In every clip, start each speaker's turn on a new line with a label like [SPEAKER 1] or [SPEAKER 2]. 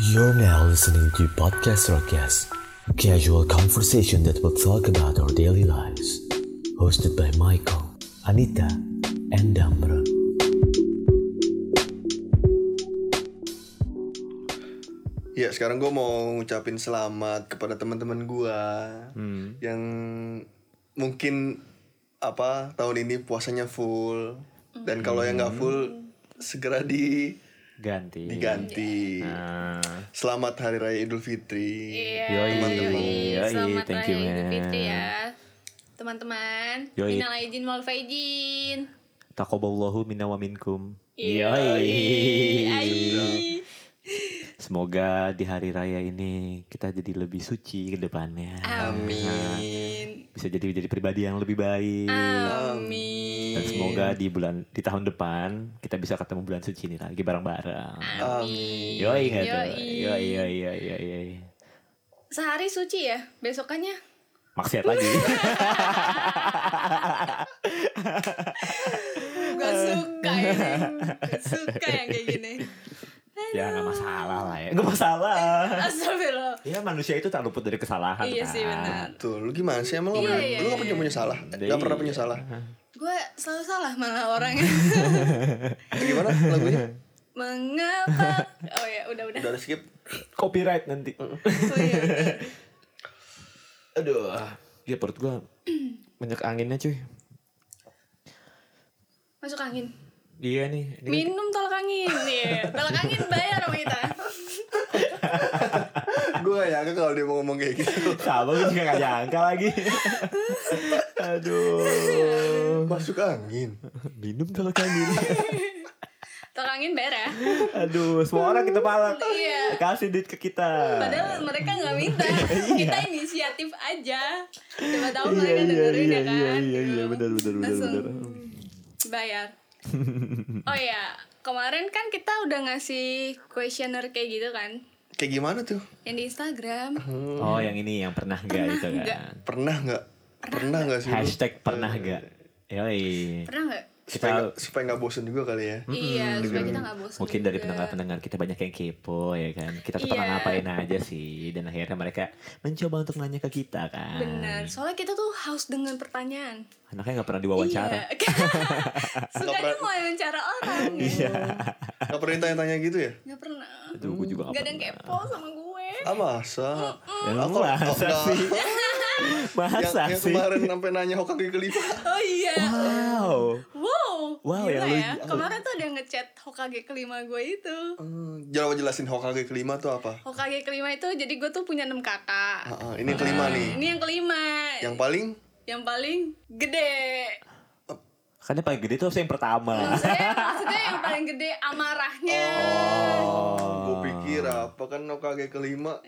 [SPEAKER 1] You're now listening to Podcast Rockcast, a casual conversation that will talk about our daily lives. Hosted by Michael, Anita, and Damron.
[SPEAKER 2] Ya sekarang gue mau ngucapin selamat kepada teman-teman gue
[SPEAKER 3] Hmm.
[SPEAKER 2] yang mungkin apa tahun ini puasanya full
[SPEAKER 3] Hmm.
[SPEAKER 2] dan kalau yang nggak full segera di
[SPEAKER 3] ganti.
[SPEAKER 2] diganti.
[SPEAKER 3] Nah,
[SPEAKER 2] Selamat Hari Raya Idul Fitri.
[SPEAKER 4] Iya.
[SPEAKER 3] Yoi,
[SPEAKER 2] Teman-teman.
[SPEAKER 3] yoi,
[SPEAKER 4] Selamat
[SPEAKER 3] thank
[SPEAKER 4] Raya
[SPEAKER 3] you,
[SPEAKER 4] Idul
[SPEAKER 3] man.
[SPEAKER 4] Fitri ya. Teman-teman,
[SPEAKER 3] Yoi.
[SPEAKER 4] minal aidin wal faizin.
[SPEAKER 3] takoballahu minna wa minkum.
[SPEAKER 4] Ai.
[SPEAKER 3] Semoga di hari raya ini kita jadi lebih suci ke depannya. Nah,
[SPEAKER 4] Amin.
[SPEAKER 3] Bisa jadi jadi pribadi yang lebih baik.
[SPEAKER 4] Amin.
[SPEAKER 3] Dan semoga di bulan di tahun depan kita bisa ketemu bulan suci ini lagi bareng-bareng.
[SPEAKER 4] Amin.
[SPEAKER 3] Yoi nggak tuh?
[SPEAKER 4] Yoi.
[SPEAKER 3] Yoi yoi yoi yoi. yoi.
[SPEAKER 4] Sehari suci ya, besokannya.
[SPEAKER 3] Maksiat lagi.
[SPEAKER 4] Gak suka ya. Gak suka yang kayak gini.
[SPEAKER 3] ya nggak masalah lah ya. Nggak masalah.
[SPEAKER 4] Astagfirullah.
[SPEAKER 3] Ya manusia itu tak luput dari kesalahan
[SPEAKER 4] Iya
[SPEAKER 3] kan.
[SPEAKER 4] sih benar.
[SPEAKER 2] Tuh, lu gimana sih emang lu
[SPEAKER 4] Iya,
[SPEAKER 2] nggak
[SPEAKER 4] iya,
[SPEAKER 2] pernah- lu nggak punya punya salah? Gak pernah punya salah.
[SPEAKER 4] Gue selalu salah malah orangnya.
[SPEAKER 2] Gimana lagunya?
[SPEAKER 4] Mengapa? Oh ya, udah udah.
[SPEAKER 2] Udah ada skip.
[SPEAKER 3] Copyright nanti.
[SPEAKER 4] Oh, iya, iya.
[SPEAKER 3] Aduh. Ya perut gue banyak anginnya cuy.
[SPEAKER 4] Masuk angin.
[SPEAKER 3] Iya nih. ini-
[SPEAKER 4] Minum tolak angin ya. Tolak angin bayar sama kita.
[SPEAKER 2] gue gak nyangka kalau dia mau ngomong kayak gitu.
[SPEAKER 3] Sama gue juga gak nyangka lagi. Aduh.
[SPEAKER 2] Masuk angin.
[SPEAKER 3] Minum tolak angin.
[SPEAKER 4] Tolak angin bayar ya.
[SPEAKER 3] Aduh, semua orang kita palak.
[SPEAKER 4] Iya.
[SPEAKER 3] Kasih duit ke kita.
[SPEAKER 4] Padahal mereka nggak minta. Kita inisiatif aja. Coba tahu
[SPEAKER 3] Iya,
[SPEAKER 4] mereka
[SPEAKER 3] iya,
[SPEAKER 4] dengerin
[SPEAKER 3] iya,
[SPEAKER 4] ya kan.
[SPEAKER 3] iya, iya, iya,
[SPEAKER 4] Gitu.
[SPEAKER 3] benar, benar, benar,
[SPEAKER 4] Langsung Mm.
[SPEAKER 3] benar.
[SPEAKER 4] Bayar. Oh ya, kemarin kan kita udah ngasih questionnaire kayak gitu kan
[SPEAKER 2] Kayak gimana tuh?
[SPEAKER 4] yang di Instagram.
[SPEAKER 3] Oh, yang ini yang pernah gak
[SPEAKER 4] Pernah
[SPEAKER 3] itu kan?
[SPEAKER 4] nggak?
[SPEAKER 2] Pernah nggak? Pernah nggak sih? lu?
[SPEAKER 3] Hashtag pernah gak? Iya, Yoi.
[SPEAKER 4] Pernah nggak?
[SPEAKER 2] Supaya
[SPEAKER 3] Kita
[SPEAKER 2] nggak- supaya nggak bosen juga kali ya.
[SPEAKER 4] Iya, supaya kita nggak bosan.
[SPEAKER 3] mungkin dari
[SPEAKER 4] juga.
[SPEAKER 3] pendengar-pendengar kita banyak yang kepo ya kan kita tuh pernah
[SPEAKER 4] Iya.
[SPEAKER 3] ngapain aja sih dan akhirnya mereka mencoba untuk nanya ke kita kan
[SPEAKER 4] Benar, soalnya kita tuh haus dengan pertanyaan.
[SPEAKER 3] anaknya nggak pernah diwawancara
[SPEAKER 4] Iya.
[SPEAKER 2] Nggak
[SPEAKER 4] Suka dia
[SPEAKER 2] pernah.
[SPEAKER 4] mau wawancara orang. Iya.
[SPEAKER 2] Gak pernah tanya-tanya gitu ya?
[SPEAKER 4] Gak pernah.
[SPEAKER 3] Aduh, gue juga
[SPEAKER 4] Gak
[SPEAKER 3] nggak
[SPEAKER 4] ada yang kepo sama gue.
[SPEAKER 2] Ah masa?
[SPEAKER 3] Ya,
[SPEAKER 2] Ah, kok-
[SPEAKER 3] masa
[SPEAKER 2] kok nggak-
[SPEAKER 3] sih?
[SPEAKER 2] yang,
[SPEAKER 3] Masa
[SPEAKER 2] yang
[SPEAKER 3] sih?
[SPEAKER 2] kemarin sampai nanya Hokage kelima.
[SPEAKER 4] Oh iya.
[SPEAKER 3] Wow.
[SPEAKER 4] Wow.
[SPEAKER 3] Wow,
[SPEAKER 4] gila
[SPEAKER 3] ya lu-
[SPEAKER 4] ya. Kemarin tuh ada yang ngechat Hokage kelima gue itu.
[SPEAKER 2] Hmm, Jangan jelasin Hokage kelima tuh apa?
[SPEAKER 4] Hokage kelima itu jadi gue tuh punya enam
[SPEAKER 2] Ah,
[SPEAKER 4] kakak.
[SPEAKER 2] ah, ini kelima nih.
[SPEAKER 4] Ini yang kelima.
[SPEAKER 2] Yang paling
[SPEAKER 4] Yang paling gede.
[SPEAKER 3] Karena paling gede tuh harusnya yang pertama.
[SPEAKER 4] Maksudnya, maksudnya yang paling gede amarahnya.
[SPEAKER 3] Oh.
[SPEAKER 2] gue pikir apa kan Hokage kelima?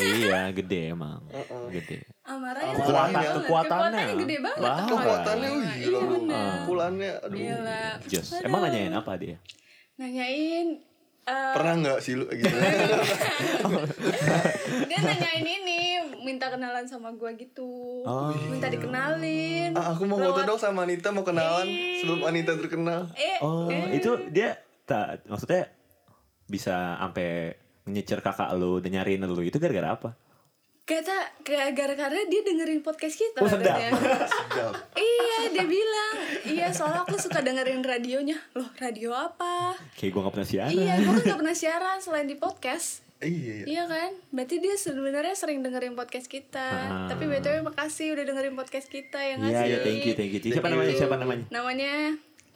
[SPEAKER 3] iya, gede emang.
[SPEAKER 2] Uh-uh.
[SPEAKER 3] Gede.
[SPEAKER 4] amarahnya
[SPEAKER 2] Kekuatan-
[SPEAKER 4] gede banget.
[SPEAKER 3] kekuatannya.
[SPEAKER 4] Kekuatannya gede banget.
[SPEAKER 3] Wow.
[SPEAKER 4] Hokage
[SPEAKER 2] Kekuatannya
[SPEAKER 4] kelima.
[SPEAKER 2] wih
[SPEAKER 4] Iya
[SPEAKER 2] gila lu.
[SPEAKER 4] benar.
[SPEAKER 2] Pukulannya aduh.
[SPEAKER 4] Gila.
[SPEAKER 3] Just. Emang nanyain apa dia?
[SPEAKER 4] Nanyain. eh,
[SPEAKER 2] Pernah nggak sih lu gitu?
[SPEAKER 4] dia nanyain ini minta kenalan sama gue gitu
[SPEAKER 3] Oh.
[SPEAKER 4] minta dikenalin
[SPEAKER 2] Ah, aku mau foto
[SPEAKER 4] Lewat-
[SPEAKER 2] dong sama Anita mau kenalan
[SPEAKER 4] Ih.
[SPEAKER 2] sebelum Anita terkenal.
[SPEAKER 4] eh
[SPEAKER 3] Oh, itu dia tak maksudnya bisa sampai menyecer kakak lu dan nyariin lu itu gara-gara apa?
[SPEAKER 4] kata gara-gara dia dengerin podcast kita
[SPEAKER 3] Oh, sedap.
[SPEAKER 4] katanya.
[SPEAKER 2] Sedap.
[SPEAKER 4] iya dia bilang iya soalnya aku suka dengerin radionya loh radio apa
[SPEAKER 3] Kayak gue gak pernah siaran.
[SPEAKER 4] iya gue kan gak pernah siaran selain di podcast
[SPEAKER 2] Iya.
[SPEAKER 4] Iya kan, berarti dia sebenarnya sering dengerin podcast kita.
[SPEAKER 3] Ah.
[SPEAKER 4] Tapi btw makasih udah dengerin podcast kita yang
[SPEAKER 3] Iya,
[SPEAKER 4] ngasih.
[SPEAKER 3] iya, thank you, thank you. Siapa
[SPEAKER 2] Thank
[SPEAKER 3] namanya?
[SPEAKER 2] you. Oh, iya.
[SPEAKER 3] Siapa namanya?
[SPEAKER 4] Namanya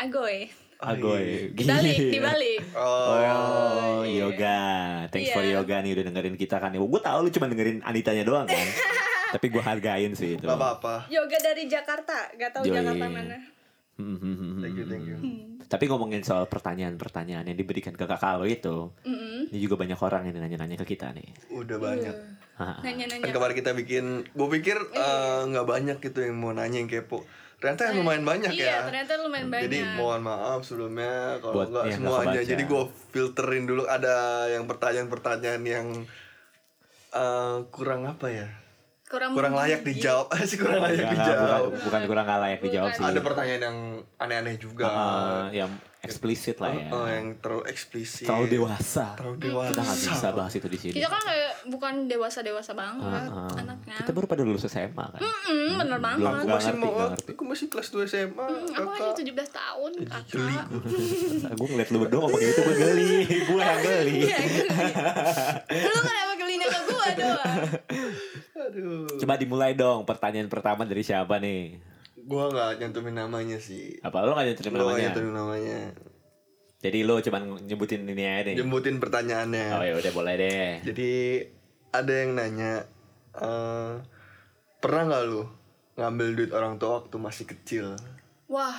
[SPEAKER 4] Agoy.
[SPEAKER 3] Agoy.
[SPEAKER 4] Dibalik,
[SPEAKER 3] Iya.
[SPEAKER 4] dibalik.
[SPEAKER 3] Oh, yoga. Thanks for
[SPEAKER 4] Iya.
[SPEAKER 3] yoga nih udah dengerin kita kan. Gue tau lu cuma dengerin Anitanya doang kan. Tapi gue hargain sih itu.
[SPEAKER 2] Gak apa-apa.
[SPEAKER 4] Yoga dari Jakarta, gak tahu
[SPEAKER 3] Yoi.
[SPEAKER 4] Jakarta mana.
[SPEAKER 3] Hmm, hmm, hmm,
[SPEAKER 2] Thank you,
[SPEAKER 3] hmm.
[SPEAKER 2] thank you.
[SPEAKER 3] Tapi ngomongin soal pertanyaan-pertanyaan yang diberikan ke kakak lo itu, ini juga banyak orang yang nanya-nanya ke kita nih.
[SPEAKER 4] Iya.
[SPEAKER 2] Udah banyak.
[SPEAKER 3] Hah.
[SPEAKER 2] Kan
[SPEAKER 4] Nanya-nanya.
[SPEAKER 2] kemarin kita bikin, gue pikir eh, nggak banyak gitu yang mau nanya yang kepo. Ternyata yang lumayan banyak ya.
[SPEAKER 4] Iya. Iya, ternyata lumayan banyak.
[SPEAKER 2] Jadi mohon maaf sebelumnya kalau
[SPEAKER 3] Buat
[SPEAKER 2] nggak
[SPEAKER 3] yang nggak
[SPEAKER 2] semuanya.
[SPEAKER 3] kebaca.
[SPEAKER 2] Jadi gue filterin dulu ada yang pertanyaan-pertanyaan yang eh, kurang apa ya?
[SPEAKER 4] kurang, Iya.
[SPEAKER 2] Kurang layak dijawab sih kurang layak
[SPEAKER 3] Enggak, enggak,
[SPEAKER 2] dijawab.
[SPEAKER 3] bukan, bukan kurang gak layak dijawab sih. Ah,
[SPEAKER 2] Ada pertanyaan yang aneh-aneh juga.
[SPEAKER 3] Eh, yang eksplisit lah ya.
[SPEAKER 2] Oh, yang terlalu eksplisit.
[SPEAKER 3] Terlalu dewasa.
[SPEAKER 2] Terlalu dewasa.
[SPEAKER 3] Kita nggak bisa bahas itu di sini.
[SPEAKER 4] Kita kan kayak bukan dewasa-dewasa banget
[SPEAKER 3] Ah,
[SPEAKER 4] anaknya.
[SPEAKER 3] Kita baru pada lulus SMA kan.
[SPEAKER 4] Mm, bener banget.
[SPEAKER 2] Aku
[SPEAKER 3] Nggak
[SPEAKER 2] masih
[SPEAKER 3] ngerti,
[SPEAKER 2] mau,
[SPEAKER 3] nggak ngerti.
[SPEAKER 2] aku masih kelas 2 SMA.
[SPEAKER 4] Hmm, Aku aja
[SPEAKER 2] kakak.
[SPEAKER 4] 17 tahun,
[SPEAKER 2] Geli
[SPEAKER 4] kakak.
[SPEAKER 2] gua.
[SPEAKER 3] gue ngeliat lu berdua ngomong gitu gue geli. Gue yang geli.
[SPEAKER 4] Iya, geli. Lu kan kenapa gelinya ke gua doang?
[SPEAKER 2] Aduh.
[SPEAKER 3] Coba dimulai dong pertanyaan pertama dari siapa nih?
[SPEAKER 2] Gua nggak nyantumin namanya sih.
[SPEAKER 3] Apa lo gak nyetir
[SPEAKER 2] Lo
[SPEAKER 3] namanya?
[SPEAKER 2] nyantumin namanya.
[SPEAKER 3] Jadi lo cuman nyebutin ini aja deh.
[SPEAKER 2] Jemputin pertanyaannya.
[SPEAKER 3] Oh ya udah boleh deh.
[SPEAKER 2] Jadi ada yang nanya eh, pernah nggak lu ngambil duit orang tua waktu masih kecil?
[SPEAKER 4] Wah,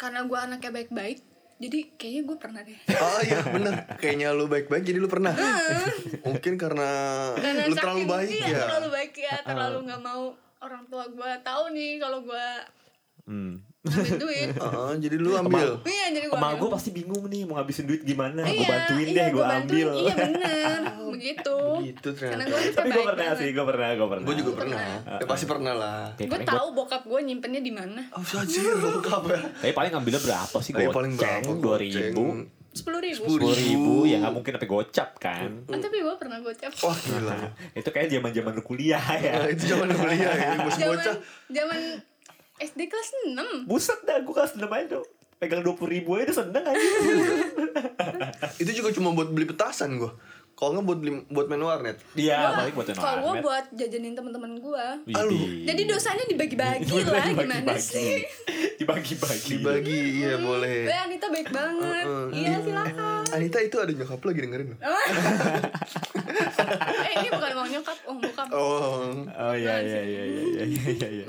[SPEAKER 4] karena gua anaknya baik-baik, jadi kayaknya gua pernah deh.
[SPEAKER 2] Oh iya bener Kayaknya lu baik-baik jadi lu pernah Mungkin karena,
[SPEAKER 4] Karena
[SPEAKER 2] Lu terlalu
[SPEAKER 4] saking-
[SPEAKER 2] baik
[SPEAKER 4] iya,
[SPEAKER 2] ya
[SPEAKER 4] terlalu baik ya, terlalu nggak mau orang tua gua tahu nih kalau gua
[SPEAKER 3] Hmm.
[SPEAKER 4] ambil duit.
[SPEAKER 2] Heeh, Jadi lu ambil
[SPEAKER 4] Iya, jadi gua
[SPEAKER 3] Emak
[SPEAKER 4] ambil.
[SPEAKER 3] gue pasti bingung nih mau ngabisin duit gimana.
[SPEAKER 4] Iya,
[SPEAKER 3] gue bantuin
[SPEAKER 4] iya,
[SPEAKER 3] deh, gue
[SPEAKER 4] gua bantuin.
[SPEAKER 3] ambil.
[SPEAKER 4] Iya bener, begitu.
[SPEAKER 2] Gitu
[SPEAKER 4] Karena
[SPEAKER 2] ternyata
[SPEAKER 4] gua anaknya
[SPEAKER 3] Tapi gue
[SPEAKER 4] baik
[SPEAKER 3] pernah
[SPEAKER 4] banget.
[SPEAKER 3] sih, gue pernah, gue pernah.
[SPEAKER 2] Gue juga pernah Ya pasti pernah lah
[SPEAKER 3] Tapi
[SPEAKER 4] Gue
[SPEAKER 3] paling
[SPEAKER 4] tahu bokap gue nyimpennya di mana.
[SPEAKER 2] Oh sajir lu kabar
[SPEAKER 3] Tapi paling ngambilnya berapa sih?
[SPEAKER 2] Tapi
[SPEAKER 3] Goceng,
[SPEAKER 2] paling berapa,
[SPEAKER 3] dua
[SPEAKER 2] goceng?
[SPEAKER 3] ribu,
[SPEAKER 4] Sepuluh ribu.
[SPEAKER 2] 10.000.
[SPEAKER 3] dua ribu, ya nggak mungkin sampai gocap kan?
[SPEAKER 4] Ah, tapi gue pernah gocap.
[SPEAKER 2] Wah gila
[SPEAKER 3] Itu kayak zaman zaman lu kuliah ya.
[SPEAKER 2] Nah, Itu zaman kuliah ya Masih bocah
[SPEAKER 4] Zaman zaman SD kelas 6
[SPEAKER 3] Buset dah, gue kasih seneng aja dong. Pegang dua puluh ribu aja udah seneng aja.
[SPEAKER 2] Itu juga cuma buat beli petasan gua Kalau nggak buat beli, buat main warnet
[SPEAKER 3] Iya, paling buat yang
[SPEAKER 4] Kalau gue
[SPEAKER 3] warnet.
[SPEAKER 4] buat jajanin teman-teman gue.
[SPEAKER 2] Alu.
[SPEAKER 3] Widih.
[SPEAKER 4] Jadi dosanya dibagi-bagi
[SPEAKER 3] Dibagi-
[SPEAKER 4] lah
[SPEAKER 3] dibagi-
[SPEAKER 4] gimana
[SPEAKER 3] bagi.
[SPEAKER 4] sih?
[SPEAKER 3] Dibagi-bagi.
[SPEAKER 2] Dibagi iya
[SPEAKER 4] Gue
[SPEAKER 2] boleh Uh,
[SPEAKER 4] Anita baik banget.
[SPEAKER 2] Heeh.
[SPEAKER 4] Iya silakan.
[SPEAKER 2] Anita itu ada nyokap lagi dengerin loh
[SPEAKER 4] eh ini bukan mau nyokap, oh bokap.
[SPEAKER 2] Oh
[SPEAKER 3] Oh iya iya iya iya iya iya iya.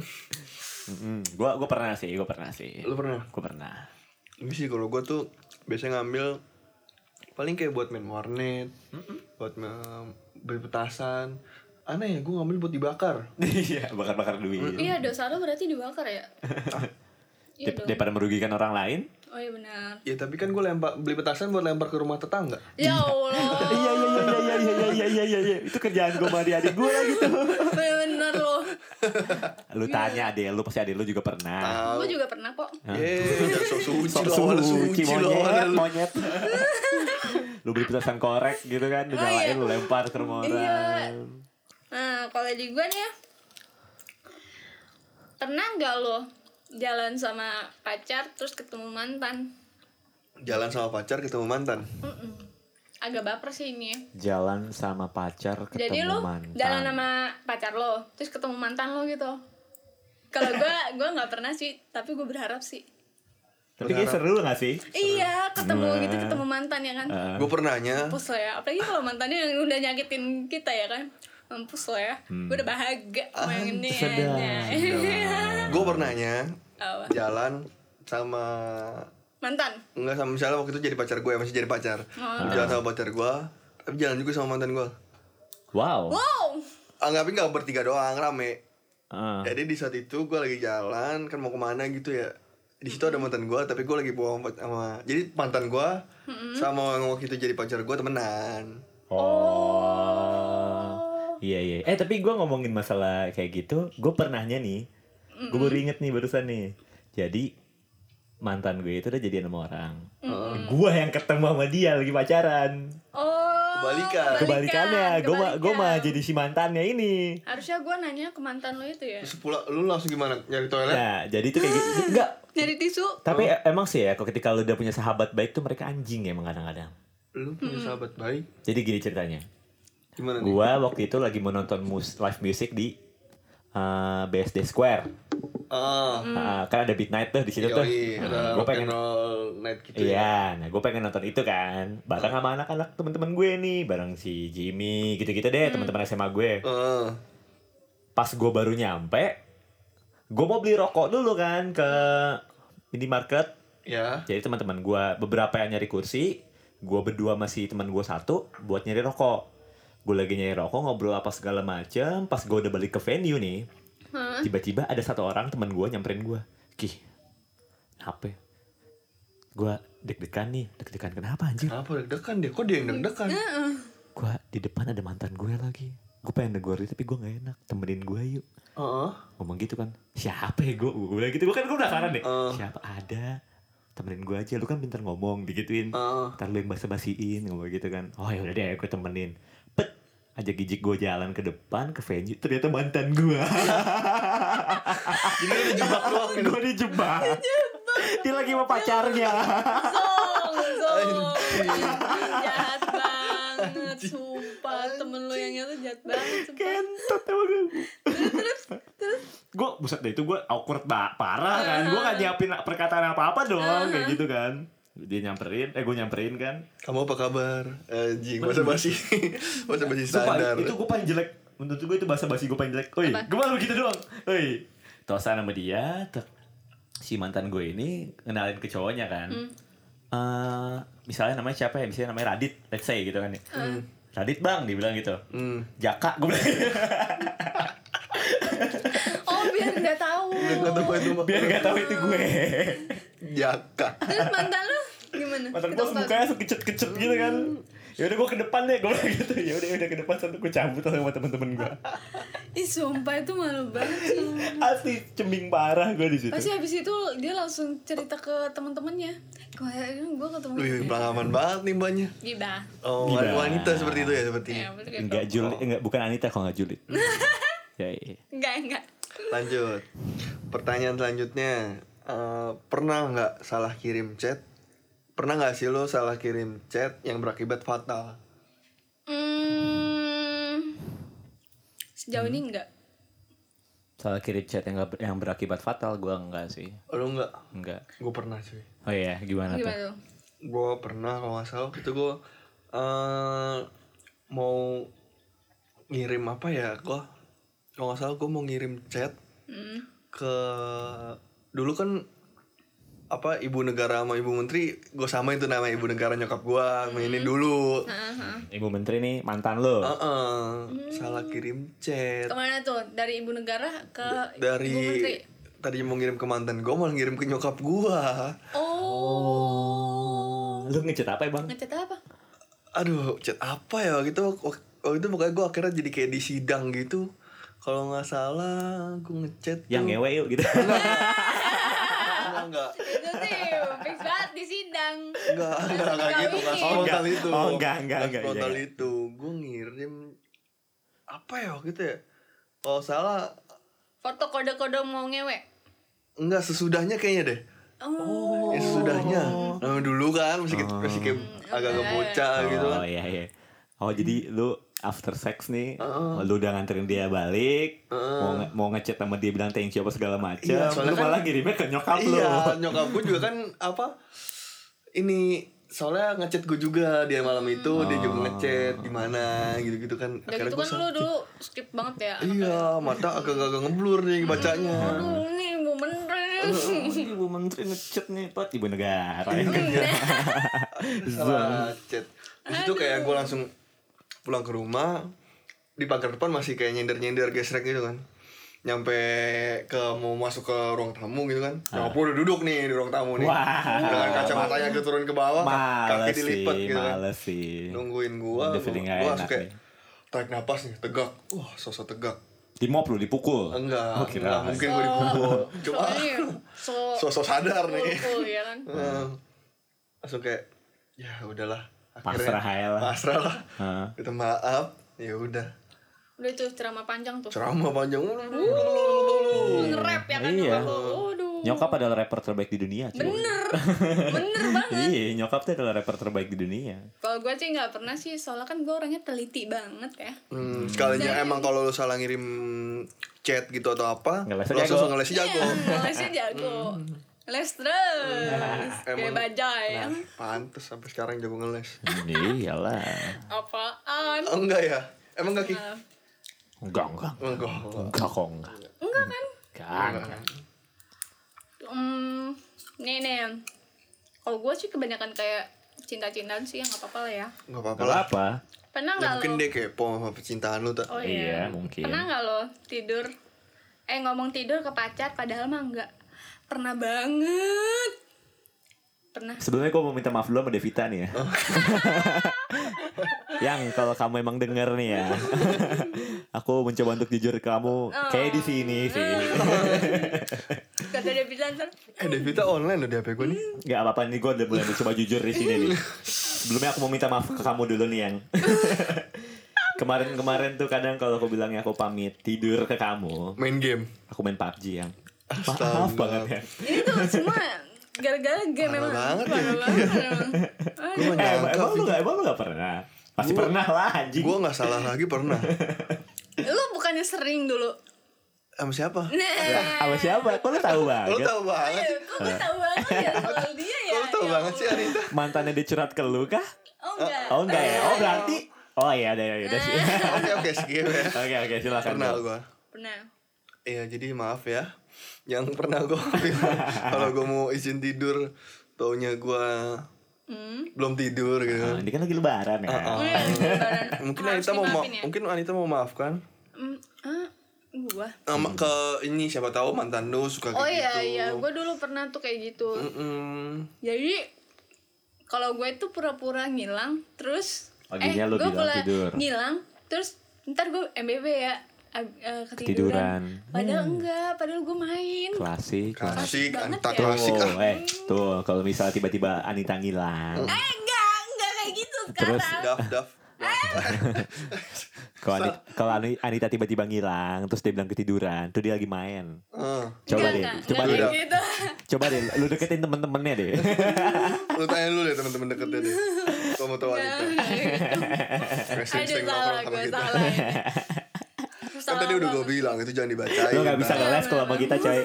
[SPEAKER 3] Mm-mm. Gua gua pernah sih, gua pernah sih.
[SPEAKER 2] Lu pernah?
[SPEAKER 3] Gua pernah.
[SPEAKER 2] Tapi sih kalau gue tuh biasanya ngambil paling kayak buat main warnet, buat ma- beli petasan. Aneh ya, gue ngambil buat dibakar.
[SPEAKER 3] Iya, bakar-bakar duit.
[SPEAKER 4] Iya dosa lo berarti dibakar ya? Iya
[SPEAKER 3] Dep-
[SPEAKER 4] dong.
[SPEAKER 3] Daripada merugikan orang lain.
[SPEAKER 4] Oh iya benar.
[SPEAKER 2] Ya tapi kan gue lempar beli petasan buat lempar ke rumah tetangga.
[SPEAKER 4] Ya Allah,
[SPEAKER 3] Iya iya iya iya iya iya iya iya iya. Itu kerjaan gua sama adik gua lah gitu.
[SPEAKER 4] bener loh.
[SPEAKER 3] Lu tanya adek lu pasti adek lu juga pernah.
[SPEAKER 4] Gue juga pernah kok.
[SPEAKER 2] Yeay, udah sok suci
[SPEAKER 3] Ah. Sok
[SPEAKER 2] lo,
[SPEAKER 3] suci
[SPEAKER 2] suci lo.
[SPEAKER 3] monyet, monyet. lu beli petasan korek gitu kan, lu
[SPEAKER 4] Oh, iya.
[SPEAKER 3] nyalain, lu lempar ke rumah orang.
[SPEAKER 4] Iya. Nah, kalau di gue nih ya, pernah nggak lo jalan sama pacar terus ketemu mantan?
[SPEAKER 2] Jalan sama pacar ketemu mantan.
[SPEAKER 4] Mm-mm. Agak baper sih ini. ya.
[SPEAKER 3] Jalan sama pacar ketemu
[SPEAKER 4] Jadi lo
[SPEAKER 3] mantan.
[SPEAKER 4] jalan sama pacar lo, terus ketemu mantan lo gitu. Kalau gue, gue nggak pernah sih, tapi gue berharap sih.
[SPEAKER 3] Tapi kayak seru gak sih?
[SPEAKER 4] Iya, ketemu gitu, ketemu mantan ya kan.
[SPEAKER 3] Ah.
[SPEAKER 2] Gue pernahnya
[SPEAKER 4] Mampus lo ya, apalagi kalau mantannya yang udah nyakitin kita ya kan. Mampus lo ya,
[SPEAKER 3] Hmm.
[SPEAKER 4] gue udah bahagia sama yang ini.
[SPEAKER 3] Ah, sedap.
[SPEAKER 2] gue pernahnya
[SPEAKER 4] Apa?
[SPEAKER 2] jalan sama
[SPEAKER 4] Mantan.
[SPEAKER 2] enggak sama misalnya waktu itu jadi pacar gue masih jadi pacar.
[SPEAKER 3] Oh.
[SPEAKER 2] Jalan sama pacar gue, tapi jalan juga sama mantan Ah, gue.
[SPEAKER 3] Wow.
[SPEAKER 4] Wow.
[SPEAKER 2] Anggapin nggak bertiga doang rame.
[SPEAKER 3] Ah.
[SPEAKER 2] Jadi di saat itu gue lagi jalan kan mau kemana gitu ya di situ ada mantan gue tapi gue lagi bawa sama- sama jadi mantan gue sama yang waktu itu jadi pacar gue temenan
[SPEAKER 3] Oh. Iya iya. Eh tapi gue ngomongin masalah kayak gitu, gue pernahnya nih, gue baru inget nih barusan nih. Jadi mantan gue itu udah jadian sama orang. Gue yang ketemu sama dia lagi pacaran.
[SPEAKER 4] Oh.
[SPEAKER 2] Kebalikan.
[SPEAKER 3] Kebalikannya, gue mah gue mah
[SPEAKER 4] kebalikan.
[SPEAKER 3] jadi si mantannya ini.
[SPEAKER 4] Harusnya gue nanya ke mantan lo itu ya.
[SPEAKER 2] terus pula lu langsung gimana nyari toilet
[SPEAKER 3] Nah jadi itu kayak gitu. Enggak.
[SPEAKER 4] Jadi tisu.
[SPEAKER 3] Tapi e- emang sih ya, kalau ketika lu udah punya sahabat baik tuh mereka anjing ya emang kadang-kadang.
[SPEAKER 2] lu punya sahabat baik
[SPEAKER 3] Jadi gini ceritanya.
[SPEAKER 2] gimana nih
[SPEAKER 3] Gua waktu itu lagi mau nonton mus- live music di eh, BSD Square.
[SPEAKER 2] ah
[SPEAKER 4] Hmm.
[SPEAKER 3] Ah, kan ada midnight tuh di situ tuh.
[SPEAKER 2] yoi
[SPEAKER 3] Nah,
[SPEAKER 2] ada
[SPEAKER 3] gue
[SPEAKER 2] rock and
[SPEAKER 3] pengen
[SPEAKER 2] roll night gitu ya
[SPEAKER 3] Iya, nah gue pengen nonton itu kan Bareng sama anak-anak temen-temen gue nih Bareng si Jimmy, gitu-gitu deh
[SPEAKER 4] Hmm.
[SPEAKER 3] temen-temen SMA gue
[SPEAKER 2] Heeh.
[SPEAKER 3] Pas gue baru nyampe Gue mau beli rokok dulu kan ke minimarket
[SPEAKER 2] ya
[SPEAKER 3] Jadi teman-teman gue beberapa yang nyari kursi Gue berdua masih teman gue satu buat nyari rokok Gue lagi nyari rokok, ngobrol apa segala macem Pas gue udah balik ke venue nih
[SPEAKER 4] Hah?
[SPEAKER 3] tiba-tiba ada satu orang teman gue nyamperin gue kih kenapa gue deg-degan nih deg-degan kenapa anjir
[SPEAKER 2] kenapa deg-degan dia kok dia yang deg-degan
[SPEAKER 3] gue di depan ada mantan gue lagi gue pengen negor dia tapi gue nggak enak temenin gue yuk
[SPEAKER 2] Heeh.
[SPEAKER 3] ngomong gitu kan siapa ya gue gue bilang gitu gue kan gue penasaran deh
[SPEAKER 2] Eh.
[SPEAKER 3] siapa ada temenin gue aja lu kan pintar ngomong digituin
[SPEAKER 2] Ah.
[SPEAKER 3] ntar lu yang basa-basiin ngomong gitu kan oh ya udah deh aku temenin pet ajak gijik gue jalan ke depan ke venue ternyata mantan gue
[SPEAKER 2] Jadi lu dijebak doang gitu.
[SPEAKER 3] gue dijebak dia lagi sama pacarnya
[SPEAKER 4] Zong, zong. Oh, jahat banget, sumpah temen lu yang itu jahat banget. Sumpah.
[SPEAKER 3] kentot sama gue gue buset deh itu gue awkward ba- parah kan gue gak nyiapin perkataan apa apa dong kayak gitu kan dia nyamperin eh gue nyamperin kan
[SPEAKER 2] Kamu apa kabar? Anjing, bahasa basi. bahasa basi
[SPEAKER 3] Sumpah,
[SPEAKER 2] standar.
[SPEAKER 3] itu gue paling jelek menurut gue itu bahasa basi gue paling jelek oi gue malah begitu doang oi tosan sama dia ter- si mantan gue ini kenalin ke cowoknya kan Eh, misalnya namanya siapa ya misalnya namanya Radit let's say gitu kan ya Radit bang dibilang gitu
[SPEAKER 2] Hmm.
[SPEAKER 3] Jaka gue bilang gitu.
[SPEAKER 4] Oh biar nggak tahu.
[SPEAKER 2] Nggak tahu itu mah.
[SPEAKER 3] biar gak tahu itu gue
[SPEAKER 2] Jaka.
[SPEAKER 4] Terus mantan lu gimana?
[SPEAKER 3] mantan gue
[SPEAKER 4] Ketemu-
[SPEAKER 3] mukanya kecut kecut gitu kan
[SPEAKER 4] Hmm.
[SPEAKER 3] ya udah gue ke depan deh gue bilang gitu ya udah udah ke depan satu gue cabut sama teman-teman gue
[SPEAKER 4] Ih sumpah itu malu banget sih.
[SPEAKER 3] asli ceming parah gue di situ
[SPEAKER 4] Pasti habis itu dia langsung cerita ke teman-temannya. Kemarin gue ketemu
[SPEAKER 2] Wih, pengalaman banget nih mbaknya.
[SPEAKER 4] Gibah.
[SPEAKER 2] Oh,
[SPEAKER 3] Gila.
[SPEAKER 2] wanita seperti itu ya sepertinya.
[SPEAKER 4] Ya, betul gitu.
[SPEAKER 3] Enggak Juli, enggak bukan Anita kalau enggak Juli. ya, iya.
[SPEAKER 4] Enggak, enggak.
[SPEAKER 2] Lanjut. Pertanyaan selanjutnya. Eh, pernah nggak salah kirim chat? Pernah nggak sih lo salah kirim chat yang berakibat fatal?
[SPEAKER 4] Hmm, sejauh ini
[SPEAKER 2] Hmm.
[SPEAKER 4] enggak.
[SPEAKER 3] Salah kirim chat yang nggak- yang berakibat fatal gua enggak sih.
[SPEAKER 2] Lo nggak?
[SPEAKER 3] Enggak.
[SPEAKER 2] Gue pernah sih.
[SPEAKER 3] Oh iya, gimana, tuh?
[SPEAKER 4] Gimana tuh?
[SPEAKER 2] Gue pernah kalau nggak salah waktu itu gue eh mau ngirim apa ya? Gue kalau nggak salah gue mau ngirim chat
[SPEAKER 4] Hmm.
[SPEAKER 2] ke dulu kan apa ibu negara sama ibu menteri gue sama itu nama ibu negara nyokap gua mainin
[SPEAKER 4] Hmm.
[SPEAKER 2] dulu
[SPEAKER 3] Ibu menteri nih mantan lo.
[SPEAKER 2] Heeh,
[SPEAKER 4] Hmm.
[SPEAKER 2] salah kirim chat
[SPEAKER 4] Kemana tuh? Dari ibu negara ke
[SPEAKER 2] dari
[SPEAKER 4] ibu menteri.
[SPEAKER 2] tadi mau ngirim ke mantan gue malah ngirim ke nyokap gua Oh.
[SPEAKER 4] Oh.
[SPEAKER 3] Lu ngechat apa, ya, Bang?
[SPEAKER 4] Ngecat apa?
[SPEAKER 2] aduh chat apa ya waktu itu wak- waktu itu makanya gue akhirnya jadi kayak di sidang gitu kalau nggak salah gue ngechat tuh-
[SPEAKER 3] Yang ngewe yuk gitu.
[SPEAKER 2] enggak enggak
[SPEAKER 4] Itu sih fix banget di sidang.
[SPEAKER 2] Enggak, enggak, enggak
[SPEAKER 4] Enggak
[SPEAKER 2] gitu, enggak
[SPEAKER 4] ini.
[SPEAKER 2] spontan
[SPEAKER 3] Oh, enggak.
[SPEAKER 2] itu.
[SPEAKER 3] Oh, enggak, enggak, enggak,
[SPEAKER 2] spontan
[SPEAKER 3] iya, iya.
[SPEAKER 2] itu. Gue ngirim apa ya gitu ya? Kalau salah
[SPEAKER 4] Foto kode-kode mau ngewe.
[SPEAKER 2] enggak sesudahnya kayaknya deh.
[SPEAKER 4] Oh.
[SPEAKER 2] Ya sesudahnya. Nah, dulu kan masih kayak- masih kayak agak ngebocah gitu kan.
[SPEAKER 3] Oh iya iya. Oh jadi lu after sex nih,
[SPEAKER 2] Heeh.
[SPEAKER 3] lu udah nganterin dia balik,
[SPEAKER 2] Heeh.
[SPEAKER 3] mau nge- mau ngechat sama dia bilang thank you apa segala macam,
[SPEAKER 2] Iya, soalnya
[SPEAKER 3] lu
[SPEAKER 2] kan-
[SPEAKER 3] malah ngirimnya ke nyokap lu.
[SPEAKER 2] Iya, nyokap gue juga kan apa ini soalnya ngechat gue juga dia malam itu dia juga
[SPEAKER 3] Oh.
[SPEAKER 2] ngechat gimana gitu-gitu kan
[SPEAKER 4] Dan itu
[SPEAKER 2] gua
[SPEAKER 4] kan
[SPEAKER 2] sa-
[SPEAKER 4] lu dulu skip banget ya.
[SPEAKER 2] iya mata agak-agak ngeblur nih bacanya
[SPEAKER 4] Aduh, ini ibu menteri.
[SPEAKER 3] Oh, Ibu menteri ngechat nih, Pak. Iya. Ibu negara.
[SPEAKER 2] Iya. salah chat Terus itu kayak gue langsung pulang ke rumah di pagar depan masih kayak nyender nyender gesrek gitu kan nyampe ke mau masuk ke ruang tamu gitu kan nyokap gue udah duduk nih di ruang tamu nih
[SPEAKER 3] Ah. Wah.
[SPEAKER 2] dengan kacamatanya gitu turun ke bawah kaki
[SPEAKER 3] males sih,
[SPEAKER 2] dilipat gitu kan
[SPEAKER 3] males sih.
[SPEAKER 2] nungguin gua
[SPEAKER 3] Iya. Udah feeling
[SPEAKER 2] gua
[SPEAKER 3] nggak
[SPEAKER 2] gua
[SPEAKER 3] enak
[SPEAKER 2] langsung kayak
[SPEAKER 3] nih.
[SPEAKER 2] tarik napas nih tegak wah sosok tegak
[SPEAKER 3] Di mob lu dipukul.
[SPEAKER 2] enggak
[SPEAKER 3] Oh,
[SPEAKER 2] enggak
[SPEAKER 3] kira
[SPEAKER 2] mungkin gue dipukul cuma
[SPEAKER 4] Soalnya, so,
[SPEAKER 2] sosok sadar nih
[SPEAKER 4] cool, ya kan.
[SPEAKER 2] Heeh. langsung kayak ya udahlah
[SPEAKER 3] Pasrah aja lah.
[SPEAKER 2] pasrah lah
[SPEAKER 3] Heeh.
[SPEAKER 2] kita maaf ya udah
[SPEAKER 4] Udah itu ceramah panjang tuh.
[SPEAKER 2] ceramah panjang
[SPEAKER 4] Nge-rap ya kan
[SPEAKER 3] Iya.
[SPEAKER 4] nyokap lu. Waduh.
[SPEAKER 3] Nyokap adalah rapper terbaik di dunia. cuy.
[SPEAKER 4] Bener. Bener banget.
[SPEAKER 3] Iya, nyokap tuh adalah rapper terbaik di dunia.
[SPEAKER 4] Kalau gue sih nggak pernah sih, soalnya kan gue orangnya teliti banget ya.
[SPEAKER 2] hmm, sekalinya emang kalau lu salah ngirim chat gitu atau apa lu
[SPEAKER 3] Ngelesnya
[SPEAKER 2] langsung ngeles
[SPEAKER 3] jago.
[SPEAKER 2] jago
[SPEAKER 4] Iya.
[SPEAKER 2] Hmm.
[SPEAKER 4] Lesnya jago. Les terus. Kayak
[SPEAKER 2] Nah, Emang-
[SPEAKER 4] bajai.
[SPEAKER 2] nah, pantes sampai sekarang jago ngeles
[SPEAKER 3] Iyalah.
[SPEAKER 4] Apaan?
[SPEAKER 2] oh, enggak ya emang kaki
[SPEAKER 3] Enggak, enggak.
[SPEAKER 2] enggak
[SPEAKER 3] Enggak kok, enggak.
[SPEAKER 4] Enggak kan?
[SPEAKER 3] Enggak, enggak.
[SPEAKER 4] Hmm, nih nih. Kalau gue sih kebanyakan kayak cinta-cintaan sih yang apa-apa lah ya.
[SPEAKER 2] enggak apa-apa
[SPEAKER 3] Enggak
[SPEAKER 2] lah
[SPEAKER 3] apa.
[SPEAKER 4] Pernah
[SPEAKER 2] ya,
[SPEAKER 4] nggak
[SPEAKER 2] mungkin
[SPEAKER 4] lo?
[SPEAKER 2] dia kepo sama percintaan lu tak
[SPEAKER 4] Oh
[SPEAKER 3] Iya,
[SPEAKER 4] iya.
[SPEAKER 3] mungkin.
[SPEAKER 4] Pernah nggak lo tidur? Eh ngomong tidur ke pacar padahal mah enggak. Pernah banget. pernah
[SPEAKER 3] Sebelumnya gue mau minta maaf dulu sama Devita nih ya.
[SPEAKER 2] Oh.
[SPEAKER 3] yang kalau kamu emang denger nih ya, aku mencoba untuk jujur ke kamu kayak di sini sih.
[SPEAKER 4] kata dia bilang ntar
[SPEAKER 2] Eh Devita online loh di HP gue nih.
[SPEAKER 3] Gak apa-apa nih gue udah mulai mencoba jujur di sini nih. Sebelumnya aku mau minta maaf ke kamu dulu nih yang. Kemarin-kemarin tuh kadang kalau aku bilangnya aku pamit tidur ke kamu,
[SPEAKER 2] Main game.
[SPEAKER 3] aku main PUBG yang. Maaf
[SPEAKER 2] Astaga.
[SPEAKER 3] banget ya.
[SPEAKER 4] ini tuh semua gara-gara game
[SPEAKER 2] Parah
[SPEAKER 4] memang
[SPEAKER 2] banget ya,
[SPEAKER 4] Parah
[SPEAKER 2] Vicky.
[SPEAKER 4] banget emang.
[SPEAKER 2] Gue
[SPEAKER 4] Aduh.
[SPEAKER 2] gak
[SPEAKER 3] Eh, emang,
[SPEAKER 2] nyangka.
[SPEAKER 3] emang lu gak, emang lu gak pernah? Pasti
[SPEAKER 2] Gua-
[SPEAKER 3] pernah lah anjing.
[SPEAKER 2] Gue gak salah lagi pernah.
[SPEAKER 3] Iya.
[SPEAKER 4] lu bukannya sering dulu
[SPEAKER 2] Sama siapa?
[SPEAKER 4] nah
[SPEAKER 3] Sama siapa? Kok lu tahu
[SPEAKER 2] Lo
[SPEAKER 3] banget?
[SPEAKER 2] tau banget sih.
[SPEAKER 4] kok gue tahu banget ya soal dia ya
[SPEAKER 2] Lo tau
[SPEAKER 4] Ya
[SPEAKER 2] banget sih
[SPEAKER 4] Allah.
[SPEAKER 2] Anita.
[SPEAKER 3] Mantannya dia curhat ke lu kah?
[SPEAKER 4] oh enggak
[SPEAKER 3] Oh enggak ya? Oh berarti Oh iya, udah, udah, udah.
[SPEAKER 2] Oke oke skip ya.
[SPEAKER 3] Oke, oke, silakan.
[SPEAKER 2] Pernah gue.
[SPEAKER 4] pernah
[SPEAKER 2] Iya jadi maaf ya. Yang pernah gue kalau gue mau izin tidur, taunya gue
[SPEAKER 4] hmm
[SPEAKER 2] belum tidur gitu.
[SPEAKER 3] Ah, ini kan lagi lebaran ya.
[SPEAKER 2] Ah, ah.
[SPEAKER 4] Iya, beneran.
[SPEAKER 2] Mungkin
[SPEAKER 4] Harus
[SPEAKER 2] Anita mau ma-
[SPEAKER 4] dimaafin ya.
[SPEAKER 2] mungkin Anita mau maafkan.
[SPEAKER 4] Hmm, ah, gua
[SPEAKER 2] Sama ke ini siapa tahu mantan lu suka kayak
[SPEAKER 4] oh iya
[SPEAKER 2] gitu.
[SPEAKER 4] iya gue dulu pernah tuh kayak gitu
[SPEAKER 3] Hmm.
[SPEAKER 2] Mm-mm.
[SPEAKER 4] jadi kalau gue itu pura-pura ngilang terus
[SPEAKER 3] Oh, jadinya lu
[SPEAKER 4] gue
[SPEAKER 3] bilang tidur.
[SPEAKER 4] ngilang terus ntar gue MBB ya ab- eh,
[SPEAKER 3] Ketiduran. Hmm.
[SPEAKER 4] ketiduran. padahal enggak padahal gue main
[SPEAKER 3] Klasik.
[SPEAKER 2] Klasik,
[SPEAKER 3] klasik.
[SPEAKER 4] banget
[SPEAKER 2] Anita
[SPEAKER 4] ya.
[SPEAKER 2] klasik
[SPEAKER 3] Tuh,
[SPEAKER 2] ah.
[SPEAKER 3] eh, tuh kalau misalnya tiba-tiba Anita ngilang,
[SPEAKER 4] eh enggak enggak kayak gitu
[SPEAKER 3] Terus?
[SPEAKER 4] sekarang
[SPEAKER 2] Ah, Daf, daf.
[SPEAKER 3] kalau Ani- kalau Ani- Anita tiba-tiba ngilang, terus dia bilang ketiduran, tuh dia lagi main.
[SPEAKER 2] Eh,
[SPEAKER 3] Coba
[SPEAKER 4] enggak,
[SPEAKER 3] deh,
[SPEAKER 4] enggak,
[SPEAKER 3] coba
[SPEAKER 4] enggak
[SPEAKER 3] deh,
[SPEAKER 4] kayak gitu
[SPEAKER 3] coba deh, lu deketin temen-temennya deh.
[SPEAKER 2] Lu tanya dulu deh teman-teman deketnya deh. Kalau mau tahu Anita. Racing
[SPEAKER 4] gitu. aduh
[SPEAKER 2] sing
[SPEAKER 4] salah
[SPEAKER 2] ngobrol sama
[SPEAKER 4] gue
[SPEAKER 2] kita.
[SPEAKER 4] salah
[SPEAKER 2] Kan tadi udah gue bilang itu jangan dibacain.
[SPEAKER 3] lu gak bisa
[SPEAKER 2] Nah,
[SPEAKER 3] nge-live kalau sama kita coy.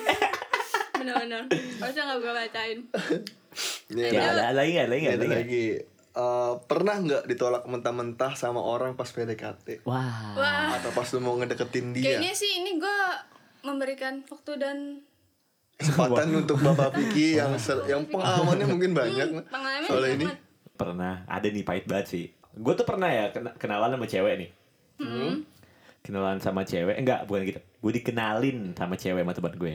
[SPEAKER 4] bener-bener harusnya nggak gue bacain
[SPEAKER 2] ini
[SPEAKER 3] ya,
[SPEAKER 2] ada-
[SPEAKER 3] ada ada lagi nggak? ada lagi
[SPEAKER 2] ini
[SPEAKER 3] nggak?
[SPEAKER 2] ada
[SPEAKER 3] ada lagi nggak?
[SPEAKER 2] lagi. Eh, pernah nggak ditolak mentah-mentah sama orang pas PDKT?
[SPEAKER 3] Wah.
[SPEAKER 4] wah
[SPEAKER 2] Atau pas lu mau ngedeketin
[SPEAKER 3] iya.
[SPEAKER 2] dia?
[SPEAKER 4] kayaknya sih ini gue memberikan waktu dan
[SPEAKER 2] Kesempatan untuk Bapak Vicky yang ser- yang pengalamannya mungkin banyak.
[SPEAKER 4] Hmm, pengalaman
[SPEAKER 2] Soalnya
[SPEAKER 4] banyak
[SPEAKER 2] ini
[SPEAKER 4] banget.
[SPEAKER 3] pernah ada nih pahit banget sih gue tuh pernah ya kena- kenalan sama cewek nih kenalan sama cewek enggak bukan gitu gue dikenalin sama cewek sama teman gue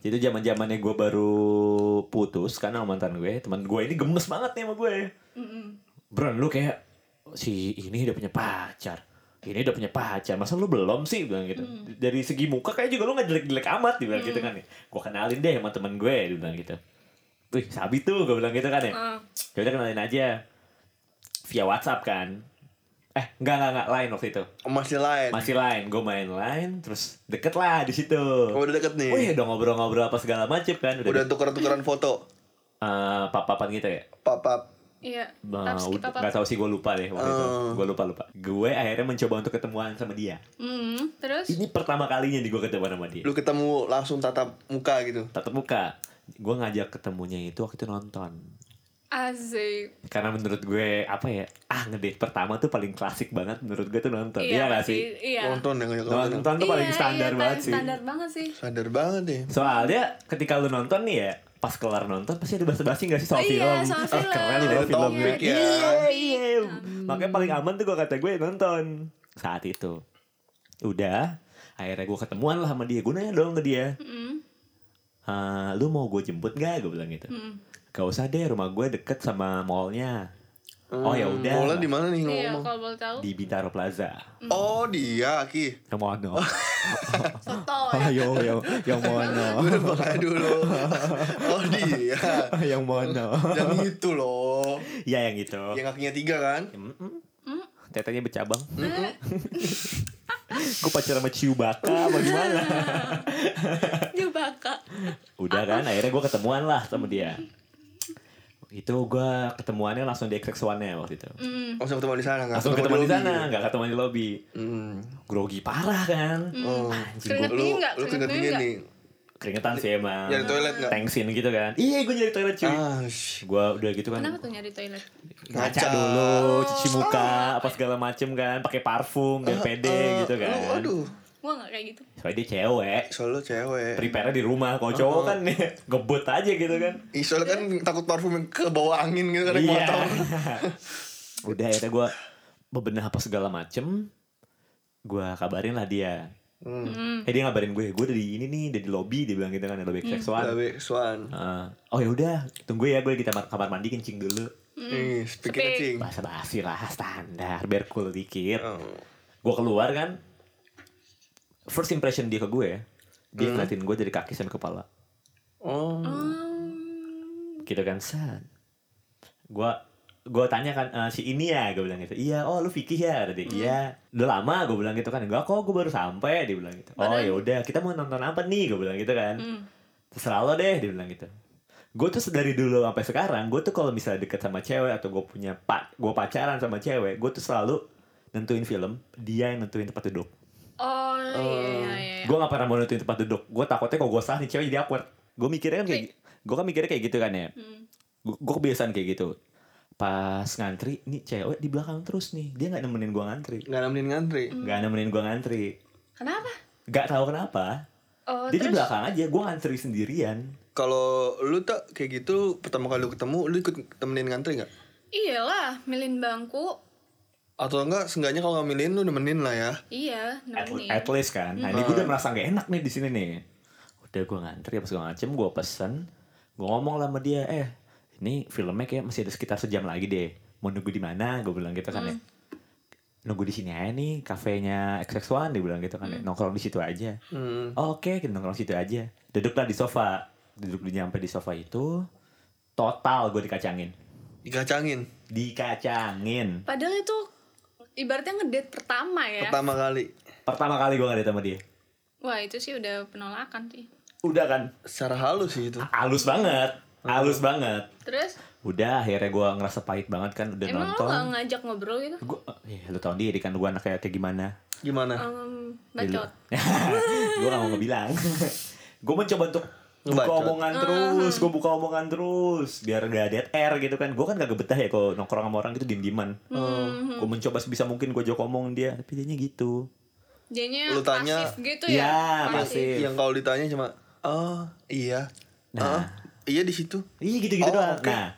[SPEAKER 3] jadi itu zaman zamannya gue baru putus karena sama mantan gue teman gue ini gemes banget nih sama gue Bron lu kayak si ini udah punya pacar ini udah punya pacar masa lu belum sih bilang gitu dari segi muka kayak juga lu nggak jelek-jelek amat dibilang gitu kan ya gue kenalin deh sama teman gue dibilang gitu Wih, sabi tuh gue bilang gitu kan ya.
[SPEAKER 4] Hmm.
[SPEAKER 3] Ya udah kenalin aja via WhatsApp kan. Eh, enggak enggak enggak lain waktu itu.
[SPEAKER 2] masih lain.
[SPEAKER 3] Masih lain, gue main lain terus deket lah di situ.
[SPEAKER 2] Oh, udah deket nih.
[SPEAKER 3] Oh iya udah ngobrol-ngobrol apa segala macem kan udah,
[SPEAKER 2] Udah
[SPEAKER 3] deket,
[SPEAKER 2] tukeran-tukeran foto.
[SPEAKER 3] eh, pap-papan gitu ya.
[SPEAKER 2] Papap.
[SPEAKER 4] iya
[SPEAKER 3] Nah,
[SPEAKER 4] tapi skip
[SPEAKER 3] udah-
[SPEAKER 4] apa
[SPEAKER 3] nggak tahu sih gue lupa deh waktu itu.
[SPEAKER 2] Oh.
[SPEAKER 3] Gue lupa lupa. Gue akhirnya mencoba untuk ketemuan sama dia.
[SPEAKER 4] Hmm, terus
[SPEAKER 3] Ini pertama kalinya di gue ketemuan sama dia.
[SPEAKER 4] Iya.
[SPEAKER 2] Lu ketemu langsung tatap muka gitu.
[SPEAKER 3] Tatap muka. Gue ngajak ketemunya itu waktu itu nonton.
[SPEAKER 4] asik
[SPEAKER 3] Karena menurut gue apa ya? Ah, ngedate pertama tuh paling klasik banget menurut gue tuh nonton. Iya, nggak
[SPEAKER 4] pasti.
[SPEAKER 3] sih?
[SPEAKER 4] Iya.
[SPEAKER 2] Nonton yang
[SPEAKER 3] Nonton tuh paling
[SPEAKER 4] Iya,
[SPEAKER 3] standar
[SPEAKER 4] iya,
[SPEAKER 3] banget
[SPEAKER 4] paling
[SPEAKER 3] sih.
[SPEAKER 4] Standar banget sih.
[SPEAKER 2] Sadar banget deh.
[SPEAKER 3] Soalnya ketika lu nonton nih ya, pas kelar nonton pasti ada basa-basi gak sih soal
[SPEAKER 4] Iya,
[SPEAKER 3] film?
[SPEAKER 4] soal
[SPEAKER 3] Ah,
[SPEAKER 4] film.
[SPEAKER 3] Keren loh
[SPEAKER 2] Ada
[SPEAKER 3] filmnya.
[SPEAKER 2] topik ya.
[SPEAKER 3] Iya, iya. Makanya paling aman tuh gua kata gue nonton saat itu. Udah, akhirnya gue ketemuan lah sama dia. Gue nanya dong ke dia,
[SPEAKER 4] Mm,
[SPEAKER 3] "Ah, lu mau gue jemput gak? Gue bilang gitu.
[SPEAKER 4] mm.
[SPEAKER 3] Gak usah deh, rumah gue deket sama mallnya. Oh ya udah.
[SPEAKER 2] Mulai Ah, di mana nih
[SPEAKER 4] Iya, Hmm.
[SPEAKER 2] ngomong?
[SPEAKER 4] kalau boleh tahu.
[SPEAKER 3] Di Bintaro Plaza.
[SPEAKER 2] Oh dia Aki.
[SPEAKER 3] Yang mono.
[SPEAKER 4] Soto
[SPEAKER 3] Oh,
[SPEAKER 4] ya.
[SPEAKER 2] iya.
[SPEAKER 3] yo, yo, yang mono.
[SPEAKER 2] Gue nebak aja dulu. Oh dia.
[SPEAKER 3] yang mono.
[SPEAKER 2] Yang itu loh.
[SPEAKER 3] Ya yang itu.
[SPEAKER 2] Yang kakinya tiga kan?
[SPEAKER 3] Mm-mm.
[SPEAKER 4] Mm.
[SPEAKER 3] Tetenya bercabang.
[SPEAKER 4] Eh.
[SPEAKER 3] Gue pacaran sama Chewbacca apa gimana?
[SPEAKER 4] Dia bakal.
[SPEAKER 3] Udah kan, akhirnya gue ketemuan lah sama dia. Itu gue ketemuannya langsung di XX1-nya waktu itu.
[SPEAKER 4] Mm.
[SPEAKER 2] Langsung ketemu di sana nggak?
[SPEAKER 3] Langsung ketemuan di
[SPEAKER 2] lobby.
[SPEAKER 3] sana, nggak ketemu di lobby.
[SPEAKER 2] Hmm.
[SPEAKER 3] Grogi parah kan.
[SPEAKER 4] Mm.
[SPEAKER 2] Oh.
[SPEAKER 3] Anjing
[SPEAKER 4] Keringet
[SPEAKER 3] gue
[SPEAKER 2] Lu,
[SPEAKER 4] Dingin nggak?
[SPEAKER 2] lu
[SPEAKER 4] Keringet
[SPEAKER 2] keringet dingin
[SPEAKER 4] dingin
[SPEAKER 2] nih.
[SPEAKER 3] keringetan sih emang.
[SPEAKER 2] Nyari toilet nggak?
[SPEAKER 3] Thanksin gitu kan. Iya, gue nyari toilet cuy.
[SPEAKER 2] Ah, sh-
[SPEAKER 3] Gue udah gitu kan
[SPEAKER 4] Kenapa tuh nyari toilet?
[SPEAKER 3] ngaca
[SPEAKER 2] Ngaca.
[SPEAKER 3] dulu, cuci muka, apa segala macem kan, pakai parfum biar pede
[SPEAKER 2] Eh,
[SPEAKER 3] gitu kan.
[SPEAKER 2] Lu, aduh.
[SPEAKER 4] Gua enggak kayak gitu.
[SPEAKER 3] Soalnya dia cewek.
[SPEAKER 2] Soalnya cewek.
[SPEAKER 3] prepare di rumah kalau
[SPEAKER 2] Uh,
[SPEAKER 3] cowok kan gebut aja gitu kan
[SPEAKER 2] Ih, soalnya kan takut parfum yang ke bawah angin gitu kan
[SPEAKER 3] Iya.
[SPEAKER 2] naik motor.
[SPEAKER 3] udah akhirnya gue bebenah apa segala macem gue kabarin lah dia
[SPEAKER 2] Hmm.
[SPEAKER 3] Eh dia ngabarin gue, gue dari ini nih, dari lobby dia bilang gitu kan, dari lobby seksual.
[SPEAKER 2] Tapi Swan.
[SPEAKER 3] oh ya udah, tunggu ya gue lagi kamar kamar mandi kencing dulu.
[SPEAKER 2] Ih, speaking
[SPEAKER 4] Speak.
[SPEAKER 2] cing.
[SPEAKER 3] Bahasa basi lah standar, biar cool dikit.
[SPEAKER 2] Oh.
[SPEAKER 3] Gue keluar kan, first impression dia ke gue, dia ngeliatin gue dari kaki sampai kepala.
[SPEAKER 2] Oh.
[SPEAKER 4] Mm.
[SPEAKER 3] gitu kan san gua gua tanya kan "Eh, si ini ya gue bilang gitu iya oh lu Vicky ya tadi iya udah lama gue bilang gitu kan enggak kok gue baru sampai dia bilang gitu oh
[SPEAKER 4] Padahal-
[SPEAKER 3] ya udah kita mau nonton apa nih gue bilang gitu kan terserah lo deh dia bilang gitu gue tuh dari dulu sampai sekarang gue tuh kalau misalnya deket sama cewek atau gue punya pak gue pacaran sama cewek gue tuh selalu nentuin film dia yang nentuin tempat duduk
[SPEAKER 4] Oh, iya,
[SPEAKER 3] Eh,
[SPEAKER 4] iya, iya.
[SPEAKER 3] gue gak pernah mau nentuin tempat duduk gue takutnya kalau gue salah nih cewek jadi awkward gue mikirnya kan kayak gue kan mikirnya kayak gitu kan ya
[SPEAKER 4] Hmm.
[SPEAKER 3] gue kebiasaan kayak gitu pas ngantri nih cewek di belakang terus nih dia nggak nemenin gue ngantri
[SPEAKER 2] Nggak nemenin ngantri.
[SPEAKER 4] Hmm.
[SPEAKER 3] nggak nemenin gue ngantri
[SPEAKER 4] Kenapa?
[SPEAKER 3] nggak tahu kenapa
[SPEAKER 4] Oh,
[SPEAKER 3] dia di
[SPEAKER 4] terus
[SPEAKER 3] belakang aja gue ngantri sendirian
[SPEAKER 2] Kalau lu tak kayak gitu pertama kali lu ketemu lu ikut temenin ngantri nggak?
[SPEAKER 4] iyalah, milin bangku.
[SPEAKER 2] Atau enggak seenggaknya kalau nggak milihin lu nemenin lah ya.
[SPEAKER 4] Iya,
[SPEAKER 3] at,
[SPEAKER 4] nemenin.
[SPEAKER 3] at least kan nah ini gue udah merasa nggak enak nih di sini nih udah gue ngantri pas gue ngacem gue pesen gue ngomong lah sama dia eh ini filmnya kayak masih ada sekitar sejam lagi deh mau nunggu di mana gue bilang gitu kan ya nunggu di sini aja nih kafenya XX1 dia bilang gitu kan ya nongkrong di situ aja
[SPEAKER 2] Hmm.
[SPEAKER 3] Oh, oke kita nongkrong situ aja duduklah di sofa duduk di nyampe di sofa itu total gue dikacangin
[SPEAKER 2] Digacangin
[SPEAKER 3] dikacangin
[SPEAKER 4] Padahal itu ibaratnya ngedate pertama ya.
[SPEAKER 2] pertama kali
[SPEAKER 3] pertama kali gue ngeliat sama dia
[SPEAKER 4] Wah, itu sih udah penolakan sih.
[SPEAKER 3] udah kan
[SPEAKER 2] secara halus sih itu.
[SPEAKER 3] halus banget halus banget
[SPEAKER 4] Terus
[SPEAKER 3] udah akhirnya gue ngerasa pahit banget kan udah
[SPEAKER 4] emang lo
[SPEAKER 3] nonton
[SPEAKER 4] gak ngajak ngobrol gitu?
[SPEAKER 3] gue ya, lu tau diri kan gue anak kayak kayak gimana
[SPEAKER 2] Gimana?
[SPEAKER 4] Um, bacot.
[SPEAKER 3] gue gak mau ngebilang gue mencoba untuk buka
[SPEAKER 2] Ngebacot.
[SPEAKER 3] omongan terus gue buka omongan terus biar gak dead air gitu kan gue kan gak betah ya kalau nongkrong sama orang gitu diem dieman gue mencoba sebisa mungkin gue jok omong dia tapi dia gitu
[SPEAKER 4] Dianya
[SPEAKER 2] Lu tanya-
[SPEAKER 4] pasif gitu ya.
[SPEAKER 3] Iya,
[SPEAKER 4] pasif.
[SPEAKER 3] pasif.
[SPEAKER 2] Yang kalau ditanya cuma oh iya.
[SPEAKER 3] Nah.
[SPEAKER 2] Ah, iya di situ.
[SPEAKER 3] iya gitu gitu
[SPEAKER 2] Oh,
[SPEAKER 3] doang
[SPEAKER 2] oke.
[SPEAKER 3] nah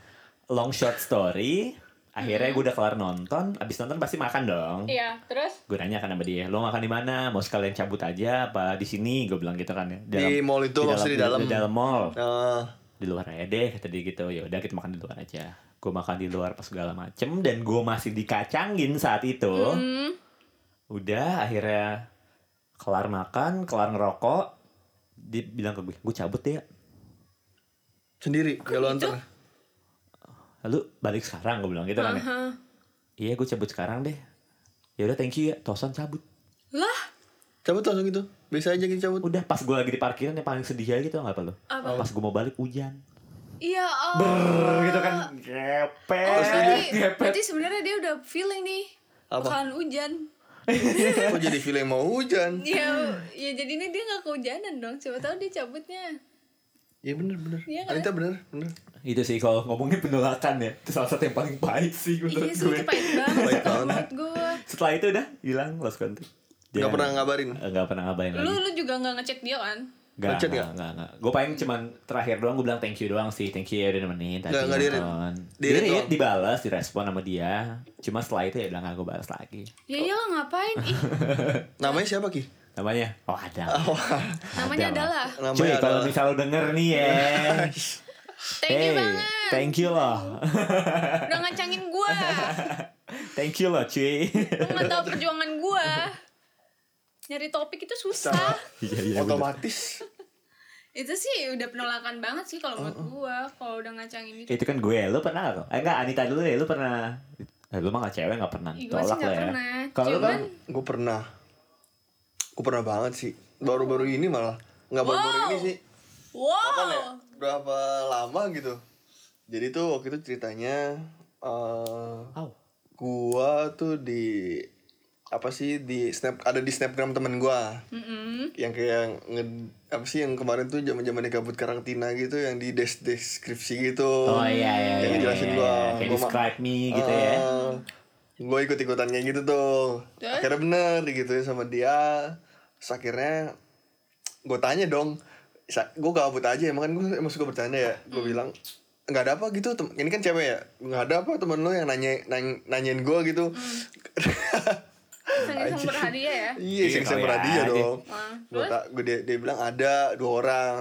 [SPEAKER 3] long short story akhirnya gue udah kelar nonton abis nonton pasti makan dong
[SPEAKER 4] Iya, terus
[SPEAKER 3] gue nanya kan sama dia lo makan di mana mau sekalian cabut aja apa di sini gue bilang gitu kan ya
[SPEAKER 2] Di mall itu, maksudnya di dalam.
[SPEAKER 3] di dalam mall
[SPEAKER 2] Nah,
[SPEAKER 3] di luar aja deh kata dia gitu ya udah kita makan di luar aja gue makan di luar pas segala macem dan gue masih dikacangin saat itu udah akhirnya kelar makan kelar ngerokok dia bilang ke gue gue cabut ya
[SPEAKER 2] sendiri gak lu
[SPEAKER 4] gitu?
[SPEAKER 2] anter.
[SPEAKER 3] lalu balik sekarang gue bilang gitu kan ya. iya gue cabut sekarang deh ya udah thank you ya tosan cabut
[SPEAKER 4] lah
[SPEAKER 2] Cabut langsung gitu. Biasa aja gitu cabut.
[SPEAKER 3] udah pas gue lagi di parkiran yang paling sedih aja gitu nggak apa lo pas gue mau balik hujan
[SPEAKER 4] iya oh.
[SPEAKER 3] gitu kan
[SPEAKER 4] Oh, berarti,
[SPEAKER 3] gepet
[SPEAKER 4] berarti sebenarnya dia udah feeling nih
[SPEAKER 2] Apa?
[SPEAKER 4] bakalan hujan.
[SPEAKER 2] Kok jadi feeling mau hujan?
[SPEAKER 4] Ya, ya jadi ini dia nggak kehujanan dong. Siapa tahu dia cabutnya.
[SPEAKER 2] Iya bener bener.
[SPEAKER 4] Iya kan?
[SPEAKER 2] Anita bener bener.
[SPEAKER 3] itu sih kalau ngomongin penolakan ya itu salah satu yang paling pahit sih menurut
[SPEAKER 4] Iya sih,
[SPEAKER 3] gue
[SPEAKER 4] itu pahit banget
[SPEAKER 2] Pahit banget.
[SPEAKER 4] menurut gue.
[SPEAKER 3] setelah itu udah hilang lost contact Eh,
[SPEAKER 2] Nggak pernah ngabarin?
[SPEAKER 3] nggak pernah ngabarin
[SPEAKER 4] Lu
[SPEAKER 3] lagi
[SPEAKER 4] lu juga nggak ngecek dia kan?
[SPEAKER 3] nggak
[SPEAKER 2] ngechat
[SPEAKER 3] nggak
[SPEAKER 2] nggak?
[SPEAKER 3] nggak nggak gue paling cuman terakhir doang gue bilang thank you doang sih thank you ya udah nemenin tadi
[SPEAKER 2] Nggak, nggak di-read.
[SPEAKER 3] nonton
[SPEAKER 2] Di-read
[SPEAKER 3] Di-read,
[SPEAKER 2] doang.
[SPEAKER 3] dibalas direspon sama dia cuma setelah itu ya udah nggak gue balas lagi
[SPEAKER 4] Ya iyalah ngapain? Ih,
[SPEAKER 2] Namanya siapa Ki?
[SPEAKER 3] namanya oh ada
[SPEAKER 4] namanya
[SPEAKER 3] Ada.
[SPEAKER 4] adalah.
[SPEAKER 3] cuy
[SPEAKER 2] Namanya
[SPEAKER 3] kalau
[SPEAKER 2] adalah-
[SPEAKER 3] misal lo denger nih ya
[SPEAKER 4] Thank you
[SPEAKER 3] hey,
[SPEAKER 4] banget.
[SPEAKER 3] thank you loh
[SPEAKER 4] Udah ngacangin gua.
[SPEAKER 3] thank you loh cuy
[SPEAKER 4] Lu nggak tahu perjuangan gua. Nyari topik itu susah.
[SPEAKER 3] Iya, iya, bener.
[SPEAKER 2] Otomatis.
[SPEAKER 4] Itu sih udah penolakan banget sih kalau menurut gua kalau udah ngacangin gitu.
[SPEAKER 3] itu kan gue lu pernah nggak? eh enggak Anita dulu deh lu pernah eh, lu mah gak cewek gak pernah
[SPEAKER 4] Ih, gue sih
[SPEAKER 3] tolak
[SPEAKER 4] nggak
[SPEAKER 3] lah ya
[SPEAKER 4] pernah.
[SPEAKER 3] kalau lu kan
[SPEAKER 4] Cuman-
[SPEAKER 2] Gue pernah. Gue pernah banget sih. Baru-baru ini malah. Nggak baru-baru
[SPEAKER 4] Wow. Oh.
[SPEAKER 2] ini sih. Kapan ya?
[SPEAKER 4] Wow.
[SPEAKER 2] Berapa lama gitu. Jadi tuh waktu itu ceritanya eh
[SPEAKER 3] Au.
[SPEAKER 2] gua tuh di apa sih di snap ada di snapgram temen gua
[SPEAKER 4] Mm-mm.
[SPEAKER 2] yang kayak nge, apa sih yang kemarin tuh zaman zamannya kabut karantina gitu yang di des deskripsi gitu
[SPEAKER 3] oh iya iya
[SPEAKER 2] yang
[SPEAKER 3] iya,
[SPEAKER 2] ngejelasin
[SPEAKER 3] iya,
[SPEAKER 2] gua Eh.
[SPEAKER 3] iya. kayak
[SPEAKER 2] gua ma-
[SPEAKER 3] describe me gitu ya
[SPEAKER 2] gue ikut ikutan kayak gitu tuh
[SPEAKER 4] Terus?
[SPEAKER 2] akhirnya bener digituin sama dia Terus akhirnya gue tanya dong gue gabut aja emang kan gue emang suka bercanda ya gue bilang nggak ada apa gitu tem- ini kan cewek ya nggak ada apa temen lo yang nanya nany- nanyain gue gitu
[SPEAKER 4] Iseng-iseng berhadiah ya.
[SPEAKER 2] Iya, sing
[SPEAKER 3] kali
[SPEAKER 2] berhadiah
[SPEAKER 3] aja.
[SPEAKER 2] dong.
[SPEAKER 4] Wah,
[SPEAKER 2] Gua
[SPEAKER 4] terus
[SPEAKER 2] tak gue dia, dia bilang ada dua orang.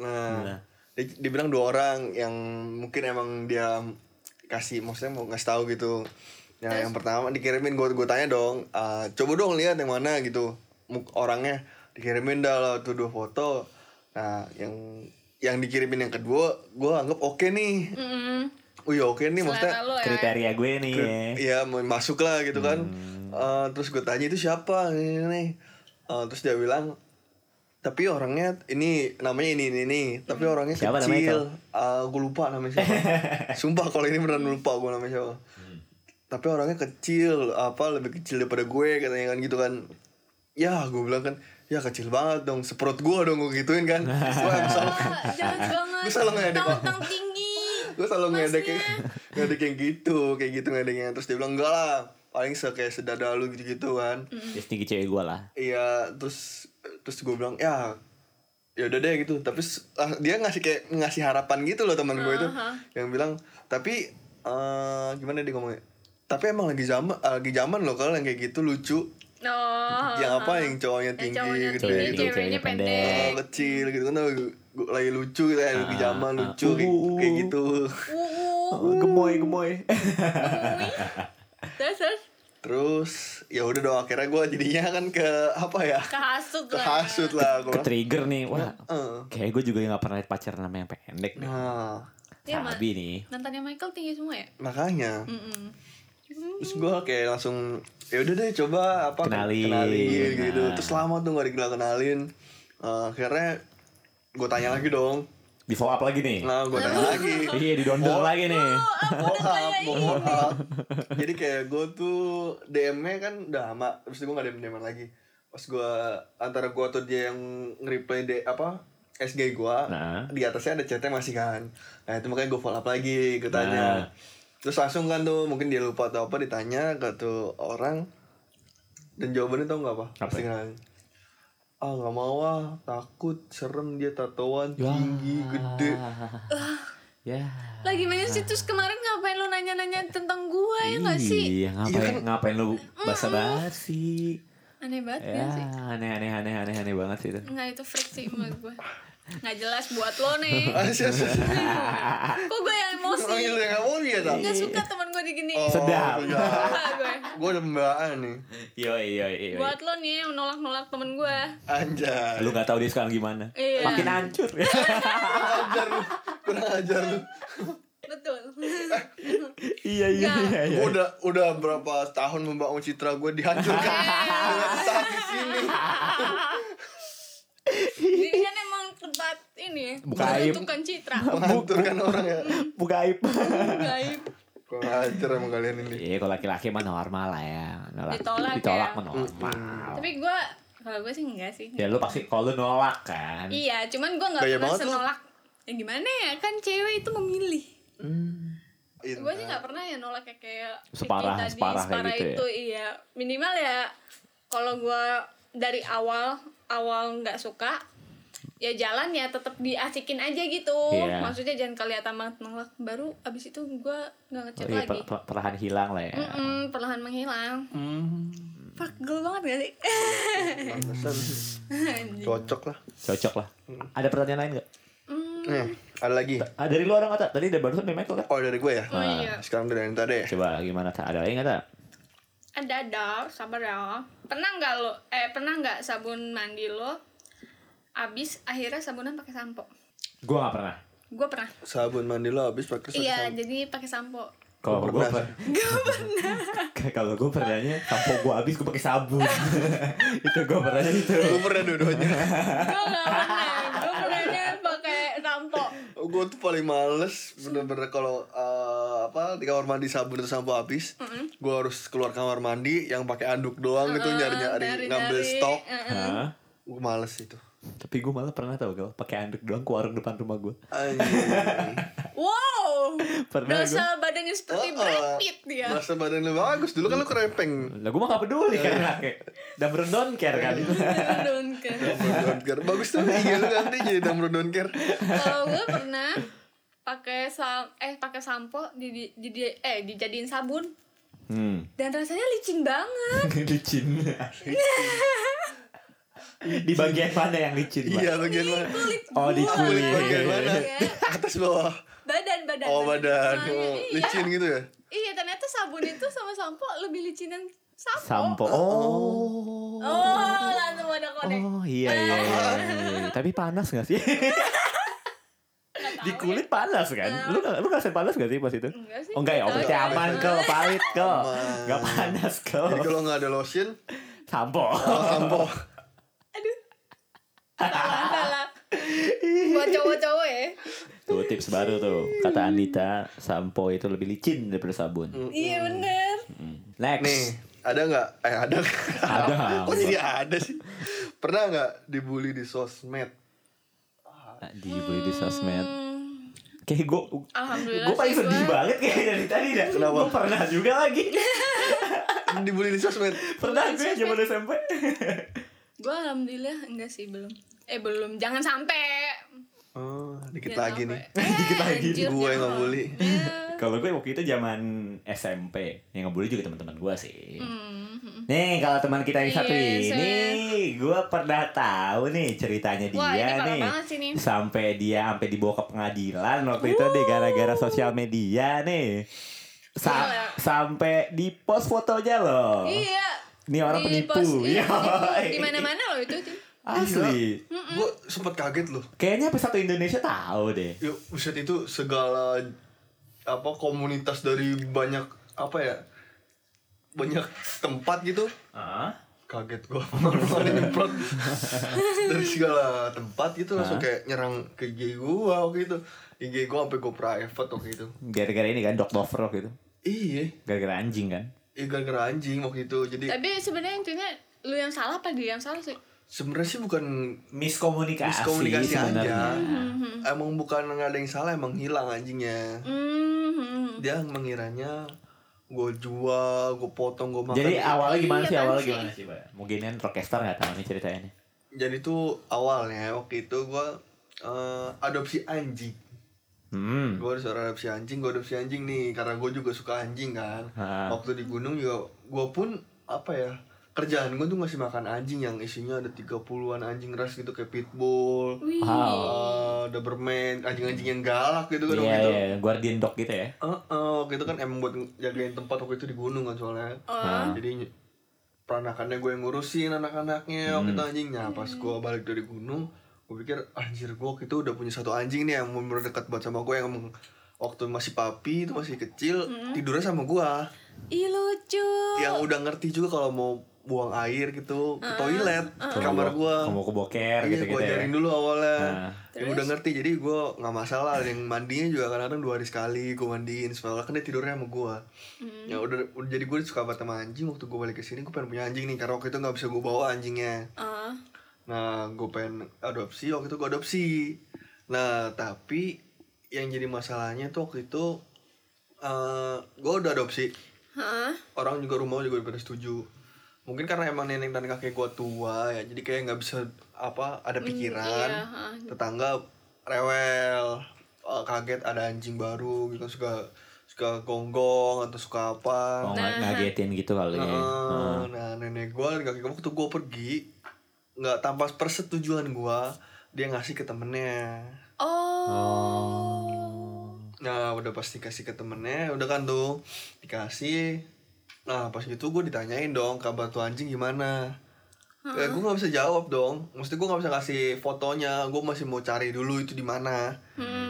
[SPEAKER 3] Nah.
[SPEAKER 2] Nah, dia, dia bilang dua orang yang mungkin emang dia kasih maksudnya mau ngasih tahu gitu. Ya, yang pertama dikirimin gue gue tanya dong, "Ah, coba dong lihat yang mana gitu. Muk- Orangnya dikirimin dah lah tuh dua foto. Nah, yang yang dikirimin yang kedua gue anggap oke nih.
[SPEAKER 4] mm,
[SPEAKER 2] Wih, oke nih maksudnya.
[SPEAKER 4] selera lo ya.
[SPEAKER 3] Kriteria gue nih ya.
[SPEAKER 2] Iya mau masuk lah gitu kan
[SPEAKER 3] Hmm.
[SPEAKER 2] Eh, Terus gue tanya itu siapa ini, ini, ini. Eh, Terus dia bilang Tapi orangnya ini namanya ini ini, ini. Tapi orangnya
[SPEAKER 3] Siapa namanya
[SPEAKER 2] kecil
[SPEAKER 3] itu?
[SPEAKER 2] Eh, Gue lupa namanya siapa Sumpah kalau ini beneran lupa gue namanya siapa
[SPEAKER 3] Hmm.
[SPEAKER 2] Tapi orangnya kecil Apa lebih kecil daripada gue katanya kan gitu kan Ya gue bilang kan Ya kecil banget dong Seperut gue dong gue gituin kan Gue emang selalu-
[SPEAKER 4] Wah, Jangan banget.
[SPEAKER 2] Gua salah ngedek.
[SPEAKER 4] Tang-tang tinggi.
[SPEAKER 2] gue selalu
[SPEAKER 4] Masnya.
[SPEAKER 2] ngedek yang, ngedek yang gitu kayak gitu ngedeknya terus dia bilang enggak lah paling se kayak sedada lu gitu gitu kan
[SPEAKER 4] Hmm.
[SPEAKER 3] Terus tinggi cewek gue lah.
[SPEAKER 2] iya terus terus gue bilang ya ya udah deh gitu tapi s- ah, dia ngasih kayak ngasih harapan gitu loh teman gue itu yang bilang tapi eh, gimana dia ngomongnya tapi emang lagi zaman eh, lagi zaman loh kalau yang kayak gitu lucu
[SPEAKER 4] No.
[SPEAKER 2] yang apa yang cowoknya tinggi
[SPEAKER 4] Oh, cowoknya
[SPEAKER 2] gede
[SPEAKER 4] tinggi,
[SPEAKER 2] gitu
[SPEAKER 4] ceweknya
[SPEAKER 3] Ceweknya
[SPEAKER 2] Ah,
[SPEAKER 4] pendek.
[SPEAKER 2] kecil gitu kan Gu- gu- lagi lucu gitu ya, lagi zaman
[SPEAKER 3] ah,
[SPEAKER 2] lucu kayak-
[SPEAKER 3] uh,
[SPEAKER 2] kayak gitu
[SPEAKER 4] Wuh,
[SPEAKER 2] Oh,
[SPEAKER 3] Gemoy gemoy.
[SPEAKER 4] terus terus
[SPEAKER 2] Terus ya udah dong akhirnya gue jadinya kan ke apa ya?
[SPEAKER 4] kehasut
[SPEAKER 2] Ke
[SPEAKER 4] lah.
[SPEAKER 2] hasut lah gua.
[SPEAKER 3] Ke trigger nih. Wah.
[SPEAKER 2] Heeh.
[SPEAKER 3] Kayak gue juga nggak pernah pacaran sama yang pendek deh.
[SPEAKER 2] Nah,
[SPEAKER 4] Iya, Ma.
[SPEAKER 3] Sabi nih.
[SPEAKER 4] Mantannya Michael tinggi semua ya?
[SPEAKER 2] makanya
[SPEAKER 4] Mm-mm.
[SPEAKER 2] terus gue kayak langsung ya udah deh coba apa
[SPEAKER 3] Kenalin.
[SPEAKER 2] kenalin gitu.
[SPEAKER 3] Nah.
[SPEAKER 2] Terus lama tuh gak dikenal kenalin. Eh, akhirnya gue tanya lagi dong.
[SPEAKER 3] Di follow up lagi nih.
[SPEAKER 2] Nah, Oh. gue tanya lagi.
[SPEAKER 3] Iya di dondol lagi nih.
[SPEAKER 4] Oh,
[SPEAKER 2] Bohap, bohap. Jadi kayak gue tuh DM-nya kan udah lama, terus gue gak DM DM lagi. Pas gue antara gue atau dia yang nge-reply de apa SG gue,
[SPEAKER 3] Nah.
[SPEAKER 2] di atasnya ada chatnya masih kan. Nah itu makanya gue follow up lagi,
[SPEAKER 3] Nah.
[SPEAKER 2] gue tanya. Terus langsung kan tuh mungkin dia lupa atau apa ditanya ke tuh orang dan jawabannya tau gak apa?
[SPEAKER 3] Apa?
[SPEAKER 2] Pasti kan. Ah nggak mau ah takut serem dia tatoan tinggi gede
[SPEAKER 3] Ya.
[SPEAKER 4] Lagi main sih terus kemarin ngapain lu nanya-nanya tentang gua ya nggak sih?
[SPEAKER 3] Iya ngapain ngapain lu basa-basi.
[SPEAKER 4] Aneh banget
[SPEAKER 3] Ya
[SPEAKER 4] kan sih?
[SPEAKER 3] aneh aneh aneh aneh aneh banget sih itu.
[SPEAKER 4] Nggak itu freak sih menurut gua. Nggak jelas buat lo nih.
[SPEAKER 2] Ah,
[SPEAKER 4] Kok gue yang emosi?
[SPEAKER 2] Orang yang udah gak mau dia tak?
[SPEAKER 4] Nggak suka teman gue digini.
[SPEAKER 2] gitu. Oh,
[SPEAKER 3] Sedap.
[SPEAKER 2] enggak.
[SPEAKER 4] Suka gue.
[SPEAKER 2] gue udah pembelaan nih
[SPEAKER 3] Yo yo yo.
[SPEAKER 4] Buat lo nih yang nolak-nolak temen gue.
[SPEAKER 2] Anjay
[SPEAKER 3] Lu kan- nggak tahu dia sekarang gimana.
[SPEAKER 4] Iya.
[SPEAKER 3] Makin hancur.
[SPEAKER 2] Kurang ajar lu Kurang ajar lu
[SPEAKER 4] Betul.
[SPEAKER 3] iya iya iya. iya.
[SPEAKER 2] Gue udah, udah berapa tahun membangun citra gue dihancurkan Dengan sakit ini
[SPEAKER 4] Jadi kan emang tempat ini
[SPEAKER 3] Bukan
[SPEAKER 4] menentukan citra.
[SPEAKER 2] Menghancurkan orang ya
[SPEAKER 3] Buka aib.
[SPEAKER 4] Gaib.
[SPEAKER 2] Kurang ajar emang kalian ini
[SPEAKER 3] Iya kalau laki-laki mah normal lah ya. Nolak,
[SPEAKER 4] Ditolak
[SPEAKER 3] ditolak
[SPEAKER 4] ya.
[SPEAKER 3] mah normal.
[SPEAKER 4] Tapi gue, kalau gue sih enggak sih.
[SPEAKER 3] Ya lu pasti kalau lu nolak kan.
[SPEAKER 4] Iya, cuman gue nggak
[SPEAKER 2] Gaya
[SPEAKER 4] pernah
[SPEAKER 2] banget lu.
[SPEAKER 4] senolak. Ya gimana ya, kan cewek itu memilih.
[SPEAKER 3] Mm.
[SPEAKER 2] Iya.
[SPEAKER 4] Gue sih nggak pernah ya nolak kayak, kayak
[SPEAKER 3] Separah-
[SPEAKER 4] Vicky tadi,
[SPEAKER 3] separah kayak
[SPEAKER 4] separah
[SPEAKER 3] gitu ya.
[SPEAKER 4] itu. Iya, minimal ya kalau gue dari awal awal nggak suka ya jalan ya tetap diasikin aja gitu.
[SPEAKER 3] Iya.
[SPEAKER 4] Maksudnya jangan kelihatan banget nolak. Baru abis itu gue nggak
[SPEAKER 3] Oh,
[SPEAKER 4] ngechat
[SPEAKER 3] iya,
[SPEAKER 4] lagi.
[SPEAKER 3] per- per- perlahan hilang lah ya.
[SPEAKER 4] Mm-mm, perlahan menghilang.
[SPEAKER 3] Hmm.
[SPEAKER 4] Fuck, girl banget gak sih?
[SPEAKER 2] Pantesan. Cocok lah
[SPEAKER 3] Cocok lah. Ada pertanyaan lain gak?
[SPEAKER 2] Nih ada lagi
[SPEAKER 3] Ah, dari lu orang kata tadi udah barusan dari Michael kan?
[SPEAKER 2] Oh dari gue ya
[SPEAKER 4] Oh iya.
[SPEAKER 2] Sekarang dari Nita deh
[SPEAKER 3] Coba gimana tak? Ada lagi nggak tak?
[SPEAKER 4] Ada ada, sabar ya. Pernah nggak lo? Eh pernah nggak sabun mandi lo? Abis akhirnya sabunan pakai sampo.
[SPEAKER 3] Gue gak pernah.
[SPEAKER 4] Gue pernah.
[SPEAKER 2] Sabun mandi lo habis pakai sabun
[SPEAKER 4] Iya, jadi pakai sampo.
[SPEAKER 3] Kalau
[SPEAKER 2] Gua
[SPEAKER 3] gue
[SPEAKER 2] pernah.
[SPEAKER 3] pernah. Kalau gue pernahnya sampo gue habis gue pakai sabun. itu gue pernahnya itu.
[SPEAKER 2] Gue pernah dua-duanya
[SPEAKER 4] Gue nggak pernah. Gue pernahnya pakai sampo.
[SPEAKER 2] Gue Oh, tuh paling males bener-bener kalau eh, apa di kamar mandi sabun atau sampo habis, gue harus keluar kamar mandi yang pakai anduk doang gitu nyari-nyari ngambil
[SPEAKER 4] Dari-dari,
[SPEAKER 2] stok.
[SPEAKER 4] Ah, eh, eh.
[SPEAKER 3] Hah?
[SPEAKER 2] Gue males itu.
[SPEAKER 3] Tapi gue malah pernah tau gue pakai anduk doang ke warung depan rumah gue.
[SPEAKER 2] Anjing.
[SPEAKER 4] Wow.
[SPEAKER 3] Pernah
[SPEAKER 4] Dosa badannya seperti
[SPEAKER 2] Oh, oh.
[SPEAKER 4] Brad Pitt dia.
[SPEAKER 2] Masa badan lu bagus dulu kan lu kerempeng.
[SPEAKER 3] Lah gue mah gak peduli kan kayak Damron don't care kan
[SPEAKER 4] Don't care.
[SPEAKER 2] Don't care. Bagus tuh iya lu nanti jadi damro don't care.
[SPEAKER 4] Kalau gue pernah pakai sam eh pakai sampo di, di, di- eh dijadiin sabun.
[SPEAKER 3] Hmm.
[SPEAKER 4] dan rasanya licin banget
[SPEAKER 3] licin. di bagian mana yang licin, Pak?
[SPEAKER 2] Iya bagian mana?
[SPEAKER 4] kulit
[SPEAKER 3] Oh, di
[SPEAKER 4] gua,
[SPEAKER 3] kulit.
[SPEAKER 4] iya.
[SPEAKER 2] Bagian mana? Atas bawah.
[SPEAKER 4] badan badan
[SPEAKER 2] Oh badan.
[SPEAKER 4] Soalnya
[SPEAKER 2] Oh,
[SPEAKER 4] iya.
[SPEAKER 2] licin gitu ya.
[SPEAKER 4] iya ternyata sabun itu sama sampo lebih licinan sampo,
[SPEAKER 3] Sampo. Oh.
[SPEAKER 4] oh langsung ada konek
[SPEAKER 3] Oh iya iya. iya, iya. Tapi panas gak sih? Di kulit panas kan? Lu gak, lu ngerasain panas gak sih pas itu?
[SPEAKER 4] ya? Enggak sih.
[SPEAKER 3] Oh enggak ya, oh, berarti
[SPEAKER 4] Enggak.
[SPEAKER 3] aman kok, valid kok.
[SPEAKER 2] Aman.
[SPEAKER 3] Gak panas kok.
[SPEAKER 2] Jadi kalau nggak ada lotion,
[SPEAKER 3] Sampo.
[SPEAKER 2] kalau sampo.
[SPEAKER 4] aduh salah salah buat cowok-cowok ya
[SPEAKER 3] Tuh tips baru tuh. Kata Anita, sampo itu lebih licin daripada sabun.
[SPEAKER 4] iya bener
[SPEAKER 3] Next.
[SPEAKER 2] Hmm. Nih, ada nggak? Eh ada. nggak?
[SPEAKER 3] Ada.
[SPEAKER 2] Kok jadi ada sih? Pernah nggak dibully di sosmed?
[SPEAKER 3] Di di sosmed. Kayak gue
[SPEAKER 4] Hmm. alhamdulillah
[SPEAKER 3] Gue paling
[SPEAKER 4] sih
[SPEAKER 3] sedih
[SPEAKER 4] gua-
[SPEAKER 3] banget kayak dari tadi dah. Kenapa? Gue pernah juga lagi.
[SPEAKER 2] Dibully di sosmed.
[SPEAKER 3] pernah gue zaman SMP.
[SPEAKER 4] Gue alhamdulillah enggak sih belum. Eh belum, jangan sampai.
[SPEAKER 2] Oh, dikit
[SPEAKER 4] Jangan
[SPEAKER 2] lagi
[SPEAKER 4] sampai.
[SPEAKER 2] nih.
[SPEAKER 4] Eh,
[SPEAKER 3] Dikit lagi.
[SPEAKER 4] anjir, Iya.
[SPEAKER 2] Gue yang
[SPEAKER 4] jangan.
[SPEAKER 2] ngebully.
[SPEAKER 3] Kalau gue waktu itu zaman SMP yang ngebully juga teman-teman gue sih.
[SPEAKER 4] Hmm.
[SPEAKER 3] Nih kalau teman kita yang satu
[SPEAKER 4] Yes,
[SPEAKER 3] ini, gue pernah tahu nih ceritanya dia
[SPEAKER 4] Wah, ini parah
[SPEAKER 3] nih,
[SPEAKER 4] banget sih nih.
[SPEAKER 3] sampai dia sampai dibawa ke pengadilan waktu itu deh
[SPEAKER 4] Uh.
[SPEAKER 3] gara-gara sosial media nih, Sa-
[SPEAKER 4] Gila.
[SPEAKER 3] sampai di post fotonya loh.
[SPEAKER 4] Iya.
[SPEAKER 3] Oh. Ini orang
[SPEAKER 4] Di
[SPEAKER 3] penipu.
[SPEAKER 4] pos-
[SPEAKER 3] Yoi.
[SPEAKER 4] iya, penipu. Di mana-mana loh itu. Cin.
[SPEAKER 2] Iya.
[SPEAKER 3] Asli.
[SPEAKER 2] Gue sempet kaget loh.
[SPEAKER 3] Kayaknya sampai satu Indonesia tahu deh.
[SPEAKER 2] Ya, buset itu segala apa komunitas dari banyak apa ya? Banyak tempat gitu. Kaget gua Ada nyemprot dari segala tempat gitu langsung kayak nyerang ke IG gua waktu itu. IG gua sampai gua private waktu itu.
[SPEAKER 3] Gara-gara ini kan Dog Lover gitu.
[SPEAKER 2] Iya,
[SPEAKER 3] Gara-gara anjing kan.
[SPEAKER 2] iya gara-gara anjing waktu itu. Jadi
[SPEAKER 4] Tapi sebenarnya intinya lu yang salah apa dia yang salah sih?
[SPEAKER 2] sebenarnya sih bukan
[SPEAKER 3] Miskomunikasi,
[SPEAKER 2] miskomunikasi aja.
[SPEAKER 3] Ya, sebenarnya.
[SPEAKER 2] Emang bukan nggak ada yang salah, emang hilang anjingnya.
[SPEAKER 4] Hmm.
[SPEAKER 2] dia mengiranya gue jual gue potong gue makan
[SPEAKER 3] Jadi awalnya gimana
[SPEAKER 4] Iya,
[SPEAKER 3] sih?
[SPEAKER 4] kan
[SPEAKER 3] Awalnya
[SPEAKER 4] sih?
[SPEAKER 3] gimana sih, Pak? Mungkin kan rockstar nggak tahu nih ceritanya.
[SPEAKER 2] Hmm.
[SPEAKER 3] nih.
[SPEAKER 2] jadi tuh awalnya waktu itu gue adopsi anjing
[SPEAKER 3] Hmm.
[SPEAKER 2] gue harus adopsi anjing gue adopsi anjing nih karena gue juga suka anjing kan
[SPEAKER 3] Ah.
[SPEAKER 2] waktu di gunung juga gue pun apa ya kerjaan gue tuh ngasih makan anjing yang isinya ada 30-an anjing ras gitu kayak pitbull
[SPEAKER 4] Wih.
[SPEAKER 3] Wow.
[SPEAKER 2] eh, Doberman anjing-anjing yang galak gitu kan
[SPEAKER 3] Iya,
[SPEAKER 2] waktu itu
[SPEAKER 3] iya, guardian dog gitu ya.
[SPEAKER 2] Heeh, waktu itu kan emang buat jagain tempat waktu itu di gunung kan soalnya. Jadi peranakannya gue yang ngurusin anak-anaknya waktu itu anjingnya pas gue balik dari gunung gue pikir anjir gue waktu itu udah punya satu anjing nih yang bener dekat banget sama gue yang emang waktu masih papi itu masih kecil tidurnya sama gue
[SPEAKER 4] Ih lucu.
[SPEAKER 2] yang udah ngerti juga kalau mau buang air gitu ke toilet ke kamar gue
[SPEAKER 3] Kamu ke boker
[SPEAKER 2] Iya,
[SPEAKER 3] gitu-gitu
[SPEAKER 2] gue
[SPEAKER 3] ya.
[SPEAKER 2] ajarin dulu awalnya.
[SPEAKER 3] Ah.
[SPEAKER 2] Yang udah ngerti, jadi gue nggak masalah. Yang mandinya juga kadang-kadang dua hari sekali gue mandiin. Soalnya kan dia tidurnya sama gue. Ya udah, udah jadi gue suka banget sama anjing. Waktu gue balik ke sini, gue pengen punya anjing nih. Karena waktu itu nggak bisa gue bawa anjingnya.
[SPEAKER 4] Ah.
[SPEAKER 2] Nah, gue pengen adopsi. Waktu itu gue adopsi. Nah, tapi yang jadi masalahnya tuh waktu itu eh gue udah adopsi.
[SPEAKER 4] Hah?
[SPEAKER 2] Orang juga rumah juga udah pada setuju. Mungkin karena emang nenek dan kakek gue tua ya, jadi kayak nggak bisa apa ada pikiran.
[SPEAKER 4] iya, ha.
[SPEAKER 2] Tetangga rewel, eh, kaget ada anjing baru gitu suka suka gonggong atau suka apa.
[SPEAKER 3] Oh,
[SPEAKER 4] Nah.
[SPEAKER 3] nggak- ngagetin gitu kali ya.
[SPEAKER 2] Heeh, Nah, nenek gue dan kakek gue waktu gue pergi nggak tanpa persetujuan gue dia ngasih ke temennya.
[SPEAKER 4] Oh.
[SPEAKER 2] Nah udah pasti kasih ke temennya udah kan tuh dikasih. Nah pas gitu gue ditanyain dong kabar tuh anjing gimana. Ya, gue nggak bisa jawab dong. Maksudnya gue nggak bisa kasih fotonya. Gue masih mau cari dulu itu di mana.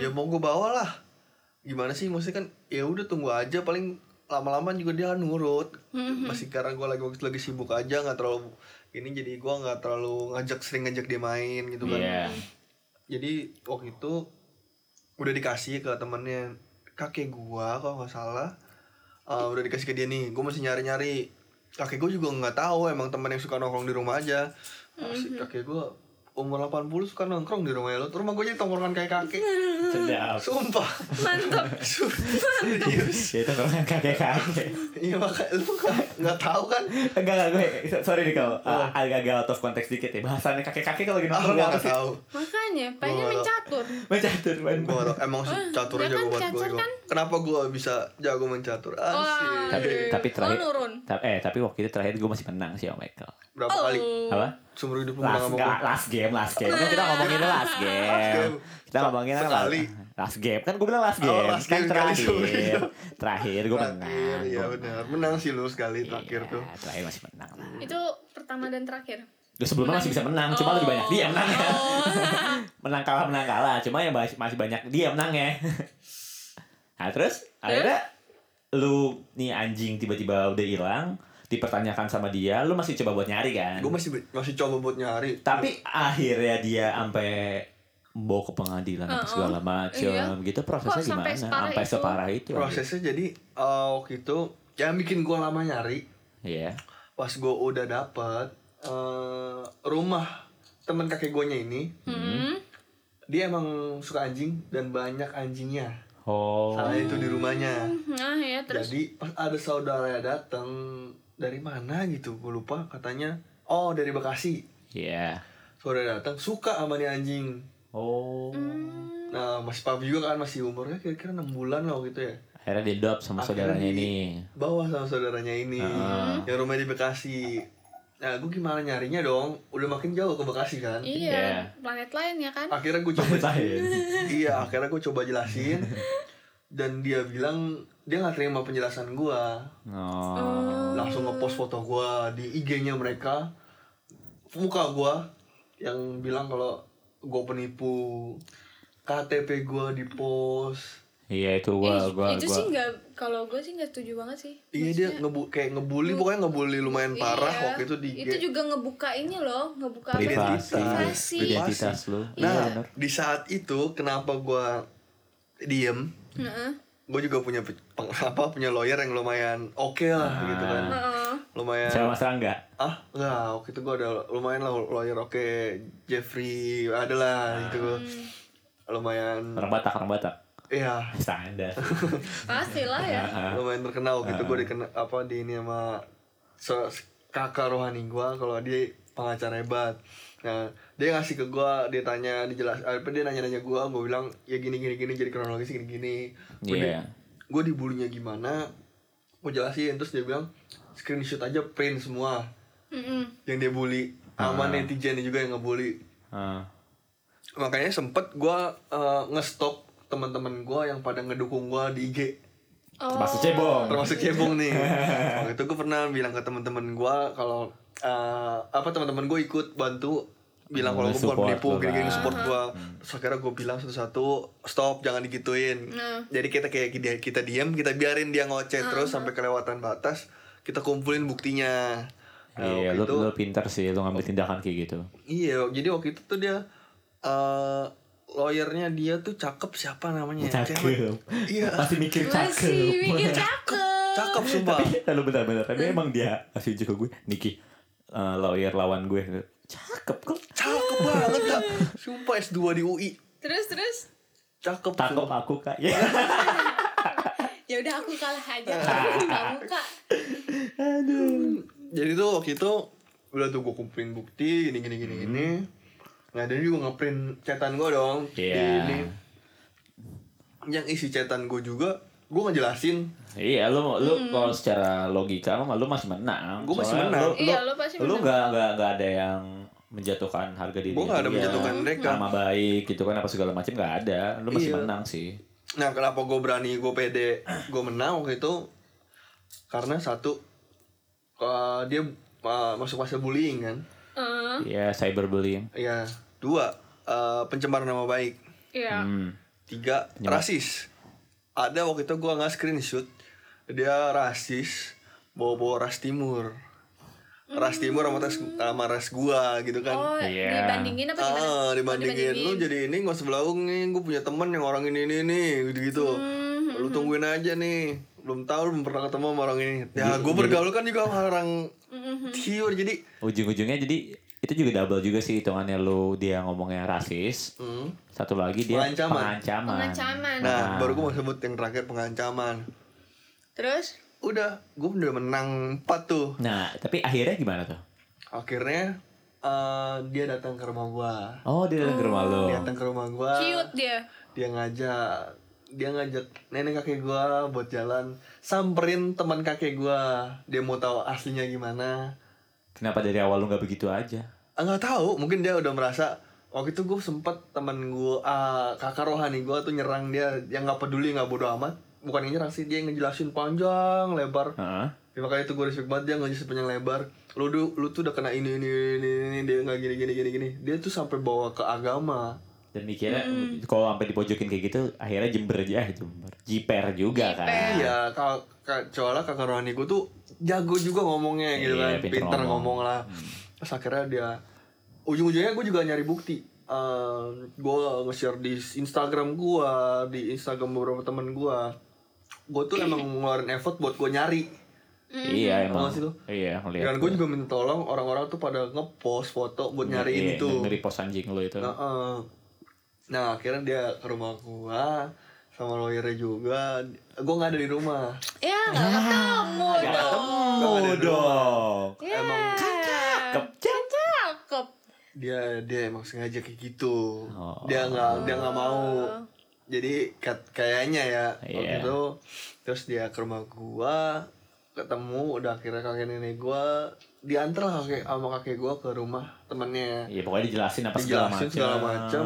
[SPEAKER 2] Ya mau gue bawa lah. Gimana sih? Maksudnya kan ya udah tunggu aja paling lama-lama juga dia nurut. Masih karena gue lagi waktu itu lagi sibuk aja nggak terlalu ini jadi gue nggak terlalu ngajak sering ngajak dia main gitu kan
[SPEAKER 3] Iya.
[SPEAKER 2] jadi waktu itu udah dikasih ke temennya kakek gua kalau nggak salah Eh, udah dikasih ke dia nih gua masih nyari nyari kakek gua juga nggak tahu emang temen yang suka nongkrong di rumah aja
[SPEAKER 4] Mhm.
[SPEAKER 2] ya, Nah, si kakek gua umur 80 suka nongkrong di rumah lu rumah gua jadi tongkrongan kayak kakek
[SPEAKER 3] sedap
[SPEAKER 2] Sumpah.
[SPEAKER 4] mantap
[SPEAKER 2] Serius.
[SPEAKER 3] ya itu orang kakek kakek
[SPEAKER 2] Iya makanya lu nggak- nggak tahu kan?
[SPEAKER 3] enggak enggak gue sorry nih kalau ah, agak-agak out of context dikit ya bahasannya kakek kakek kalau lagi
[SPEAKER 2] Oh. Ah,
[SPEAKER 3] nongkrong
[SPEAKER 2] gua
[SPEAKER 3] apa
[SPEAKER 2] nggak
[SPEAKER 3] sih
[SPEAKER 2] tahu.
[SPEAKER 4] makanya pengen
[SPEAKER 2] Gua-
[SPEAKER 4] main catur
[SPEAKER 3] mencatur main
[SPEAKER 2] Gua nggak tahu. Emang sih
[SPEAKER 4] Ah,
[SPEAKER 2] catur
[SPEAKER 4] ya
[SPEAKER 2] jago
[SPEAKER 4] kan,
[SPEAKER 2] banget gue.
[SPEAKER 4] catur kan?
[SPEAKER 2] Kenapa gua bisa jago main catur? Asik.
[SPEAKER 3] tapi
[SPEAKER 4] Aduh.
[SPEAKER 3] tapi
[SPEAKER 4] Oh,
[SPEAKER 3] terakhir
[SPEAKER 4] nurun.
[SPEAKER 3] ta- eh tapi waktu itu terakhir gue masih menang sih sama Michael
[SPEAKER 2] Berapa kali?
[SPEAKER 3] apa
[SPEAKER 2] Sumber hidup lu
[SPEAKER 3] last,
[SPEAKER 2] menang sama
[SPEAKER 3] ga-
[SPEAKER 2] gua.
[SPEAKER 3] last game last game kan kita ngomongin last game
[SPEAKER 2] game.
[SPEAKER 3] kita ngomongin kan
[SPEAKER 2] Sekali.
[SPEAKER 3] last- last game kan gue bilang last
[SPEAKER 2] Oh,
[SPEAKER 3] game
[SPEAKER 2] last
[SPEAKER 3] kan
[SPEAKER 2] game kali
[SPEAKER 3] terakhir
[SPEAKER 2] seumur hidup.
[SPEAKER 3] terakhir gue
[SPEAKER 2] Terakhir,
[SPEAKER 3] menang
[SPEAKER 2] Iya
[SPEAKER 3] Gua
[SPEAKER 2] benar. Menang sih lu sekali terakhir
[SPEAKER 3] Iya,
[SPEAKER 2] tuh.
[SPEAKER 3] terakhir masih menang lah
[SPEAKER 4] itu pertama dan terakhir
[SPEAKER 3] Duh, sebelumnya masih bisa menang cuma lebih banyak dia menang menang kalah menang kalah cuma yang masih masih banyak dia menang ya nah terus akhirnya lu nih anjing tiba-tiba udah hilang dipertanyakan sama dia lu masih coba buat nyari kan
[SPEAKER 2] Gua masih masih coba buat nyari.
[SPEAKER 3] tapi akhirnya dia sampai bawa ke pengadilan apa
[SPEAKER 4] Uh-uh.
[SPEAKER 3] segala macam
[SPEAKER 4] Iya.
[SPEAKER 3] gitu prosesnya
[SPEAKER 4] Kok sampai
[SPEAKER 3] gimana
[SPEAKER 4] separah
[SPEAKER 3] sampai
[SPEAKER 4] itu?
[SPEAKER 3] separah itu anjing.
[SPEAKER 2] prosesnya jadi eh, waktu itu yang bikin gue lama nyari
[SPEAKER 3] iya
[SPEAKER 2] pas gue udah dapet eh, rumah temen kakek gue ini
[SPEAKER 4] Hmm.
[SPEAKER 2] dia emang suka anjing dan banyak anjingnya
[SPEAKER 3] oh
[SPEAKER 2] salah itu di rumahnya
[SPEAKER 4] nah ya terus
[SPEAKER 2] jadi pas ada saudara datang dari mana gitu gue lupa katanya oh dari Bekasi
[SPEAKER 3] iya
[SPEAKER 2] saudara datang suka sama nih anjing
[SPEAKER 3] oh
[SPEAKER 4] Hmm.
[SPEAKER 2] nah masih paham juga kan masih umurnya kira-kira 6 bulan loh gitu ya
[SPEAKER 3] akhirnya di dop sama
[SPEAKER 2] Akhirnya
[SPEAKER 3] saudaranya
[SPEAKER 2] di-
[SPEAKER 3] ini
[SPEAKER 2] bawa sama saudaranya ini
[SPEAKER 3] Ah.
[SPEAKER 2] yang rumah di Bekasi nah gue gimana nyarinya dong udah makin jauh ke Bekasi kan
[SPEAKER 4] iya
[SPEAKER 3] Iya.
[SPEAKER 4] planet lain ya kan
[SPEAKER 2] akhirnya gue coba iya akhirnya gue coba jelasin dan dia bilang dia nggak terima penjelasan gue
[SPEAKER 3] oh
[SPEAKER 2] langsung ngepost foto gue di IG-nya mereka muka gue yang bilang kalau gue penipu KTP gue di post
[SPEAKER 3] iya itu gua
[SPEAKER 4] Ih,
[SPEAKER 3] gua
[SPEAKER 4] Eh, itu
[SPEAKER 3] gua
[SPEAKER 4] sih nggak kalau gue sih nggak setuju banget sih
[SPEAKER 2] Iya dia ngebu kayak ngebully pokoknya ngebully lumayan parah
[SPEAKER 4] Iya.
[SPEAKER 2] waktu itu di
[SPEAKER 4] itu juga ngebuka ini loh ngebuka apa sih?
[SPEAKER 3] privasi
[SPEAKER 2] Privasi.
[SPEAKER 3] identitas lu iya
[SPEAKER 2] Nah,
[SPEAKER 3] bener.
[SPEAKER 2] di saat itu kenapa gua diem?
[SPEAKER 4] Heeh.
[SPEAKER 2] Gue juga punya pe- peng- apa punya lawyer yang lumayan oke lah gitu kan.
[SPEAKER 4] Heeh.
[SPEAKER 2] Lumayan
[SPEAKER 3] sama mas Rangga
[SPEAKER 2] ah enggak waktu itu gue ada lumayan lah lawyer oke Jeffrey ada lah gitu lumayan
[SPEAKER 3] orang Batak orang Batak
[SPEAKER 2] iya
[SPEAKER 3] standar
[SPEAKER 4] pastilah ya
[SPEAKER 3] Ah.
[SPEAKER 2] lumayan terkenal gitu gue dikena apa di ini sama se- se- kakak rohani gua kalau dia pengacara hebat nah dia ngasih ke gua dia tanya dijelas apa dia nanya nanya gua gua bilang ya gini gini gini jadi kronologis gini gini gue
[SPEAKER 3] Iya.
[SPEAKER 2] gue dibullynya gimana gue jelasin terus dia bilang screenshot aja print semua
[SPEAKER 4] Mm-mm.
[SPEAKER 2] yang dia bully sama netizen juga yang ngebully
[SPEAKER 3] Ah.
[SPEAKER 2] makanya sempet gua eh, ngestop teman-teman gua yang pada ngedukung gua di IG
[SPEAKER 4] oh
[SPEAKER 3] termasuk cebong
[SPEAKER 2] termasuk cebong nih waktu itu gue pernah bilang ke teman-teman gue kalau eh, apa teman-teman gue ikut bantu bilang kalau gue bukan
[SPEAKER 3] Support
[SPEAKER 2] penipu
[SPEAKER 3] lo
[SPEAKER 2] gini-gini
[SPEAKER 3] lah. Hmm.
[SPEAKER 2] support gue terus akhirnya gue bilang satu-satu stop jangan digituin
[SPEAKER 4] Nah.
[SPEAKER 2] jadi kita kayak kita, kita diam kita biarin dia ngoceh terus sampai kelewatan batas kita kumpulin buktinya Nah,
[SPEAKER 3] iya
[SPEAKER 2] waktu
[SPEAKER 3] lu
[SPEAKER 2] itu-
[SPEAKER 3] lu pinter sih lu ngambil tindakan kayak gitu
[SPEAKER 2] iya jadi waktu itu tuh dia eh lawyernya dia tuh cakep siapa namanya ya? Cewek.
[SPEAKER 3] cakep
[SPEAKER 2] iya
[SPEAKER 3] masih mikir
[SPEAKER 4] masih
[SPEAKER 3] cakep
[SPEAKER 4] mikir cakep
[SPEAKER 2] cakep sumpah
[SPEAKER 3] Lalu bentar-bentar Tapi emang dia kasih juga gue Niki eh, Lawyer lawan gue Cakep kok
[SPEAKER 2] cakep banget Kak. sumpah S2 di UI
[SPEAKER 4] terus terus
[SPEAKER 2] cakep
[SPEAKER 3] Takut
[SPEAKER 2] sumpah.
[SPEAKER 3] aku kak ya.
[SPEAKER 4] ya udah aku kalah aja kamu kak
[SPEAKER 2] jadi tuh waktu itu udah tuh gue kumpulin bukti gini gini gini gini nah dia juga ngeprint cetan gue dong di
[SPEAKER 3] Iya.
[SPEAKER 2] ini yang isi cetan gue juga gue ngejelasin
[SPEAKER 3] Iya lu, lu
[SPEAKER 4] Hmm.
[SPEAKER 3] kalau secara logika mah Lu masih menang
[SPEAKER 2] Gua masih
[SPEAKER 3] Soalnya
[SPEAKER 2] menang.
[SPEAKER 4] Iya, lu pasti
[SPEAKER 3] Lu
[SPEAKER 4] menang.
[SPEAKER 3] gak, gak, gak ada yang menjatuhkan harga diri
[SPEAKER 2] Gua nggak ada
[SPEAKER 3] dia,
[SPEAKER 2] menjatuhkan mereka.
[SPEAKER 3] nama baik gitu kan apa segala macam nggak ada lu masih
[SPEAKER 2] Iya.
[SPEAKER 3] menang sih
[SPEAKER 2] nah kenapa gue berani gue pede gue menang waktu itu karena satu eh, dia eh, masuk masa bullying kan
[SPEAKER 4] Eh,
[SPEAKER 3] Iya cyberbullying
[SPEAKER 2] ya dua eh, pencemaran nama baik
[SPEAKER 4] ya
[SPEAKER 3] hmm.
[SPEAKER 2] tiga rasis ada waktu itu gua nggak screenshot dia rasis bawa bawa ras timur ras timur sama ras sama ras gua gitu kan
[SPEAKER 4] oh
[SPEAKER 3] Iya.
[SPEAKER 4] dibandingin apa gimana
[SPEAKER 2] ah
[SPEAKER 4] Oh,
[SPEAKER 2] dibandingin lu jadi ini nggak sebelah gua nih gue punya temen yang orang ini ini ini gitu gitu
[SPEAKER 4] Hmm.
[SPEAKER 2] lu tungguin aja nih belum tahu belum pernah ketemu
[SPEAKER 4] Hmm.
[SPEAKER 2] sama orang ini ya gue bergaul kan juga sama orang hiur jadi
[SPEAKER 3] ujung-ujungnya jadi itu juga double juga sih hitungannya lu dia ngomongnya rasis
[SPEAKER 2] Hmm.
[SPEAKER 3] satu lagi dia
[SPEAKER 2] Pengancaman.
[SPEAKER 3] pengancaman,
[SPEAKER 4] Pengancaman.
[SPEAKER 2] Nah, baru gue mau sebut yang terakhir pengancaman.
[SPEAKER 4] Terus
[SPEAKER 2] Udah, gue udah menang 4 tuh.
[SPEAKER 3] Nah, tapi akhirnya gimana tuh?
[SPEAKER 2] Akhirnya eh, dia datang ke rumah gua.
[SPEAKER 3] Oh, dia datang ke rumah lo.
[SPEAKER 2] Dia datang ke rumah
[SPEAKER 3] Eh.
[SPEAKER 2] gua.
[SPEAKER 4] cute dia.
[SPEAKER 2] Dia ngajak dia ngajak nenek kakek gua buat jalan samperin teman kakek gua dia mau tahu aslinya gimana
[SPEAKER 3] Kenapa dari awal lu nggak begitu aja?
[SPEAKER 2] Ah, nggak tahu mungkin dia udah merasa waktu itu gue sempet teman gue kakak rohani gue tuh nyerang dia yang nggak peduli nggak bodoh amat bukan yang nyerang sih dia yang ngejelasin panjang lebar
[SPEAKER 3] Heeh.
[SPEAKER 2] ya, makanya itu gue respect banget dia ngejelasin panjang lebar lu tuh lu tuh udah kena ini ini ini, ini dia nggak gini gini gini gini dia tuh sampai bawa ke agama
[SPEAKER 3] Dan mikirnya kalau sampai dipojokin kayak gitu, akhirnya jember aja, eh, jember. Jiper juga kan.
[SPEAKER 2] Iya, kalau soalnya kakak rohani gue tuh jago juga ngomongnya gitu kan,
[SPEAKER 3] Iya, pinter
[SPEAKER 2] pinter,
[SPEAKER 3] ngomong. Hmm.
[SPEAKER 2] ngomong. lah. Terus akhirnya dia ujung-ujungnya gue juga nyari bukti. Ehm, gue nge-share di Instagram gue, di Instagram beberapa temen gue. Gue tuh emang ngeluarin effort buat gue nyari.
[SPEAKER 3] Iya, emang.
[SPEAKER 2] Emang sih lu.
[SPEAKER 3] Iya, ngeliat.
[SPEAKER 2] Dan gue juga minta tolong orang-orang tuh pada ngepost foto buat
[SPEAKER 3] Iya,
[SPEAKER 2] nyariin itu.
[SPEAKER 3] Dari pos anjing lo itu.
[SPEAKER 2] Nah, eh, nah, akhirnya dia ke rumah gua sama lawyernya juga. Gua nggak ada di rumah.
[SPEAKER 4] Ya,
[SPEAKER 3] Nah.
[SPEAKER 4] nggak ketemu
[SPEAKER 2] Nggak
[SPEAKER 4] dong.
[SPEAKER 2] ada
[SPEAKER 3] Oh,
[SPEAKER 2] di rumah.
[SPEAKER 3] dong.
[SPEAKER 4] Ya. Cakep.
[SPEAKER 2] Dia dia emang sengaja kayak gitu.
[SPEAKER 3] Oh.
[SPEAKER 2] Dia nggak dia nggak mau. Jadi kat- kayaknya ya
[SPEAKER 3] Iya.
[SPEAKER 2] waktu itu terus dia ke rumah gua ketemu udah akhirnya kakek nenek gua diantar lah kakek sama kakek gua ke rumah temennya
[SPEAKER 3] Iya, pokoknya dijelasin apa segala
[SPEAKER 2] dijelasin
[SPEAKER 3] macam.
[SPEAKER 2] segala macam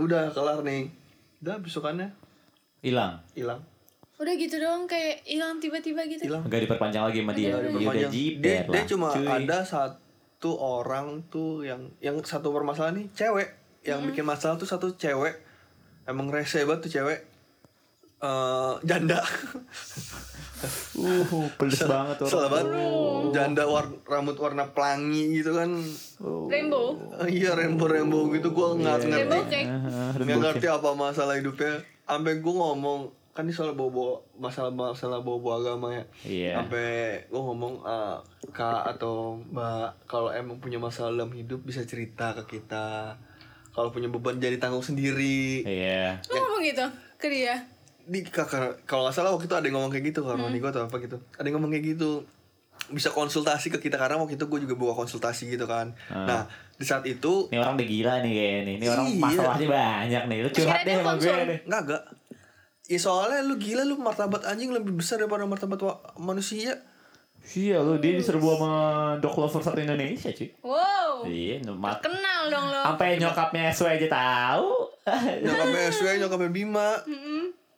[SPEAKER 2] udah kelar nih udah besokannya
[SPEAKER 3] Hilang.
[SPEAKER 2] hilang
[SPEAKER 4] Udah gitu dong kayak hilang tiba-tiba gitu.
[SPEAKER 2] hilang
[SPEAKER 3] Enggak diperpanjang lagi sama dia. Iya, Dia udah
[SPEAKER 2] Perpanjang.
[SPEAKER 3] jiper
[SPEAKER 2] dia,
[SPEAKER 3] lah.
[SPEAKER 2] dia cuma
[SPEAKER 3] cuy.
[SPEAKER 2] ada satu orang tuh yang yang satu permasalahan nih cewek yang bikin masalah tuh satu cewek emang rese banget tuh cewek Eh, janda
[SPEAKER 3] Uh, pedes banget tuh.
[SPEAKER 2] salah banget janda war- rambut warna pelangi gitu kan
[SPEAKER 4] Rainbow.
[SPEAKER 2] Eh, iya rainbow rainbow gitu
[SPEAKER 3] Iya.
[SPEAKER 2] gua nggak ngerti
[SPEAKER 4] Rainbow cake.
[SPEAKER 2] nggak ngerti apa masalah hidupnya sampai gue ngomong kan ini soal bobo masalah masalah bobo agama ya
[SPEAKER 3] Iya.
[SPEAKER 2] sampai gue ngomong "Eh, kak atau mbak kalau emang punya masalah dalam hidup bisa cerita ke kita kalau punya beban jadi tanggung sendiri
[SPEAKER 3] Iya.
[SPEAKER 4] Lu ngomong gitu ke dia.
[SPEAKER 2] di kakak kalau nggak salah waktu itu ada yang ngomong kayak gitu kalau gue atau apa gitu ada yang ngomong kayak gitu bisa konsultasi ke kita karena waktu itu gue juga buka konsultasi gitu kan nah di saat itu
[SPEAKER 3] Ini orang udah gila nih kayaknya nih. Ini orang
[SPEAKER 2] Iya.
[SPEAKER 3] masalahnya banyak nih. Lu curhat deh
[SPEAKER 4] Akhirnya dia
[SPEAKER 3] sama gue
[SPEAKER 4] konsul.
[SPEAKER 3] deh.
[SPEAKER 2] Enggak, enggak. Ya soalnya lu gila lu martabat anjing lebih besar daripada martabat wa- manusia.
[SPEAKER 3] Iya lu dia diserbu sama dog lover satu Indonesia cuy.
[SPEAKER 4] Wow.
[SPEAKER 3] Iya, mat.
[SPEAKER 4] Kenal dong lo.
[SPEAKER 3] Sampai nyokapnya SW aja tahu.
[SPEAKER 2] Nyokapnya SW, nyokapnya Bima.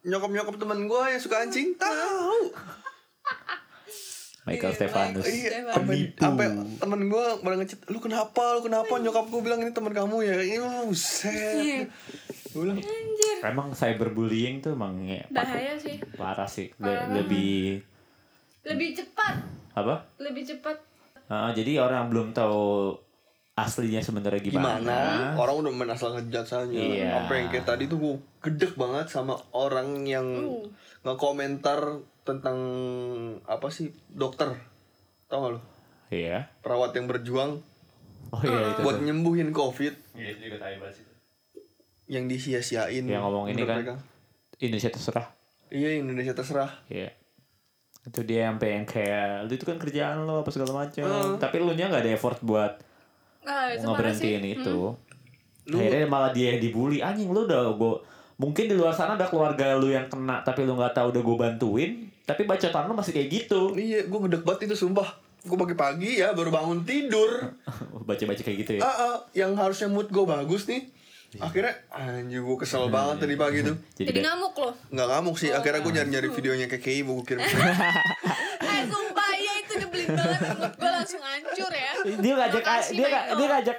[SPEAKER 2] Nyokap-nyokap teman gua yang suka anjing tahu.
[SPEAKER 3] Michael Stefanus.
[SPEAKER 2] Iya, sampai sampai temen gua pada ngechat, "Lu kenapa? Lu kenapa?" Nyokap gua bilang ini teman kamu ya. Ini buset. Gua bilang,
[SPEAKER 3] Emang cyberbullying tuh emang ya,
[SPEAKER 4] Bahaya sih.
[SPEAKER 3] parah sih. Le- lebih
[SPEAKER 4] Lebih cepat.
[SPEAKER 3] apa?
[SPEAKER 4] Lebih cepat.
[SPEAKER 3] Ah, jadi orang yang belum tahu aslinya sebenarnya gimana.
[SPEAKER 2] gimana? Orang udah main asal ngejat saja.
[SPEAKER 3] Iya.
[SPEAKER 2] Apa yang kayak tadi tuh gue gedek banget sama orang yang ngekomentar tentang apa sih dokter, tau gak lu?
[SPEAKER 3] Iya.
[SPEAKER 2] Perawat yang berjuang
[SPEAKER 3] Oh iya itu.
[SPEAKER 2] buat nyembuhin covid
[SPEAKER 3] Iya, itu juga tai banget sih.
[SPEAKER 2] yang disia-siain.
[SPEAKER 3] Yang ngomong
[SPEAKER 2] menurut
[SPEAKER 3] ini kan.
[SPEAKER 2] mereka.
[SPEAKER 3] Indonesia terserah.
[SPEAKER 2] Iya Indonesia terserah.
[SPEAKER 3] Iya. Itu dia sampai yang kayak lu itu kan kerjaan lo apa segala macam. Tapi lu nya nggak ada effort buat
[SPEAKER 4] Ah, Oh. itu parah sih.
[SPEAKER 3] ngeberhentiin
[SPEAKER 4] Hmm.
[SPEAKER 3] itu. Akhirnya malah dia yang dibully anjing lu udah gue mungkin di luar sana ada keluarga lu yang kena tapi lu nggak tahu udah gue bantuin tapi bacotan lu masih kayak gitu
[SPEAKER 2] Iya, gue gedek banget itu sumpah. Gue pagi-pagi ya baru bangun tidur.
[SPEAKER 3] baca-baca kayak gitu ya
[SPEAKER 4] Oh,
[SPEAKER 2] Ah, ah, yang harusnya mood gue bagus nih.
[SPEAKER 3] Iya.
[SPEAKER 2] Akhirnya anjir gue kesel banget tadi pagi tuh.
[SPEAKER 3] jadi
[SPEAKER 4] Jadi
[SPEAKER 3] kayak,
[SPEAKER 4] ngamuk lo.
[SPEAKER 2] Nggak ngamuk sih, akhirnya gue nyari-nyari videonya kayak KKI gue
[SPEAKER 3] Iya,
[SPEAKER 2] kirim
[SPEAKER 4] Eh sumpah ya itu nyebelin banget Mood gue langsung hancur ya
[SPEAKER 3] dia ngajak
[SPEAKER 4] Makasih,
[SPEAKER 3] dia nggak-
[SPEAKER 4] Michael.
[SPEAKER 3] dia ngajak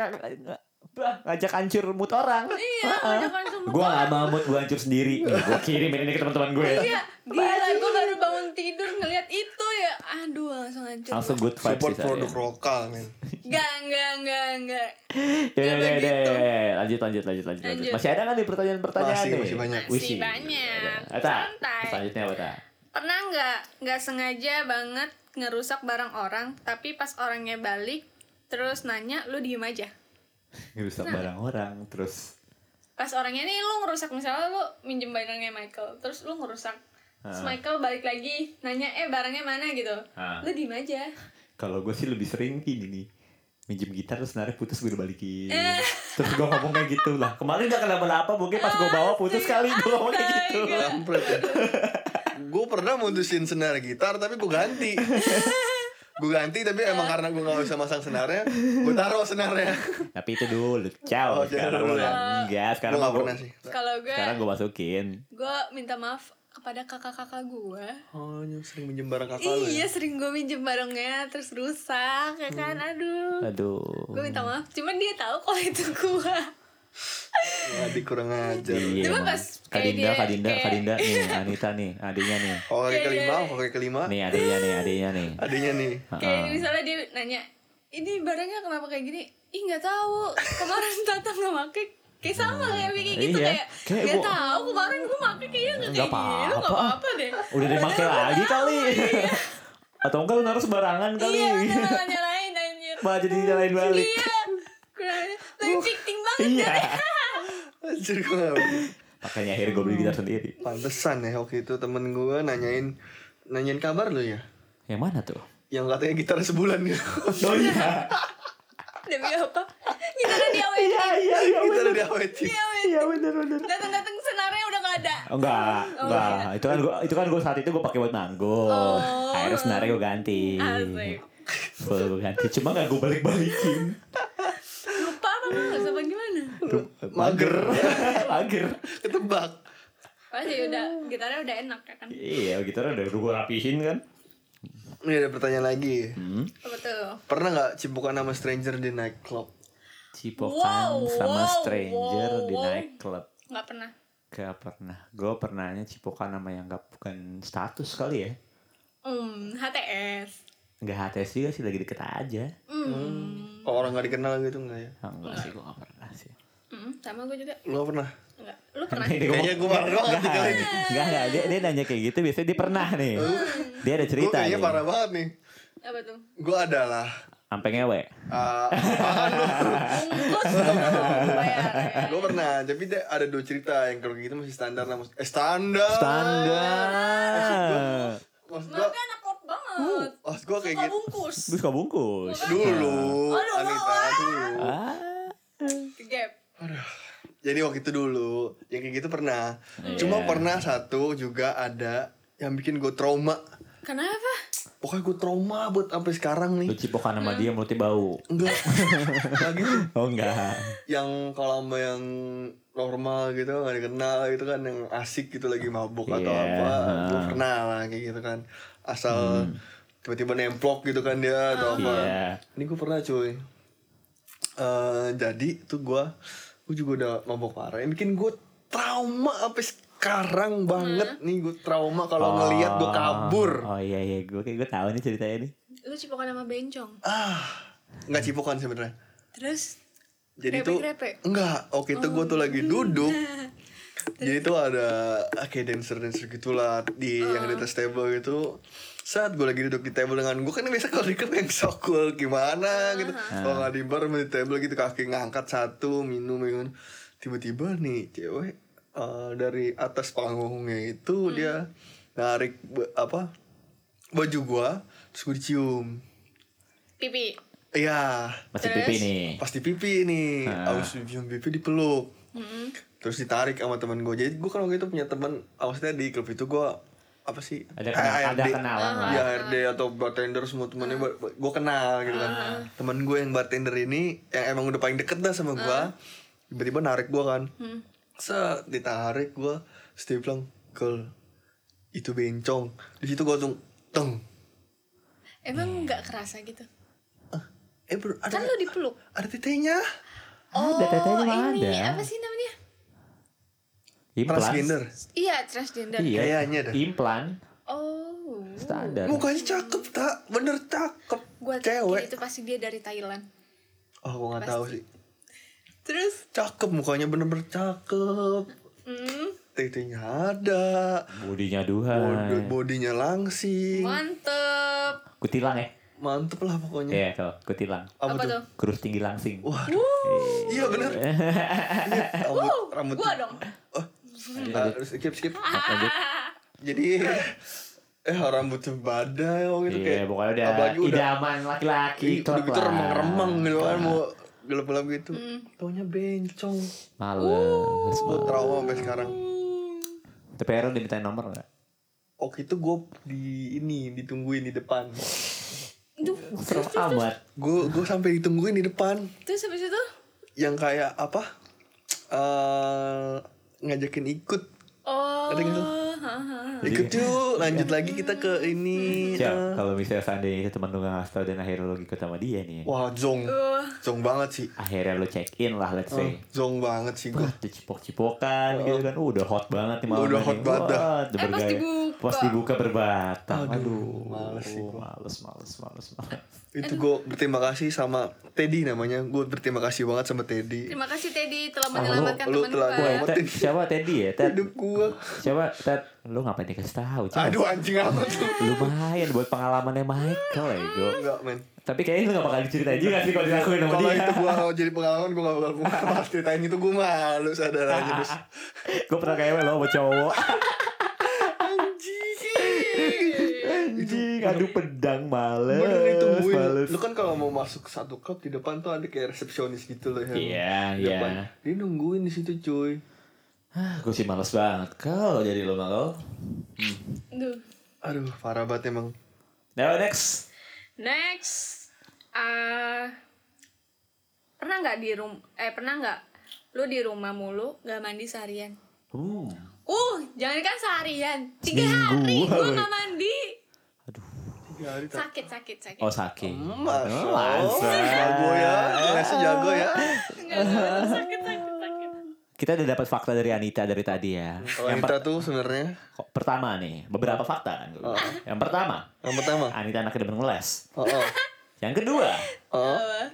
[SPEAKER 3] bah, ngajak hancur mood orang
[SPEAKER 4] Iya ngajak hancur mood
[SPEAKER 3] gue gak mau mood gue hancur sendiri gue kirimin ini ke teman-teman ya. gue
[SPEAKER 4] Iya Gila gue baru bangun tidur ngeliat itu ya Aduh langsung hancur
[SPEAKER 3] langsung good vibes ya.
[SPEAKER 2] support
[SPEAKER 3] sih saya.
[SPEAKER 2] produk lokal men.
[SPEAKER 4] Gak gak gak gak
[SPEAKER 3] Ya, ya, ya,
[SPEAKER 4] begitu.
[SPEAKER 3] ya. lanjut, lanjut, lanjut, lanjut, lanjut.
[SPEAKER 4] Lanjut.
[SPEAKER 3] Masih ada nggak nih pertanyaan-pertanyaan
[SPEAKER 2] Masih,
[SPEAKER 3] nih?
[SPEAKER 2] masih banyak.
[SPEAKER 4] Masih banyak.
[SPEAKER 3] Ata,
[SPEAKER 4] Santai.
[SPEAKER 3] selanjutnya apa Ta?
[SPEAKER 4] Pernah nggak nggak sengaja banget ngerusak barang orang Tapi pas orangnya balik terus nanya lu diem aja Nah.
[SPEAKER 3] Ngerusak barang orang terus
[SPEAKER 4] pas orangnya nih lu ngerusak misalnya lu minjem barangnya Michael terus lu ngerusak Terus Michael balik lagi nanya eh barangnya mana gitu
[SPEAKER 3] Ah.
[SPEAKER 4] lu diem aja
[SPEAKER 3] kalau gue sih lebih sering gini nih minjem gitar terus narik putus gue udah balikin terus gue ngomong kayak gitu lah kemarin gak kenapa-napa mungkin pas
[SPEAKER 4] Ah,
[SPEAKER 3] gue bawa putus kali gue ngomong kayak gitu
[SPEAKER 2] kampret ya. gue pernah mutusin senar gitar tapi gue ganti gue ganti tapi emang karena gue nggak bisa masang senarnya gue taruh senarnya
[SPEAKER 3] tapi itu dulu
[SPEAKER 2] Oh,
[SPEAKER 3] ciao sekarang
[SPEAKER 2] dulu
[SPEAKER 3] gue
[SPEAKER 2] ya.
[SPEAKER 3] enggak sekarang
[SPEAKER 2] gue nggak
[SPEAKER 3] gua-
[SPEAKER 2] pernah sih
[SPEAKER 4] kalau gue
[SPEAKER 3] sekarang gue masukin
[SPEAKER 4] gue minta maaf kepada kakak-kakak gue
[SPEAKER 2] oh yang sering minjem barang kakak lu
[SPEAKER 4] iya
[SPEAKER 2] ya
[SPEAKER 4] sering gue minjem barangnya terus rusak ya kan aduh
[SPEAKER 3] Hmm. aduh
[SPEAKER 4] gue minta maaf cuman dia tahu kalau itu gue
[SPEAKER 2] adik kurang ajar
[SPEAKER 3] iya
[SPEAKER 4] Cuma
[SPEAKER 3] emang.
[SPEAKER 4] pas kayak
[SPEAKER 3] Kadinda
[SPEAKER 4] dia-
[SPEAKER 3] Kadinda
[SPEAKER 4] kayak-
[SPEAKER 3] Kadinda nih Anita nih adiknya nih
[SPEAKER 2] oh kali kelima oh kali kelima
[SPEAKER 3] nih adiknya nih adiknya nih
[SPEAKER 2] adanya nih
[SPEAKER 4] kayak misalnya dia nanya ini barangnya kenapa kayak gini ih nggak tahu kemarin tata nggak make kayak sama kayak kayak gitu
[SPEAKER 3] Iya.
[SPEAKER 4] kayak
[SPEAKER 3] Kayak
[SPEAKER 4] nggak
[SPEAKER 3] gua-
[SPEAKER 4] tahu kemarin gue make kayaknya nggak
[SPEAKER 3] Nggak
[SPEAKER 4] kayak gini
[SPEAKER 3] apa-apa.
[SPEAKER 4] lu nggak apa-apa deh
[SPEAKER 3] udah dipakai lagi kali atau enggak lu naruh sembarangan kali
[SPEAKER 4] iya bener malah nyalain anjir
[SPEAKER 3] malah jadi nyalain balik
[SPEAKER 4] iya kurang- lagi victim banget
[SPEAKER 3] Uh, iya
[SPEAKER 2] anjir gue nggak ngerti.
[SPEAKER 3] makanya akhirnya gue beli gitar sendiri
[SPEAKER 2] pantesan ya waktu itu temen gue nanyain nanyain kabar lu ya
[SPEAKER 3] yang mana tuh
[SPEAKER 2] yang katanya gitar sebulan gitu
[SPEAKER 3] oh iya
[SPEAKER 4] demi apa gitu kan dia awet
[SPEAKER 3] iya iya
[SPEAKER 2] gitar diawetin
[SPEAKER 4] dia awet
[SPEAKER 3] iya benar benar
[SPEAKER 4] datang-datang senarnya udah nggak ada
[SPEAKER 3] enggak
[SPEAKER 4] iya.
[SPEAKER 3] enggak itu kan gue itu kan gue saat itu gue pakai buat manggung
[SPEAKER 4] Oh.
[SPEAKER 3] akhirnya sebenarnya gue ganti
[SPEAKER 4] Asik.
[SPEAKER 3] gue ganti cuma nggak gue balik balikin
[SPEAKER 4] lupa apa nggak sama gimana
[SPEAKER 2] mager
[SPEAKER 3] mager
[SPEAKER 2] ketebak
[SPEAKER 4] pasti Oh, iya, udah gitarnya udah enak ya kan
[SPEAKER 3] iya gitar udah gue rapihin kan
[SPEAKER 2] ini ada pertanyaan lagi
[SPEAKER 3] Hmm.
[SPEAKER 4] apa tuh
[SPEAKER 2] Pernah nggak cipokan sama stranger di nightclub?
[SPEAKER 3] cipokan
[SPEAKER 4] Wow,
[SPEAKER 3] sama
[SPEAKER 4] wow,
[SPEAKER 3] stranger
[SPEAKER 4] wow,
[SPEAKER 3] di
[SPEAKER 4] wow.
[SPEAKER 3] nightclub
[SPEAKER 4] nggak pernah
[SPEAKER 3] Gak pernah Gue pernahnya cipokan sama yang gak bukan status kali ya
[SPEAKER 4] hmm HTS
[SPEAKER 3] Gak HTS juga sih lagi deket aja
[SPEAKER 4] hmm,
[SPEAKER 2] Oh, orang nggak dikenal gitu nggak ya?
[SPEAKER 3] Ah, Enggak sih gue gak pernah sih
[SPEAKER 4] hmm. sama gue juga
[SPEAKER 2] Lu nggak pernah?
[SPEAKER 4] Enggak. lu pernah
[SPEAKER 3] Ini
[SPEAKER 2] Kayaknya
[SPEAKER 3] Eh, gua-
[SPEAKER 2] gue parah banget nih kali ini.
[SPEAKER 3] Enggak, enggak, dia, dia nanya kayak gitu biasanya dia pernah nih Dia ada
[SPEAKER 2] Gue
[SPEAKER 3] cerita ya.
[SPEAKER 2] kayaknya
[SPEAKER 3] nih
[SPEAKER 2] parah banget nih.
[SPEAKER 4] apa tuh
[SPEAKER 2] Gue adalah
[SPEAKER 3] Sampai ngewe
[SPEAKER 2] ah,
[SPEAKER 4] bungkus dong, bayar ya.
[SPEAKER 2] gue pernah, tapi dia ada dua cerita yang kalau gitu masih standar lah, mas- eh standar.
[SPEAKER 3] Standar
[SPEAKER 2] Maksud gue,
[SPEAKER 4] Makanya anak klub banget
[SPEAKER 2] maksud gue kayak
[SPEAKER 4] suka
[SPEAKER 2] gitu
[SPEAKER 4] bungkus
[SPEAKER 3] Terus kau bungkus
[SPEAKER 2] dulu,
[SPEAKER 4] Oh, dulu.
[SPEAKER 2] Anita dulu.
[SPEAKER 3] ah.
[SPEAKER 4] gap
[SPEAKER 2] Jadi waktu itu dulu, yang kayak gitu pernah.
[SPEAKER 3] Iya.
[SPEAKER 2] Cuma pernah satu juga ada yang bikin gue trauma.
[SPEAKER 4] kenapa
[SPEAKER 2] Pokoknya gue trauma buat sampai sekarang
[SPEAKER 3] Lu
[SPEAKER 2] nih.
[SPEAKER 3] cipokan sama dia mulutnya bau
[SPEAKER 2] Enggak, enggak gitu.
[SPEAKER 3] Oh enggak
[SPEAKER 2] yang kalau sama yang normal gitu nggak dikenal gitu kan yang asik gitu lagi mabuk atau
[SPEAKER 3] Iya.
[SPEAKER 2] apa gue kenal lah kayak gitu kan asal tiba-tiba nemplok gitu kan dia atau apa
[SPEAKER 3] Hmm. Iya.
[SPEAKER 2] ini gue pernah cuy Eh, jadi tuh gue gue juga udah mabok parah yang bikin gue trauma sampai sekarang banget nih gue trauma kalau ngelihat gue kabur
[SPEAKER 3] Oh iya iya gue kayak gue tahu nih ceritanya nih.
[SPEAKER 4] lu cipokan sama bencong
[SPEAKER 2] ah nggak cipokan sebenarnya
[SPEAKER 4] terus
[SPEAKER 2] jadi
[SPEAKER 4] Grepe,
[SPEAKER 2] tuh
[SPEAKER 4] grepe.
[SPEAKER 2] enggak oke itu gue tuh lagi duduk jadi tuh ada ah, kayak dancer dancer gitulah di yang di atas table gitu saat gue lagi duduk di table dengan gue kan biasa kalau di klub yang sokul gimana gitu kalau nggak di bar di table gitu kaki ngangkat satu minum minum tiba-tiba nih cewek eh, dari atas panggungnya itu dia narik be- apa baju gua terus gue dicium
[SPEAKER 4] pipi
[SPEAKER 2] iya
[SPEAKER 3] Masih
[SPEAKER 4] Terus?
[SPEAKER 3] pipi nih.
[SPEAKER 2] pas di pipi nih abis cium pipi dipeluk terus ditarik sama teman gue jadi gue kan waktu itu punya teman maksudnya di klub itu gue apa sih Eh,
[SPEAKER 3] Ada kena- ada kenalan lah.
[SPEAKER 2] ya ARD atau bartender semua
[SPEAKER 4] Ah.
[SPEAKER 2] temennya gue kenal gitu kan teman gue yang bartender ini yang emang udah paling deket dah sama gue
[SPEAKER 4] Ah.
[SPEAKER 2] tiba-tiba narik gue kan
[SPEAKER 4] Hmm.
[SPEAKER 2] set ditarik gue terus dia bilang girl itu bencong di situ gue langsung teng
[SPEAKER 4] emang nggak kerasa gitu
[SPEAKER 2] Ah, eh bro ada
[SPEAKER 4] kan lu dipeluk
[SPEAKER 2] ada tetenya
[SPEAKER 4] oh
[SPEAKER 3] tetenya mah
[SPEAKER 4] ini
[SPEAKER 3] Ah, ada.
[SPEAKER 4] apa sih namanya
[SPEAKER 3] Implan.
[SPEAKER 2] transgender
[SPEAKER 4] iya transgender
[SPEAKER 3] Iya.
[SPEAKER 2] Kayaknya dah.
[SPEAKER 3] Implan
[SPEAKER 4] oh
[SPEAKER 3] standar.
[SPEAKER 2] Mukanya cakep tak, bener cakep.
[SPEAKER 4] gue
[SPEAKER 2] cewek.
[SPEAKER 4] itu pasti dia dari Thailand
[SPEAKER 2] Oh, gua nggak tahu sih.
[SPEAKER 4] terus
[SPEAKER 2] Cakep mukanya bener-bener cakep.
[SPEAKER 4] hmm,
[SPEAKER 2] Titinya ada,
[SPEAKER 3] Bodinya duha.
[SPEAKER 2] bod- bodinya langsing.
[SPEAKER 4] mantep
[SPEAKER 3] Kutilang ya.
[SPEAKER 2] mantep lah pokoknya
[SPEAKER 3] Iya, tuh, kutilang.
[SPEAKER 4] Apa,
[SPEAKER 2] Apa
[SPEAKER 4] tuh?
[SPEAKER 2] tuh?
[SPEAKER 3] Kurus tinggi langsing.
[SPEAKER 2] Hmm. wah iya bener Ini rambut
[SPEAKER 4] Wuh,
[SPEAKER 2] rambut
[SPEAKER 4] gua dong.
[SPEAKER 2] Wah.
[SPEAKER 3] Iya.
[SPEAKER 2] Ah, skip skip
[SPEAKER 3] Lanjut.
[SPEAKER 2] jadi eh rambutnya badai waktu itu
[SPEAKER 3] Iya,
[SPEAKER 2] kayak
[SPEAKER 3] pokoknya udah
[SPEAKER 2] apalagi
[SPEAKER 3] idaman laki-laki.
[SPEAKER 2] Ih, udah
[SPEAKER 3] klop
[SPEAKER 2] gitu
[SPEAKER 3] lah. Iya.
[SPEAKER 2] remang-remang gitu kan mau gelap-gelap gitu
[SPEAKER 4] Mm.
[SPEAKER 2] taunya bencong
[SPEAKER 3] Males.
[SPEAKER 2] gue trauma sampai sekarang
[SPEAKER 3] Tapi Aaron dimintain nomor gak?
[SPEAKER 2] waktu itu gue di ini ditungguin di depan
[SPEAKER 4] Duh,
[SPEAKER 3] Serem amat.
[SPEAKER 2] gue gue sampai ditungguin di depan
[SPEAKER 4] terus habis itu
[SPEAKER 2] yang kayak apa eh ngajakin ikut
[SPEAKER 4] oh
[SPEAKER 2] Ada
[SPEAKER 4] Iya.
[SPEAKER 2] gitu.
[SPEAKER 4] ha, ha.
[SPEAKER 2] ikut yuk lanjut lagi kita ke ini
[SPEAKER 3] Siap,
[SPEAKER 4] Iya.
[SPEAKER 2] eh.
[SPEAKER 3] Ya, kalau misalnya seandainya itu teman lu gak ngasih tau dan akhirnya lu ikut sama dia nih.
[SPEAKER 2] wah zong
[SPEAKER 4] Uh.
[SPEAKER 2] zong banget sih
[SPEAKER 3] Akhirnya lu check in lah, let's say.
[SPEAKER 2] zong banget sih gue
[SPEAKER 3] Tuh cipok-cipokan gitu kan. Uh, udah hot banget nih malam
[SPEAKER 2] Gitu. Udah
[SPEAKER 3] ini.
[SPEAKER 2] hot banget
[SPEAKER 3] Wah,
[SPEAKER 2] dah.
[SPEAKER 3] udah
[SPEAKER 4] Eh, pas
[SPEAKER 3] bergaya.
[SPEAKER 4] dibuka.
[SPEAKER 3] Pas dibuka berbatang.
[SPEAKER 2] Aduh,
[SPEAKER 3] Aduh,
[SPEAKER 2] males sih gua.
[SPEAKER 3] Males, males, males, males.
[SPEAKER 2] itu gue berterima kasih sama Teddy namanya gue berterima kasih banget sama Teddy
[SPEAKER 4] terima kasih Teddy telah
[SPEAKER 2] lu-
[SPEAKER 4] menyelamatkan
[SPEAKER 2] Oh, lu
[SPEAKER 4] teman
[SPEAKER 2] telah
[SPEAKER 4] gua
[SPEAKER 2] gua
[SPEAKER 3] Wah, Ted,
[SPEAKER 2] Penting.
[SPEAKER 3] siapa Teddy ya? Ted,
[SPEAKER 2] hidup gue
[SPEAKER 3] siapa Ted? Lu ngapain dikasih tahu? Cel?
[SPEAKER 2] aduh anjing amat lu
[SPEAKER 3] Lumayan buat pengalamannya Michael ya, Go.
[SPEAKER 2] enggak men
[SPEAKER 3] Tapi kayaknya lu gak bakal diceritain juga sih kalau dilakuin sama
[SPEAKER 2] kalau
[SPEAKER 3] dia.
[SPEAKER 2] itu gua kalau jadi pengalaman gua gak bakal puas ceritain itu gua malu sadar
[SPEAKER 4] Ah,
[SPEAKER 2] aja terus
[SPEAKER 3] Gue pernah kayak lo sama cowok. Anjing, aduh pedang males.
[SPEAKER 2] bener ditungguin
[SPEAKER 3] Eh, males.
[SPEAKER 2] lu kan kalau mau masuk satu klub di depan tuh ada kayak resepsionis gitu loh yang
[SPEAKER 3] Iya,
[SPEAKER 2] di depan.
[SPEAKER 3] iya.
[SPEAKER 2] dia nungguin di situ cuy
[SPEAKER 3] Ah, gue sih males banget kalau jadi lo malu.
[SPEAKER 4] Duh.
[SPEAKER 2] aduh parah banget emang
[SPEAKER 3] Now next.
[SPEAKER 4] next ah pernah nggak di rum eh pernah nggak lu di rumah mulu gak mandi seharian
[SPEAKER 3] Hmm.
[SPEAKER 4] uh jangan kan seharian tiga hari
[SPEAKER 3] Seminggu.
[SPEAKER 4] gua gak mandi
[SPEAKER 2] tiga hari tak
[SPEAKER 4] sakit sakit sakit
[SPEAKER 2] Gitu.
[SPEAKER 3] Oh sakit.
[SPEAKER 2] Masya
[SPEAKER 3] Oh,
[SPEAKER 2] Allah,
[SPEAKER 3] Lansa.
[SPEAKER 2] jago ya, lesnya jago ya.
[SPEAKER 4] Nggak, nggak, nggak, sakit sakit sakit
[SPEAKER 3] Kita udah dapat fakta dari Anita dari tadi ya.
[SPEAKER 2] Kalau
[SPEAKER 3] Yang
[SPEAKER 2] Oh, Anita tuh sebenarnya
[SPEAKER 3] per- pertama nih, beberapa fakta. kan
[SPEAKER 2] Oh.
[SPEAKER 3] Yang pertama,
[SPEAKER 2] yang pertama,
[SPEAKER 3] Anita anaknya demen ngeles.
[SPEAKER 2] oh, oh,
[SPEAKER 3] Yang kedua,
[SPEAKER 2] oh,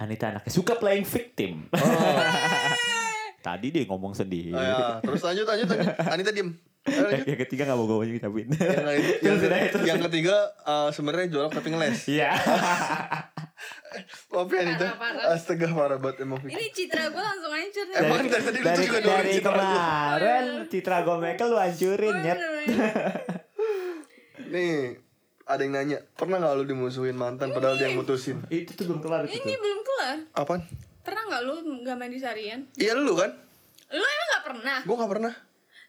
[SPEAKER 3] Anita anaknya suka playing victim.
[SPEAKER 2] oh.
[SPEAKER 3] Tadi dia ngomong sendiri.
[SPEAKER 2] Oh, ya. terus lanjut, lanjut, lanjut. Anita diem. Ayo,
[SPEAKER 3] yang,
[SPEAKER 2] lanjut.
[SPEAKER 3] yang ketiga gak mau gue ngucapin.
[SPEAKER 2] Yang, lain- yang,
[SPEAKER 3] Terusin aja, terusin.
[SPEAKER 2] yang ketiga eh, sebenarnya jorok tapi ngeles.
[SPEAKER 3] Iya.
[SPEAKER 2] Tapi Anita,
[SPEAKER 4] Parah, parah.
[SPEAKER 2] astaga parah banget emang.
[SPEAKER 4] ini citra gua langsung hancur nih
[SPEAKER 2] Emang
[SPEAKER 3] dari
[SPEAKER 2] dari tadi lucu
[SPEAKER 3] dari,
[SPEAKER 2] juga doang
[SPEAKER 3] dari
[SPEAKER 2] Citra gua.
[SPEAKER 3] kemarin Citra Gomekel lu hancurin nyet.
[SPEAKER 2] Nih, ada yang nanya, pernah gak lu dimusuhin mantan padahal dia yang mutusin?
[SPEAKER 3] Itu tuh belum kelar itu.
[SPEAKER 4] ini belum kelar
[SPEAKER 2] Apaan?
[SPEAKER 4] pernah nggak lu gak mandi seharian
[SPEAKER 2] Iya lu kan?
[SPEAKER 4] lu emang gak pernah
[SPEAKER 2] Gue gak pernah.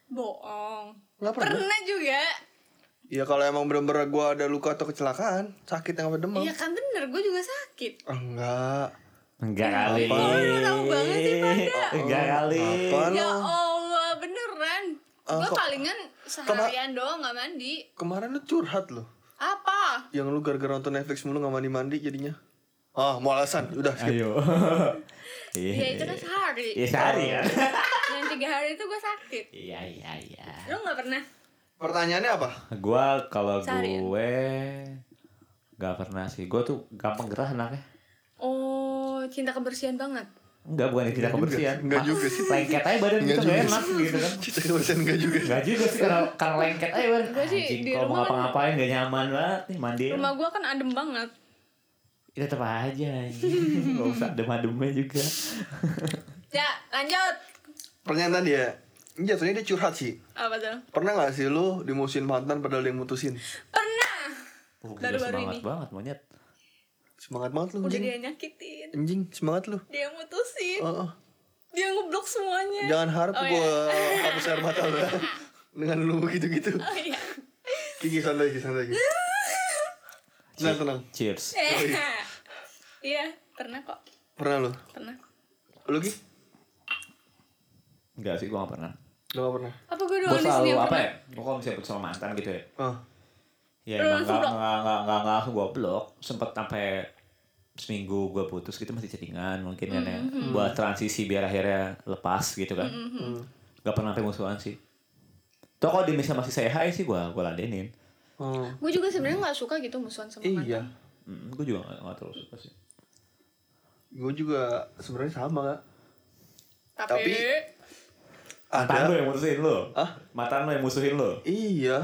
[SPEAKER 4] bohong
[SPEAKER 2] Nggak pernah.
[SPEAKER 4] pernah juga
[SPEAKER 2] Iya kalau emang bener-bener gue ada luka atau kecelakaan, sakit yang sampai demam.
[SPEAKER 4] iya kan bener gua juga sakit
[SPEAKER 2] Ah, Enggak.
[SPEAKER 3] Enggak kali.
[SPEAKER 4] Oh, lu tahu banget sih, Panda.
[SPEAKER 3] Enggak
[SPEAKER 2] Oh.
[SPEAKER 3] kali.
[SPEAKER 2] Apaan
[SPEAKER 4] Ya
[SPEAKER 2] lu?
[SPEAKER 4] Allah, beneran.
[SPEAKER 3] Eh,
[SPEAKER 2] Ah,
[SPEAKER 4] Gue
[SPEAKER 2] kok-
[SPEAKER 4] palingan seharian doang gak mandi.
[SPEAKER 2] Kemarin lu curhat loh.
[SPEAKER 4] Apa?
[SPEAKER 2] Yang lu gara-gara nonton Netflix mulu gak mandi-mandi jadinya. Ah, mau alasan. Udah, skip.
[SPEAKER 3] Ayo. Iya.
[SPEAKER 4] Ya itu kan sehari.
[SPEAKER 3] Iya sehari ya.
[SPEAKER 4] Dan tiga hari itu gue sakit.
[SPEAKER 3] Iya iya iya.
[SPEAKER 4] Lu gak pernah?
[SPEAKER 2] Pertanyaannya apa?
[SPEAKER 3] Gua kalau
[SPEAKER 4] Seharian.
[SPEAKER 3] gue nggak pernah sih. Gue tuh gampang gerah anaknya.
[SPEAKER 4] Oh, cinta kebersihan banget.
[SPEAKER 3] Enggak bukan yang
[SPEAKER 2] Enggak
[SPEAKER 3] tidak
[SPEAKER 2] juga.
[SPEAKER 3] kebersihan.
[SPEAKER 2] Enggak
[SPEAKER 3] Mas,
[SPEAKER 2] juga sih.
[SPEAKER 3] Lengket aja badan
[SPEAKER 2] Enggak
[SPEAKER 3] gitu
[SPEAKER 2] juga
[SPEAKER 3] enggak enak gitu kan.
[SPEAKER 2] Cita kebersihan enggak juga.
[SPEAKER 3] Enggak juga sih karena karena lengket aja kan.
[SPEAKER 4] Gua sih
[SPEAKER 3] Anjing,
[SPEAKER 4] di
[SPEAKER 3] kalau mau
[SPEAKER 4] rumah kan-
[SPEAKER 3] ngapa-ngapain gak nyaman banget nih mandi.
[SPEAKER 4] Rumah gue kan adem banget.
[SPEAKER 3] Itu tetap aja. anjing. Enggak usah adem-ademnya juga.
[SPEAKER 4] Ya, lanjut.
[SPEAKER 2] Pertanyaan tadi ya. Ini jatuhnya dia curhat sih.
[SPEAKER 4] Apa tuh?
[SPEAKER 2] Pernah gak sih lu dimusuhin mantan padahal dia yang mutusin?
[SPEAKER 4] Pernah.
[SPEAKER 3] Oh, gila,
[SPEAKER 4] Baru-baru
[SPEAKER 3] semangat
[SPEAKER 4] ini.
[SPEAKER 3] banget monyet.
[SPEAKER 2] Semangat banget lu,
[SPEAKER 4] Udah
[SPEAKER 2] anjing.
[SPEAKER 4] dia nyakitin.
[SPEAKER 2] Anjing, semangat lu.
[SPEAKER 4] Dia yang mutusin.
[SPEAKER 2] Oh, oh.
[SPEAKER 4] Dia ngeblok semuanya.
[SPEAKER 2] Jangan harap
[SPEAKER 4] Oh,
[SPEAKER 2] gua hapus air mata lu. ya. Dengan lu gitu-gitu.
[SPEAKER 4] Oh iya.
[SPEAKER 2] Kiki santai, Kiki santai. Kiki. Tenang, tenang.
[SPEAKER 3] Cheers.
[SPEAKER 4] Iya, pernah kok.
[SPEAKER 2] Pernah lu?
[SPEAKER 4] Pernah.
[SPEAKER 2] Lu Ki?
[SPEAKER 3] Enggak sih gua gak pernah.
[SPEAKER 2] Lu gak pernah.
[SPEAKER 4] Apa gue
[SPEAKER 3] Gue
[SPEAKER 4] doang di sini
[SPEAKER 3] selalu
[SPEAKER 4] yang
[SPEAKER 3] apa
[SPEAKER 4] pernah?
[SPEAKER 3] ya? Gue kalau misalnya putus sama mantan gitu ya.
[SPEAKER 2] Oh.
[SPEAKER 3] Ya
[SPEAKER 4] Lu
[SPEAKER 3] emang
[SPEAKER 4] langsung
[SPEAKER 3] gak,
[SPEAKER 4] blok?
[SPEAKER 3] gak, gak, gak, gak langsung gue blok. Sempet sampai seminggu gue putus gitu masih chattingan mungkin kan ya. Buat transisi biar akhirnya lepas gitu kan.
[SPEAKER 2] Hmm.
[SPEAKER 3] Gak pernah sampai musuhan sih. Toh kalau dia misalnya masih say hi sih gue gue ladenin.
[SPEAKER 2] Oh.
[SPEAKER 4] Gue juga sebenarnya nggak suka gitu musuhan sama mantan.
[SPEAKER 2] Iya.
[SPEAKER 3] Mm, gue juga gak, gak terlalu suka sih.
[SPEAKER 2] Gue juga sebenarnya sama gak?
[SPEAKER 4] Tapi,
[SPEAKER 2] Tapi- Ada.
[SPEAKER 3] Mantan lu yang musuhin lu.
[SPEAKER 2] Hah?
[SPEAKER 3] Mantan lu yang musuhin lu.
[SPEAKER 2] Iya.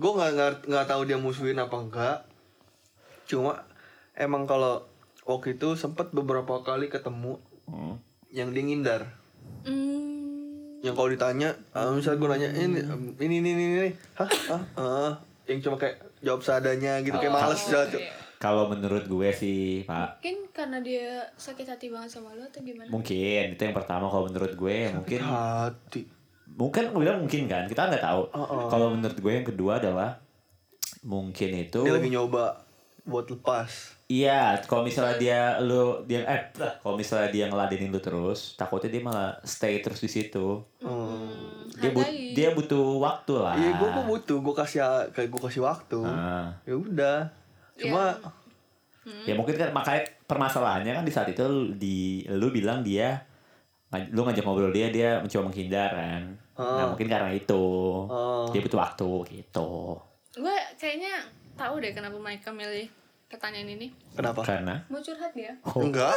[SPEAKER 2] Gue nggak nggak nggak tahu dia musuhin apa enggak. Cuma emang kalau waktu itu sempet beberapa kali ketemu
[SPEAKER 3] Hmm.
[SPEAKER 2] yang dia ngindar
[SPEAKER 4] Hmm.
[SPEAKER 2] yang kalau ditanya eh, misal gue nanya ini ini ini ini, ini. hah hah ah." yang cuma kayak jawab seadanya gitu kayak males jawab
[SPEAKER 4] iya.
[SPEAKER 3] Kalau menurut gue sih, Pak,
[SPEAKER 4] Mungkin karena dia sakit hati banget sama lu atau gimana?
[SPEAKER 3] mungkin itu yang pertama kalau menurut gue mungkin
[SPEAKER 2] Ah. hati
[SPEAKER 3] mungkin gue bilang mungkin kan kita nggak tahu
[SPEAKER 2] Oh,
[SPEAKER 3] kalau menurut gue yang kedua adalah mungkin itu
[SPEAKER 2] dia lagi nyoba buat lepas
[SPEAKER 3] iya kalau misalnya dia lu dia eh kalau misalnya dia ngeladenin lu terus takutnya dia malah stay terus di situ
[SPEAKER 2] Hmm,
[SPEAKER 3] dia but-
[SPEAKER 4] Hargai.
[SPEAKER 3] dia butuh waktu lah
[SPEAKER 2] Iya, gue gue butuh, gue kasih kayak gue kasih waktu.
[SPEAKER 3] Ah.
[SPEAKER 2] Ya
[SPEAKER 3] Iya.
[SPEAKER 2] udah. Cuma
[SPEAKER 3] ya mungkin kan makanya permasalahannya kan di saat itu lu- di lu bilang dia lu ngajak ngobrol dia dia mencoba menghindar kan
[SPEAKER 2] Oh.
[SPEAKER 3] nah mungkin karena itu
[SPEAKER 2] Oh.
[SPEAKER 3] dia butuh waktu gitu
[SPEAKER 4] Gue kayaknya tahu deh kenapa mereka milih pertanyaan ini.
[SPEAKER 2] kenapa?
[SPEAKER 3] karena
[SPEAKER 4] Mau curhat dia?
[SPEAKER 2] Enggak,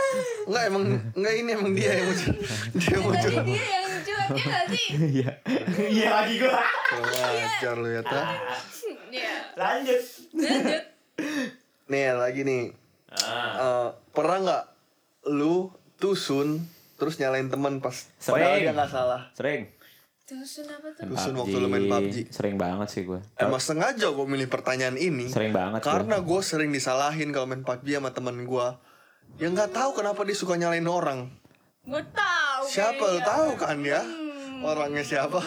[SPEAKER 2] enggak emang enggak ini emang dia yang muncul. Dia yang muncul.
[SPEAKER 4] Tadi dia yang curhat ya nggak sih?
[SPEAKER 3] Iya. Iya lagi gua.
[SPEAKER 2] Wajar lu ya Tra.
[SPEAKER 4] Iya.
[SPEAKER 3] Lanjut.
[SPEAKER 4] Lanjut.
[SPEAKER 2] Nih lagi nih.
[SPEAKER 3] Ah.
[SPEAKER 2] Eh, pernah nggak lu too soon terus nyalain teman pas padahal
[SPEAKER 3] Sering.
[SPEAKER 2] dia nggak salah.
[SPEAKER 3] Sering.
[SPEAKER 4] Terus kenapa tuh?
[SPEAKER 2] Tuh, sun waktu lu main PUBG.
[SPEAKER 3] Sering banget sih gua.
[SPEAKER 2] Emang sengaja gue milih pertanyaan ini.
[SPEAKER 3] Sering banget
[SPEAKER 2] Karena gue sering disalahin kalau main PUBG sama teman gue. Yang nggak tahu kenapa dia suka nyalain orang.
[SPEAKER 4] Gue tahu.
[SPEAKER 2] Siapa lu
[SPEAKER 4] kayaknya.
[SPEAKER 2] tahu kan ya? Orangnya siapa?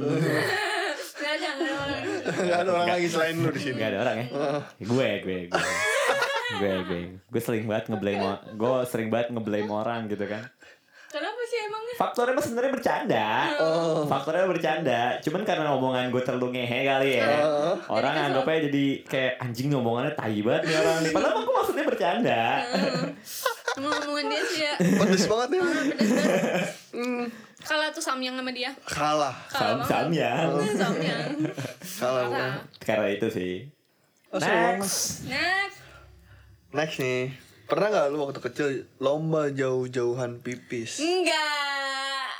[SPEAKER 4] Nggak ada, nggak ada.
[SPEAKER 2] Gak ada orang lagi selain lu di sini.
[SPEAKER 3] Gak ada orang ya. gue, gue, gue. gue, gue. Gue sering banget ngeblame o- gue sering banget ngeblame orang gitu kan.
[SPEAKER 4] Kenapa sih emangnya?
[SPEAKER 3] Faktornya mah sebenarnya bercanda. Faktornya bercanda. Cuman karena omongan gue terlalu ngehe kali ya. Orang anggapnya jadi kayak anjing nih omongannya tai banget nih orang. Padahal mah gue maksudnya bercanda.
[SPEAKER 4] Emang omongan dia sih ya.
[SPEAKER 2] Pedes banget ya.
[SPEAKER 4] Kalah tuh Samyang sama dia.
[SPEAKER 2] Kalah.
[SPEAKER 4] Kalah banget.
[SPEAKER 3] Sam-sam ya.
[SPEAKER 4] Oh. Samyang.
[SPEAKER 2] Kalah. gua.
[SPEAKER 4] Parah.
[SPEAKER 3] Karena itu sih. Next.
[SPEAKER 4] Next.
[SPEAKER 2] Next nih. Pernah nggak lu waktu kecil lomba jauh-jauhan pipis?
[SPEAKER 4] Enggak.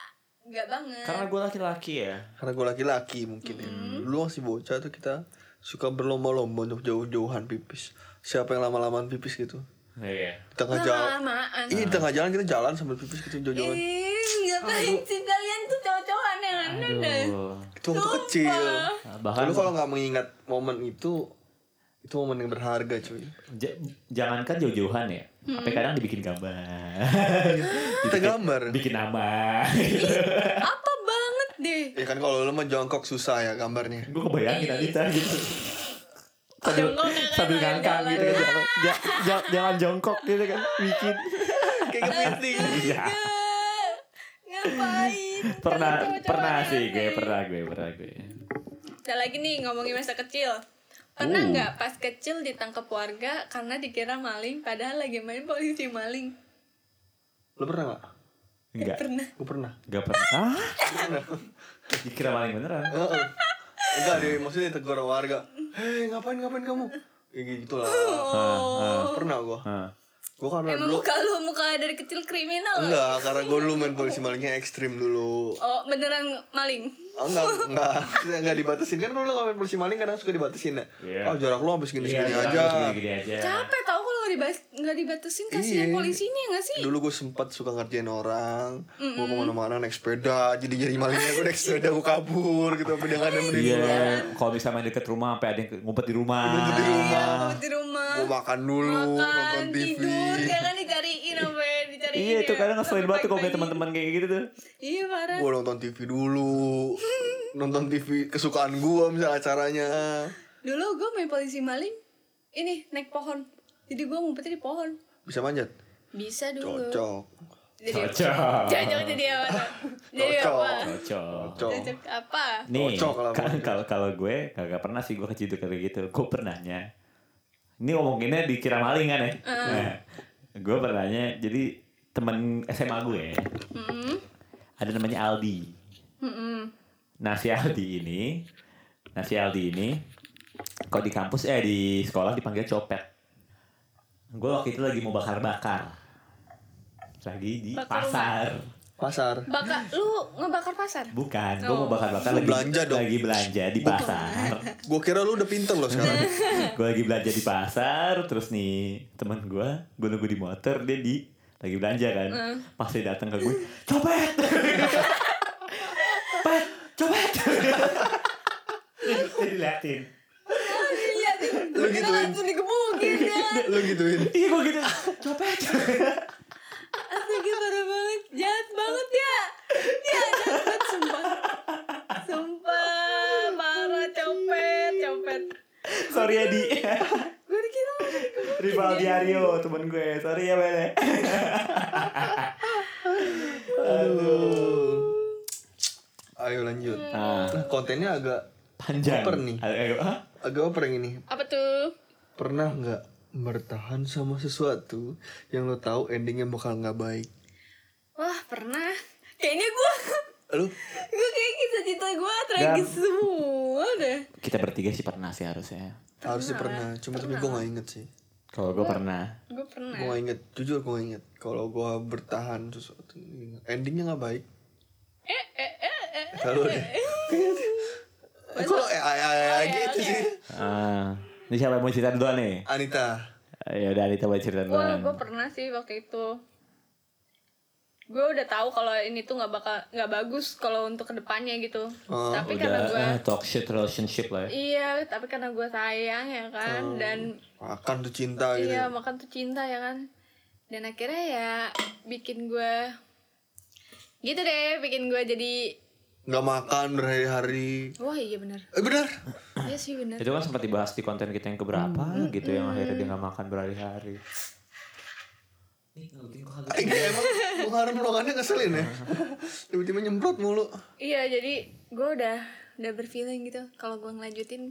[SPEAKER 4] Enggak banget.
[SPEAKER 3] Karena gue laki-laki ya.
[SPEAKER 2] Karena gue laki-laki mungkin ya. Dulu masih bocah tuh kita suka berlomba-lomba untuk jauh-jauhan pipis. Siapa yang lama-lamaan pipis gitu?
[SPEAKER 3] Iya.
[SPEAKER 2] Di tengah jalan.
[SPEAKER 4] Lama-lamaan.
[SPEAKER 2] Ih, di tengah jalan kita jalan sambil pipis gitu
[SPEAKER 3] Iya,
[SPEAKER 2] jauh-jauhan.
[SPEAKER 4] Ih, ngapain sih kalian tuh cowok-cowokan yang aneh deh.
[SPEAKER 2] Itu waktu kecil.
[SPEAKER 3] Bahkan
[SPEAKER 2] Lu kalau nggak mengingat momen itu, itu momen yang berharga cuy.
[SPEAKER 3] j- jangankan jauh-jauhan ya. Tapi kadang dibikin gambar.
[SPEAKER 2] Kita gambar.
[SPEAKER 3] bikin nama.
[SPEAKER 4] Apa banget deh.
[SPEAKER 2] Ya kan kalau lu mah jongkok susah ya gambarnya.
[SPEAKER 3] gue kebayangin Anita gitu. Sambil,
[SPEAKER 4] Jongkok kayak
[SPEAKER 3] sambil
[SPEAKER 4] orang
[SPEAKER 3] ngangkang
[SPEAKER 4] jalan. Ah.
[SPEAKER 3] gitu kan. Ja- ja- Jalan jongkok gitu kan. Bikin.
[SPEAKER 2] Kayak
[SPEAKER 4] gitu,
[SPEAKER 2] kepiting.
[SPEAKER 3] Iya.
[SPEAKER 4] Eh, Ngapain? Kalian
[SPEAKER 3] Pernah,
[SPEAKER 4] cowok-cowokan
[SPEAKER 3] pernah
[SPEAKER 4] yang
[SPEAKER 3] sih gue,
[SPEAKER 4] aneh.
[SPEAKER 3] pernah gue, pernah gue.
[SPEAKER 4] Ada lagi nih ngomongin masa kecil. Pernah
[SPEAKER 3] Uh.
[SPEAKER 4] nggak pas kecil ditangkap warga karena dikira maling padahal lagi main polisi maling?
[SPEAKER 2] Lu pernah nggak?
[SPEAKER 3] Enggak,
[SPEAKER 4] Pernah.
[SPEAKER 2] Gue pernah.
[SPEAKER 3] enggak pernah. Ah? Dikira maling beneran.
[SPEAKER 2] Heeh. Enggak deh, maksudnya ditegur warga. Hei, ngapain ngapain kamu? Ya gitu lah. Pernah gua.
[SPEAKER 3] Ah.
[SPEAKER 2] Gua karena
[SPEAKER 4] Oh. Emang
[SPEAKER 2] dulu
[SPEAKER 4] muka lu muka dari kecil kriminal.
[SPEAKER 2] enggak, karena gua dulu main polisi malingnya ekstrim dulu. Ah,
[SPEAKER 4] Oh, beneran maling.
[SPEAKER 2] Enggak, enggak, enggak, enggak dibatasin kan dulu kalau main polisi maling kadang suka dibatasin ya.
[SPEAKER 3] Iya.
[SPEAKER 2] Oh, jarak lu habis gini-gini
[SPEAKER 3] Iya,
[SPEAKER 2] aja.
[SPEAKER 3] Gini-gini aja.
[SPEAKER 4] Capek tau kalau nggak dibas- nggak dibatasin kasihan
[SPEAKER 2] Iya.
[SPEAKER 4] polisinya nggak sih?
[SPEAKER 2] Dulu gue sempat suka ngerjain orang, gua kemana-mana naik sepeda, jadi jadi malingnya gue naik sepeda gue kabur gitu, sampai dia nggak nemenin
[SPEAKER 3] Iya,
[SPEAKER 2] gua.
[SPEAKER 3] kalau misalnya main deket rumah sampai ada yang ngumpet di rumah.
[SPEAKER 4] gitu,
[SPEAKER 2] di rumah,
[SPEAKER 4] Ngomong Iya, di rumah.
[SPEAKER 2] gue makan dulu, nonton
[SPEAKER 4] makan
[SPEAKER 2] TV.
[SPEAKER 4] tidur ya jangan dicariin apa ya, dicariin
[SPEAKER 3] Iya, itu
[SPEAKER 4] ya.
[SPEAKER 3] kadang ngeselin banget tuh kalau
[SPEAKER 4] Sampai
[SPEAKER 3] kayak teman-teman kayak gitu tuh.
[SPEAKER 4] pagi. iya parah
[SPEAKER 2] gue nonton TV dulu nonton TV kesukaan gue misalnya acaranya
[SPEAKER 4] dulu gue main polisi maling ini naik pohon jadi gue ngumpetnya di pohon
[SPEAKER 2] bisa manjat
[SPEAKER 4] bisa dulu
[SPEAKER 2] cocok
[SPEAKER 4] jadi
[SPEAKER 3] Cocok.
[SPEAKER 4] cocok jadi apa jadi
[SPEAKER 2] Cocok.
[SPEAKER 4] apa
[SPEAKER 3] Cocok.
[SPEAKER 2] cocok
[SPEAKER 4] cocok apa
[SPEAKER 3] Nih,
[SPEAKER 2] Cocok iya. lah,
[SPEAKER 3] kan-
[SPEAKER 2] pokoknya.
[SPEAKER 3] kalau kalau gue kagak pernah sih gue kecil kayak gitu. Gue pernahnya. Ini ngomonginnya dikira maling kan ya. Nah, gue pernahnya jadi temen SMA gue.
[SPEAKER 4] Hmm.
[SPEAKER 3] Ada namanya Aldi. Nah, si Aldi ini, nah si Aldi ini kalau di kampus eh di sekolah dipanggil copet. Gue waktu itu lagi mau bakar-bakar. Lagi di
[SPEAKER 4] Bakar
[SPEAKER 3] pasar.
[SPEAKER 2] pasar
[SPEAKER 4] bakar lu ngebakar pasar
[SPEAKER 3] Bukan, gue mau
[SPEAKER 4] Oh.
[SPEAKER 3] bakar-bakar
[SPEAKER 2] Lu
[SPEAKER 3] lagi
[SPEAKER 2] belanja dong.
[SPEAKER 3] lagi belanja di pasar.
[SPEAKER 2] gue kira lu udah pinter loh sekarang
[SPEAKER 3] gue lagi belanja di pasar, terus nih teman gue, gue nunggu di motor, dia di lagi belanja kan. Pas dia datang ke gue, copet, pet, copet. Dia diliatin.
[SPEAKER 4] iya
[SPEAKER 2] Lu
[SPEAKER 4] kita
[SPEAKER 2] gituin.
[SPEAKER 4] langsung digebukin ya
[SPEAKER 2] lu gituin
[SPEAKER 3] Iya gue gitu, copet.
[SPEAKER 4] Astaga parah banget Jahat banget ya Ya jahat banget sumpah Sumpah Parah copet Copet
[SPEAKER 3] Sorry ya di
[SPEAKER 4] Gue dikira
[SPEAKER 3] rival Diario temen gue, sorry ya bele.
[SPEAKER 2] ayo lanjut
[SPEAKER 3] Ah.
[SPEAKER 2] kontennya agak
[SPEAKER 3] Panjang.
[SPEAKER 2] Oper nih.
[SPEAKER 3] Agak- hah?
[SPEAKER 2] agak apa yang ini
[SPEAKER 4] Apa tuh?
[SPEAKER 2] pernah nggak bertahan sama sesuatu yang lo tahu endingnya bakal nggak baik
[SPEAKER 4] Wah pernah Kayaknya gue
[SPEAKER 2] lu
[SPEAKER 4] Gue kayak kisah cinta gue Tragis semua deh
[SPEAKER 3] Kita bertiga sih pernah sih harusnya.
[SPEAKER 2] harusnya pernah cuma tapi gue nggak inget sih
[SPEAKER 3] Kalau gue pernah.
[SPEAKER 4] Gue pernah
[SPEAKER 2] gue nggak inget jujur gue nggak inget kalau gue bertahan sesuatu endingnya nggak baik kalau deh kalau eh, eh, eh, eh, gitu sih
[SPEAKER 3] Ah, ini siapa yang mau cerita duluan nih?
[SPEAKER 2] Anita
[SPEAKER 3] Ya udah Anita boleh cerita
[SPEAKER 4] Wah,
[SPEAKER 3] duluan.
[SPEAKER 4] gue pernah sih waktu itu. Gue udah tahu kalau ini tuh nggak bakal nggak bagus kalau untuk kedepannya gitu.
[SPEAKER 2] Oh,
[SPEAKER 4] tapi
[SPEAKER 3] udah
[SPEAKER 4] karena gue
[SPEAKER 3] ah, toxic relationship lah ya.
[SPEAKER 4] iya, tapi karena gue sayang ya kan dan
[SPEAKER 2] akan tuh cinta Oh. gitu
[SPEAKER 4] iya makan tuh cinta ya kan. Dan akhirnya ya bikin gue gitu deh, bikin gue jadi
[SPEAKER 2] nggak makan berhari-hari
[SPEAKER 4] wah iya bener,
[SPEAKER 2] eh benar
[SPEAKER 4] iya sih bener.
[SPEAKER 3] Itu kan sempat dibahas di konten kita yang keberapa
[SPEAKER 4] Hmm.
[SPEAKER 3] gitu yang akhirnya dia gak makan berhari-hari.
[SPEAKER 2] Iya emang Muharrem ruangannya ngeselin ya Tiba-tiba nyemprot mulu
[SPEAKER 4] Iya jadi gue udah udah berfeeling gitu kalau gue ngelanjutin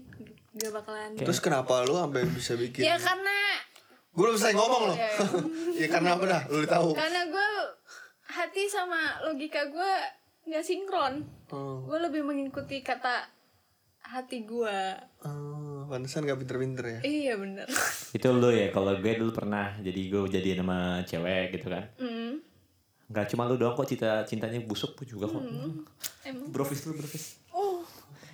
[SPEAKER 4] gak bakalan.
[SPEAKER 2] Terus kenapa lu sampai bisa bikin
[SPEAKER 4] Ya Iya, karena
[SPEAKER 2] Gue belum selesai ngomong loh Ya karena apa dah lu udah tahu
[SPEAKER 4] karena gue hati sama logika gue nggak sinkron
[SPEAKER 2] Oh,
[SPEAKER 4] gue lebih mengikuti kata hati gue
[SPEAKER 2] oh, Pantesan gak pinter-pinter ya
[SPEAKER 4] iya bener
[SPEAKER 3] Itu lu ya kalau gue dulu pernah jadi gue jadian sama cewek gitu kan.
[SPEAKER 4] Mm,
[SPEAKER 3] Gak cuma lu doang kok cinta cintanya busuk pun juga kok.
[SPEAKER 4] Hmm. emang
[SPEAKER 3] Brofis lu brofis.
[SPEAKER 4] oh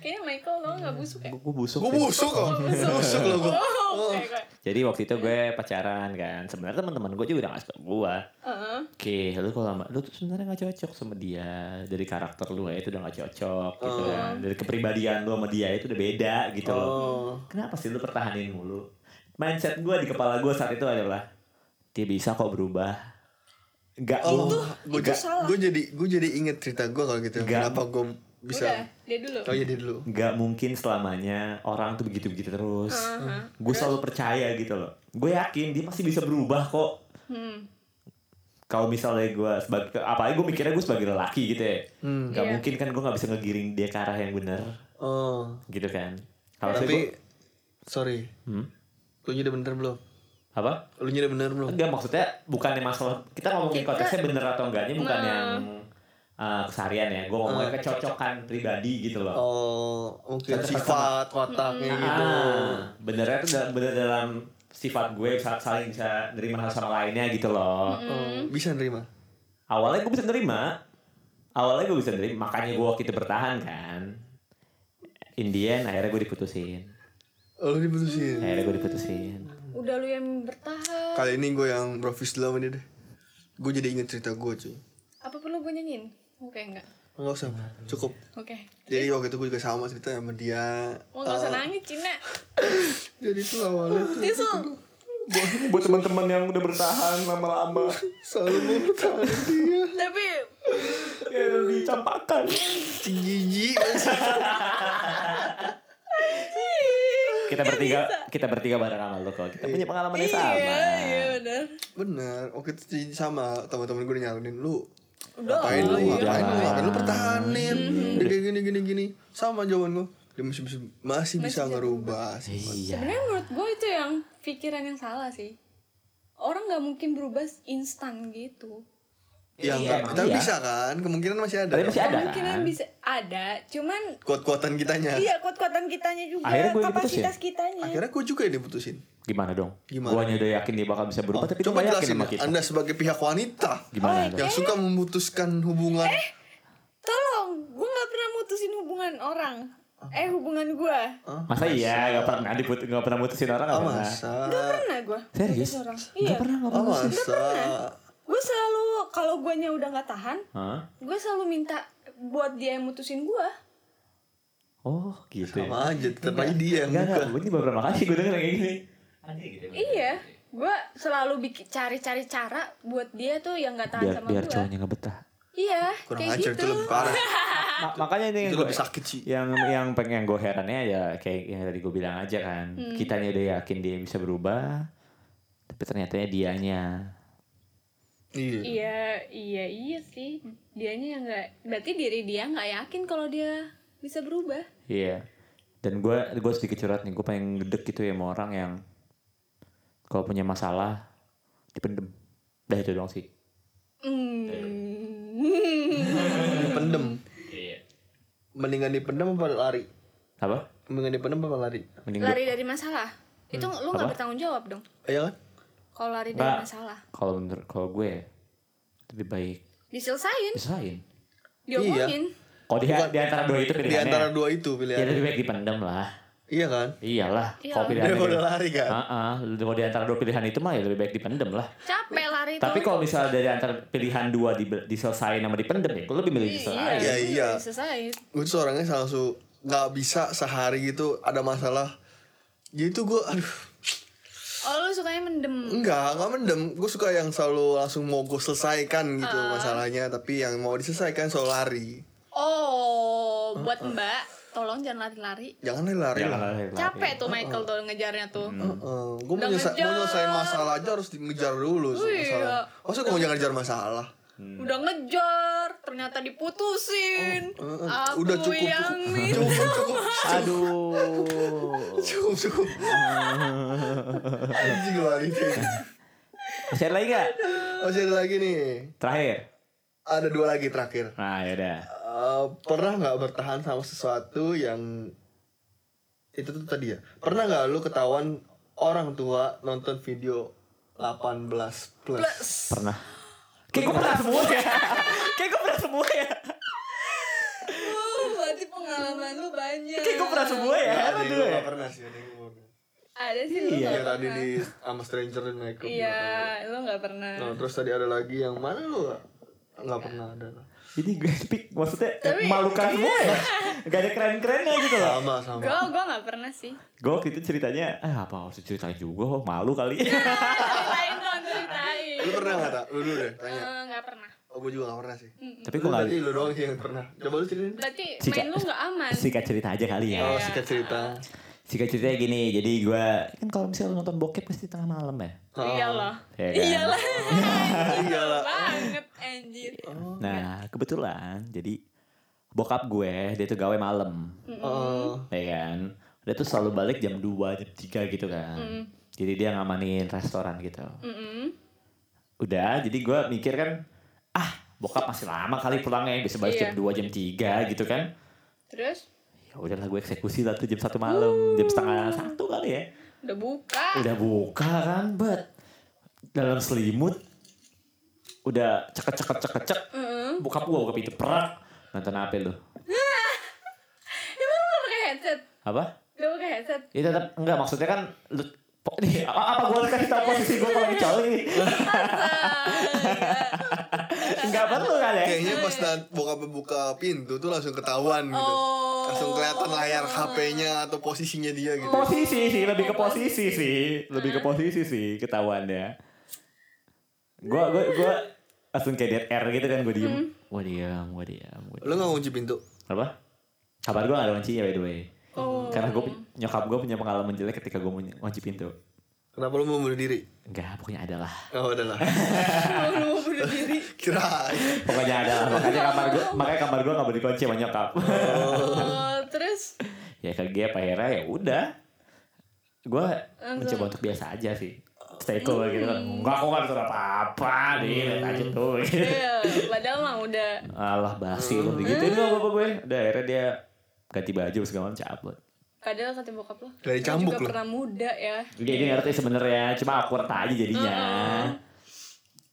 [SPEAKER 4] kayaknya Michael lo nggak busuk ya
[SPEAKER 3] Gue gue busuk.
[SPEAKER 2] Gue
[SPEAKER 3] sih.
[SPEAKER 2] busuk kok Busuk loh gue
[SPEAKER 4] oh oke oke.
[SPEAKER 3] Jadi waktu itu gue pacaran kan. Sebenarnya teman-teman gue juga udah ngasih tau gue.
[SPEAKER 4] Heeh.
[SPEAKER 3] Oke, lu kalau sama- lu tuh sebenarnya nggak cocok sama dia dari karakter lu ya itu udah nggak cocok gitu
[SPEAKER 4] Oh.
[SPEAKER 3] kan. Dari kepribadian lu sama dia itu udah beda gitu loh.
[SPEAKER 2] Oh,
[SPEAKER 3] Kenapa sih lu pertahanin mulu? Mindset gue di kepala gue saat itu adalah dia bisa kok berubah. Gak
[SPEAKER 2] oh
[SPEAKER 3] mungkin.
[SPEAKER 2] gue
[SPEAKER 4] itu salah.
[SPEAKER 2] jadi gue jadi inget cerita gue kalau gitu
[SPEAKER 3] Enggak.
[SPEAKER 2] Kenapa gue
[SPEAKER 4] udah
[SPEAKER 2] bisa
[SPEAKER 4] dia dulu
[SPEAKER 2] Oh iya dia dulu
[SPEAKER 3] Gak mungkin selamanya orang tuh begitu-begitu terus. Gue selalu percaya gitu loh. Gue yakin dia pasti bisa berubah kok.
[SPEAKER 4] hmm.
[SPEAKER 3] kalau misalnya gue sebagai apalagi gue mikirnya gue sebagai lelaki gitu ya nggak
[SPEAKER 4] Iya.
[SPEAKER 3] mungkin kan gue nggak bisa ngegiring dia ke arah yang benar
[SPEAKER 2] Oh
[SPEAKER 3] gitu kan kalau
[SPEAKER 2] Tapi
[SPEAKER 3] tapi
[SPEAKER 2] Sorry
[SPEAKER 3] Hmm?
[SPEAKER 2] Lu nyudah bener belum?
[SPEAKER 3] apa
[SPEAKER 2] Lu nyudah bener belum?
[SPEAKER 3] enggak maksudnya bukannya masalah kita ngomongin konteksnya bener atau enggaknya bukan yang uh, keseharian ya gue ngomongin kecocokan pribadi gitu loh
[SPEAKER 2] Oh, mungkin
[SPEAKER 3] Satu
[SPEAKER 2] sifat wataknya
[SPEAKER 4] Hmm.
[SPEAKER 2] gitu.
[SPEAKER 3] Ah, benernya tuh da- bener dalam sifat gue saat saling bisa nerima hal sama lainnya gitu loh
[SPEAKER 4] Hmm.
[SPEAKER 2] Oh, Bisa nerima.
[SPEAKER 3] awalnya gue bisa nerima awalnya gue bisa nerima makanya gue waktu itu bertahan kan in the end akhirnya gue diputusin
[SPEAKER 2] Oh, lu diputusin.
[SPEAKER 3] akhirnya gue diputusin
[SPEAKER 4] udah lu yang bertahan
[SPEAKER 2] Kali ini gue yang brofis dulu sama dia deh. Gue jadi inget cerita gue cuy.
[SPEAKER 4] apa perlu gue nyanyiin oke enggak
[SPEAKER 2] Enggak usah, cukup.
[SPEAKER 4] oke
[SPEAKER 2] Jadi waktu itu gue juga sama cerita sama dia.
[SPEAKER 4] mau
[SPEAKER 3] Eh.
[SPEAKER 4] nggak usah nangis Cina
[SPEAKER 2] Jadi itu awalnya tuh
[SPEAKER 4] tisu
[SPEAKER 3] buat teman-teman yang udah bertahan lama-lama
[SPEAKER 2] selalu mau bertahan dia.
[SPEAKER 4] tapi
[SPEAKER 3] ya dicampakan
[SPEAKER 2] Gigi masih.
[SPEAKER 3] kita bertiga kita bertiga bareng sama lo kok kita punya pengalaman yang sama
[SPEAKER 4] iya iya bener
[SPEAKER 3] Ya.
[SPEAKER 2] Bener, waktu itu jadi sama teman-teman gue udah nyalunin lu.
[SPEAKER 4] Udah.
[SPEAKER 2] Ngapain lu?
[SPEAKER 3] Udah.
[SPEAKER 2] Ngapain lu? Ngapain lu pertahanin? Udah kayak gini gini gini. Sama jawaban gue. Dia masih bisa masih bisa ngerubah sih.
[SPEAKER 3] iya
[SPEAKER 4] Sebenarnya menurut gue itu yang pikiran yang salah sih. Orang nggak mungkin berubah instan gitu.
[SPEAKER 2] Ya,
[SPEAKER 3] Iya,
[SPEAKER 2] enggak,
[SPEAKER 3] emang
[SPEAKER 2] tapi
[SPEAKER 3] iya.
[SPEAKER 2] bisa kan? Kemungkinan masih ada.
[SPEAKER 3] tapi masih ada
[SPEAKER 4] Kemungkinan
[SPEAKER 3] kan
[SPEAKER 4] bisa ada, cuman
[SPEAKER 2] Kuat-kuatan kitanya.
[SPEAKER 4] iya kuat-kuatan kitanya juga,
[SPEAKER 3] Akhirnya gue diputusin.
[SPEAKER 4] kapasitas kitanya.
[SPEAKER 2] Akhirnya gue juga yang diputusin.
[SPEAKER 3] Gimana dong?
[SPEAKER 2] Gimana?
[SPEAKER 3] Guanya udah yakin dia bakal bisa berubah, Oh, tapi dia
[SPEAKER 2] Coba
[SPEAKER 3] nggak yakin
[SPEAKER 2] jelasin
[SPEAKER 3] sama
[SPEAKER 2] ya,
[SPEAKER 3] kita.
[SPEAKER 2] Anda sebagai pihak wanita
[SPEAKER 3] Gimana?
[SPEAKER 4] Oh,
[SPEAKER 3] dong?
[SPEAKER 2] yang suka memutuskan hubungan.
[SPEAKER 4] Tolong, gue nggak pernah mutusin hubungan orang. Eh hubungan gue.
[SPEAKER 3] Masa iya nggak pernah diput nggak pernah mutusin orang nggak
[SPEAKER 2] Ah,
[SPEAKER 3] pernah.
[SPEAKER 2] masa?
[SPEAKER 4] Pernah gue.
[SPEAKER 3] Serius?
[SPEAKER 4] Orang.
[SPEAKER 3] Nggak
[SPEAKER 4] Iya.
[SPEAKER 3] pernah nggak
[SPEAKER 2] Ah,
[SPEAKER 3] pernah.
[SPEAKER 2] masa?
[SPEAKER 4] Gue selalu kalau guanya udah nggak tahan,
[SPEAKER 3] Hah?
[SPEAKER 4] gue selalu minta buat dia yang mutusin gue.
[SPEAKER 3] Oh gitu. Ya.
[SPEAKER 2] Sama aja, tetap aja dia yang
[SPEAKER 3] Enggak enggak.
[SPEAKER 2] buka.
[SPEAKER 3] Gue ini beberapa kali gue denger kayak gini.
[SPEAKER 4] Iya. Gue selalu bikin cari-cari cara buat dia tuh yang nggak tahan
[SPEAKER 3] Biar
[SPEAKER 4] sama
[SPEAKER 3] biar
[SPEAKER 4] gue.
[SPEAKER 3] cowoknya nggak betah.
[SPEAKER 4] Iya.
[SPEAKER 2] Kurang
[SPEAKER 4] kayak
[SPEAKER 2] ajar,
[SPEAKER 4] gitu.
[SPEAKER 2] itu lebih parah.
[SPEAKER 3] Ma- makanya ini yang
[SPEAKER 2] Itu
[SPEAKER 3] gue
[SPEAKER 2] lebih sakit Iya. sih.
[SPEAKER 3] yang yang pengen gue herannya ya kayak yang tadi gue bilang aja kan
[SPEAKER 4] Hmm.
[SPEAKER 3] kitanya udah yakin dia bisa berubah tapi ternyata dianya
[SPEAKER 2] Iya.
[SPEAKER 4] Iya, iya, iya sih. Dianya yang nggak, berarti diri dia nggak yakin kalau dia bisa berubah.
[SPEAKER 3] Iya. Dan gue gue sedikit curhat nih, gue pengen gedek gitu ya sama orang yang kalau punya masalah dipendem. Dah itu doang sih.
[SPEAKER 4] Hmm.
[SPEAKER 2] Dipendem. Iya. Mendingan dipendem apa lari?
[SPEAKER 3] Apa?
[SPEAKER 2] Mendingan dipendem apa lari?
[SPEAKER 3] Mending
[SPEAKER 4] lari dari masalah. Itu lu nggak
[SPEAKER 3] Hmm. Apa?
[SPEAKER 4] bertanggung jawab dong.
[SPEAKER 2] Iya kan?
[SPEAKER 4] Kalau lari dari
[SPEAKER 3] Nggak.
[SPEAKER 4] masalah,
[SPEAKER 3] kalau menurut kalau gue ya, lebih baik
[SPEAKER 4] diselesain,
[SPEAKER 3] diserahin.
[SPEAKER 2] Iya.
[SPEAKER 4] diomongin.
[SPEAKER 3] Kalau di,
[SPEAKER 2] Bukan.
[SPEAKER 3] di antara dua itu
[SPEAKER 2] Di
[SPEAKER 3] pilihannya.
[SPEAKER 2] antara dua itu
[SPEAKER 3] ya
[SPEAKER 2] pilihan.
[SPEAKER 3] lebih baik dipendem lah.
[SPEAKER 2] Iya kan?
[SPEAKER 3] Iyalah, kalau
[SPEAKER 4] Iyalah.
[SPEAKER 3] pilihannya.
[SPEAKER 2] Daripada lari kan?
[SPEAKER 3] Heeh, kalau di antara dua pilihan itu mah ya lebih baik dipendem lah.
[SPEAKER 4] Capek lari
[SPEAKER 3] Tapi
[SPEAKER 4] tuh.
[SPEAKER 3] kalau misalnya dari antara pilihan dua di, diselesain sama dipendem ya, gue lebih milih diselesain.
[SPEAKER 2] Iya, iya.
[SPEAKER 4] Diselesain.
[SPEAKER 2] gue tuh orangnya salah satu nggak bisa sehari gitu ada masalah jadi tuh gue aduh
[SPEAKER 4] Oh, lu sukanya mendem.
[SPEAKER 2] enggak enggak mendem gue suka yang selalu langsung mau gue selesaikan gitu
[SPEAKER 4] Ah.
[SPEAKER 2] masalahnya tapi yang mau diselesaikan soal lari
[SPEAKER 4] Oh, buat Mbak, tolong jangan lari-lari.
[SPEAKER 2] jangan lari lari
[SPEAKER 3] Jangan
[SPEAKER 2] lah
[SPEAKER 3] lari-lari.
[SPEAKER 4] Capek tuh Michael tuh ngejarnya tuh.
[SPEAKER 2] gue mau
[SPEAKER 4] Udah
[SPEAKER 2] nyelesa- mau
[SPEAKER 4] ngejar.
[SPEAKER 2] nyelesain masalah aja harus ngejar dulu so-
[SPEAKER 4] Iya.
[SPEAKER 2] masalah masa gue mau ngejar masalah Hmm.
[SPEAKER 4] Udah ngejar, ternyata diputusin.
[SPEAKER 2] Eh, eh,
[SPEAKER 4] Aku
[SPEAKER 2] udah cukup
[SPEAKER 4] yang
[SPEAKER 2] cukup
[SPEAKER 4] minta.
[SPEAKER 2] cukup cukup
[SPEAKER 3] Aduh.
[SPEAKER 2] cukup cukup anjing lari
[SPEAKER 3] Masih ada lagi gak?
[SPEAKER 2] masih ada lagi nih
[SPEAKER 3] Terakhir.
[SPEAKER 2] ada dua lagi terakhir
[SPEAKER 3] Nah yaudah.
[SPEAKER 2] Eh, pernah nggak bertahan sama sesuatu yang itu tuh tadi ya pernah nggak lu ketahuan orang tua nonton video 18 plus
[SPEAKER 3] Pernah. Kayak gue pernah semua ya. Kayak gue pernah semua ya.
[SPEAKER 4] Uh, berarti pengalaman lu banyak.
[SPEAKER 3] Kayak gue pernah semua ya.
[SPEAKER 4] Iya,
[SPEAKER 2] Nggak, Iya, ada yang
[SPEAKER 3] Heran dulu
[SPEAKER 2] gua
[SPEAKER 3] ya.
[SPEAKER 2] nggak pernah sih ada yang gua nggak
[SPEAKER 4] Ada sih lu
[SPEAKER 2] pernah.
[SPEAKER 4] nggak
[SPEAKER 2] ya tadi
[SPEAKER 4] pernah.
[SPEAKER 2] di sama stranger dan naik ke
[SPEAKER 4] Iya,
[SPEAKER 2] belakang.
[SPEAKER 4] lu nggak pernah.
[SPEAKER 2] Nah, terus tadi ada lagi yang mana lu nggak pernah ada
[SPEAKER 3] Jadi gue pik maksudnya malukan
[SPEAKER 4] iya.
[SPEAKER 3] semua ya. Gak ada keren-kerennya gitu loh.
[SPEAKER 2] sama sama
[SPEAKER 4] Gue gue nggak pernah sih.
[SPEAKER 3] Gue waktu itu ceritanya, eh apa harus diceritain juga, oh, malu kali.
[SPEAKER 4] Iya. Ceritain dong ceritain.
[SPEAKER 2] lu pernah nggak tak lu dulu deh
[SPEAKER 4] Eh,
[SPEAKER 2] tanya
[SPEAKER 4] Nggak pernah.
[SPEAKER 2] oh, gue juga nggak pernah sih
[SPEAKER 3] Tapi
[SPEAKER 2] lu
[SPEAKER 3] gue gak
[SPEAKER 2] berarti lu doang sih yang pernah coba lu ceritain
[SPEAKER 4] Berarti
[SPEAKER 3] Sikat.
[SPEAKER 4] main lu nggak aman. Iya.
[SPEAKER 3] Sikat cerita aja kali ya.
[SPEAKER 2] oh sikat cerita
[SPEAKER 3] Sikat ceritanya gini, jadi gue kan kalau misalnya lu nonton bokep pasti tengah malam ya.
[SPEAKER 4] Iya loh.
[SPEAKER 3] Iya
[SPEAKER 2] Oh.
[SPEAKER 3] kan?
[SPEAKER 4] Iya lah.
[SPEAKER 2] Iya lah.
[SPEAKER 4] Banget anjir.
[SPEAKER 3] Nah kebetulan jadi bokap gue dia tuh gawe malam.
[SPEAKER 2] Oh.
[SPEAKER 3] ya kan dia tuh selalu balik jam 2, jam 3 gitu kan jadi dia ngamanin restoran gitu
[SPEAKER 4] Mm-mm.
[SPEAKER 3] udah jadi gue mikir kan ah bokap masih lama kali pulangnya bisa balik
[SPEAKER 4] Iya.
[SPEAKER 3] jam 2, jam 3 gitu kan
[SPEAKER 4] Terus
[SPEAKER 3] ya udahlah gue eksekusi lah tuh jam satu malam jam setengah satu kali ya
[SPEAKER 4] udah buka.
[SPEAKER 3] udah buka kan bet dalam selimut udah ceket ceket ceket cek bokap gue buka pintu perak nonton apa lu
[SPEAKER 4] Emang lu nggak pakai headset?
[SPEAKER 3] apa
[SPEAKER 4] Gak pakai headset.
[SPEAKER 3] Ya tetap enggak maksudnya kan lu po- nih, apa, apa gue kasih tau posisi gue kalau kecuali ini Enggak perlu kan ya
[SPEAKER 2] Kayaknya pas na- bokap buka pintu tuh langsung ketahuan gitu.
[SPEAKER 4] Oh.
[SPEAKER 2] Langsung kelihatan layar HP-nya atau posisinya dia gitu.
[SPEAKER 3] Posisi sih lebih ke posisi sih Lebih ke posisi sih ketahuannya Gue gue gue langsung kayak dead air gitu kan gue diem Gue diam gue diam gue
[SPEAKER 2] Lu
[SPEAKER 3] diam.
[SPEAKER 2] gak kunci pintu?
[SPEAKER 3] Apa? Kabar gue gak ada kuncinya by the way
[SPEAKER 4] Oh.
[SPEAKER 3] Karena gue nyokap gue punya pengalaman jelek ketika gue kunci pintu
[SPEAKER 2] Kenapa lu mau bunuh diri?
[SPEAKER 3] Enggak pokoknya ada lah
[SPEAKER 2] Oh adalah.
[SPEAKER 4] Lu mau bunuh diri.
[SPEAKER 2] Kira.
[SPEAKER 3] Pokoknya ada lah Makanya kamar gue Makanya kamar gue gak boleh dikunci sama nyokap
[SPEAKER 4] Oh, terus
[SPEAKER 3] ya kegep akhirnya ya udah gue
[SPEAKER 4] Oh,
[SPEAKER 3] mencoba untuk biasa aja sih stay cool
[SPEAKER 4] Hmm.
[SPEAKER 3] gitu kan enggak aku kan apa apa nih lihat aja tuh
[SPEAKER 4] ya, padahal mah udah Hmm.
[SPEAKER 3] alah basi lu digituin sama bapak gue udah akhirnya dia ganti baju segala macam cabut
[SPEAKER 4] Kadal kata bokap lo.
[SPEAKER 2] Dari
[SPEAKER 4] "Lu
[SPEAKER 2] cambuk
[SPEAKER 4] juga
[SPEAKER 2] lu."
[SPEAKER 4] pernah muda ya.
[SPEAKER 3] Dia dia ngerti sebenarnya, cuma awkward aja jadinya.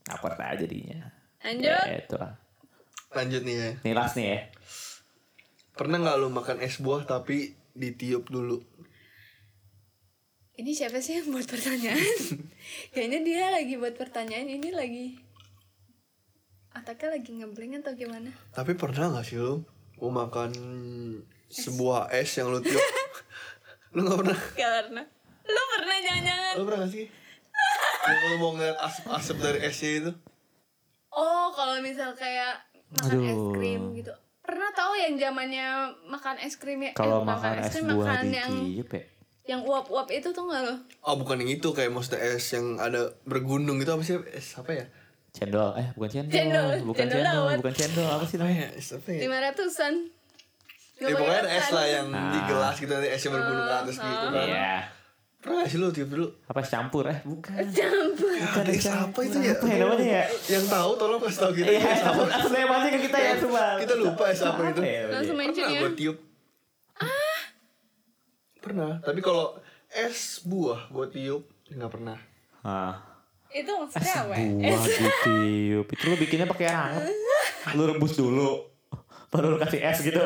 [SPEAKER 3] Awkward aja jadinya.
[SPEAKER 4] Hmm. Lanjut. Eh,
[SPEAKER 3] Ya, itu lah.
[SPEAKER 2] Lanjut nih ya.
[SPEAKER 3] Nih last nih ya.
[SPEAKER 2] Pernah nggak lu makan es buah tapi ditiup dulu?
[SPEAKER 4] Ini siapa sih yang buat pertanyaan? Kayaknya dia lagi buat pertanyaan ini lagi. Otaknya lagi ngeblank atau gimana?
[SPEAKER 2] Tapi pernah nggak sih lu mau makan sebuah es yang lu tiup? lu nggak pernah?
[SPEAKER 4] Karena lu pernah jangan-jangan
[SPEAKER 2] Lu pernah nggak sih? Yang lu mau ngeliat asap-asap dari esnya itu?
[SPEAKER 4] Oh, kalau misal kayak makan es
[SPEAKER 3] Aduh.
[SPEAKER 4] krim gitu. Pernah tahu yang zamannya makan es krim ya?
[SPEAKER 3] Kalau
[SPEAKER 4] eh,
[SPEAKER 3] makan es buah
[SPEAKER 4] makan yang
[SPEAKER 3] ditiup ya.
[SPEAKER 4] yang uap-uap itu tuh nggak lo?
[SPEAKER 2] Oh bukan yang itu kayak maksudnya es yang ada bergundung itu apa sih? Es apa ya?
[SPEAKER 3] Cendol, eh bukan cendol,
[SPEAKER 4] Cendol,
[SPEAKER 3] bukan
[SPEAKER 4] cendol
[SPEAKER 3] cendol,
[SPEAKER 4] lawat.
[SPEAKER 3] bukan cendol, apa sih namanya?
[SPEAKER 2] Ya, es apa ya?
[SPEAKER 4] Lima kan. ratusan.
[SPEAKER 2] Ya pokoknya ada es lah yang
[SPEAKER 3] Nah.
[SPEAKER 2] di gelas gitu nanti esnya bergundung ke atas gitu
[SPEAKER 4] Oh.
[SPEAKER 2] kan.
[SPEAKER 3] Iya.
[SPEAKER 2] Pernah nggak sih lu tiup dulu?
[SPEAKER 3] Apa campur eh? Bukan.
[SPEAKER 4] Campur.
[SPEAKER 2] Bukan es apa itu ya?
[SPEAKER 3] Apa ya namanya ya?
[SPEAKER 2] Yang tahu tolong kasih tahu kita.
[SPEAKER 3] Iya, campur. Asli masih ke kita ya semua.
[SPEAKER 2] Kita lupa es apa itu.
[SPEAKER 3] ya?
[SPEAKER 4] Langsung mention
[SPEAKER 2] Pernah
[SPEAKER 4] ya.
[SPEAKER 2] gue tiup. Pernah. Tapi kalau es buah gue tiup nggak pernah.
[SPEAKER 3] Ah.
[SPEAKER 4] Itu maksudnya apa? ya?
[SPEAKER 3] Buah ditiup. Itu lu bikinnya pakai apa? Lu rebus dulu. Baru lu kasih es gitu.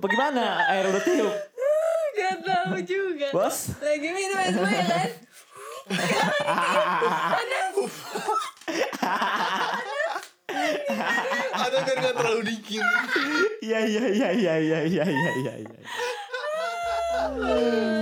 [SPEAKER 3] Apa gimana? Air udah tiup.
[SPEAKER 4] Gak tahu juga.
[SPEAKER 3] Bos.
[SPEAKER 4] Lagi minum es buah ya kan?
[SPEAKER 2] Ada biar nggak terlalu dingin.
[SPEAKER 3] Iya iya iya iya iya iya iya iya.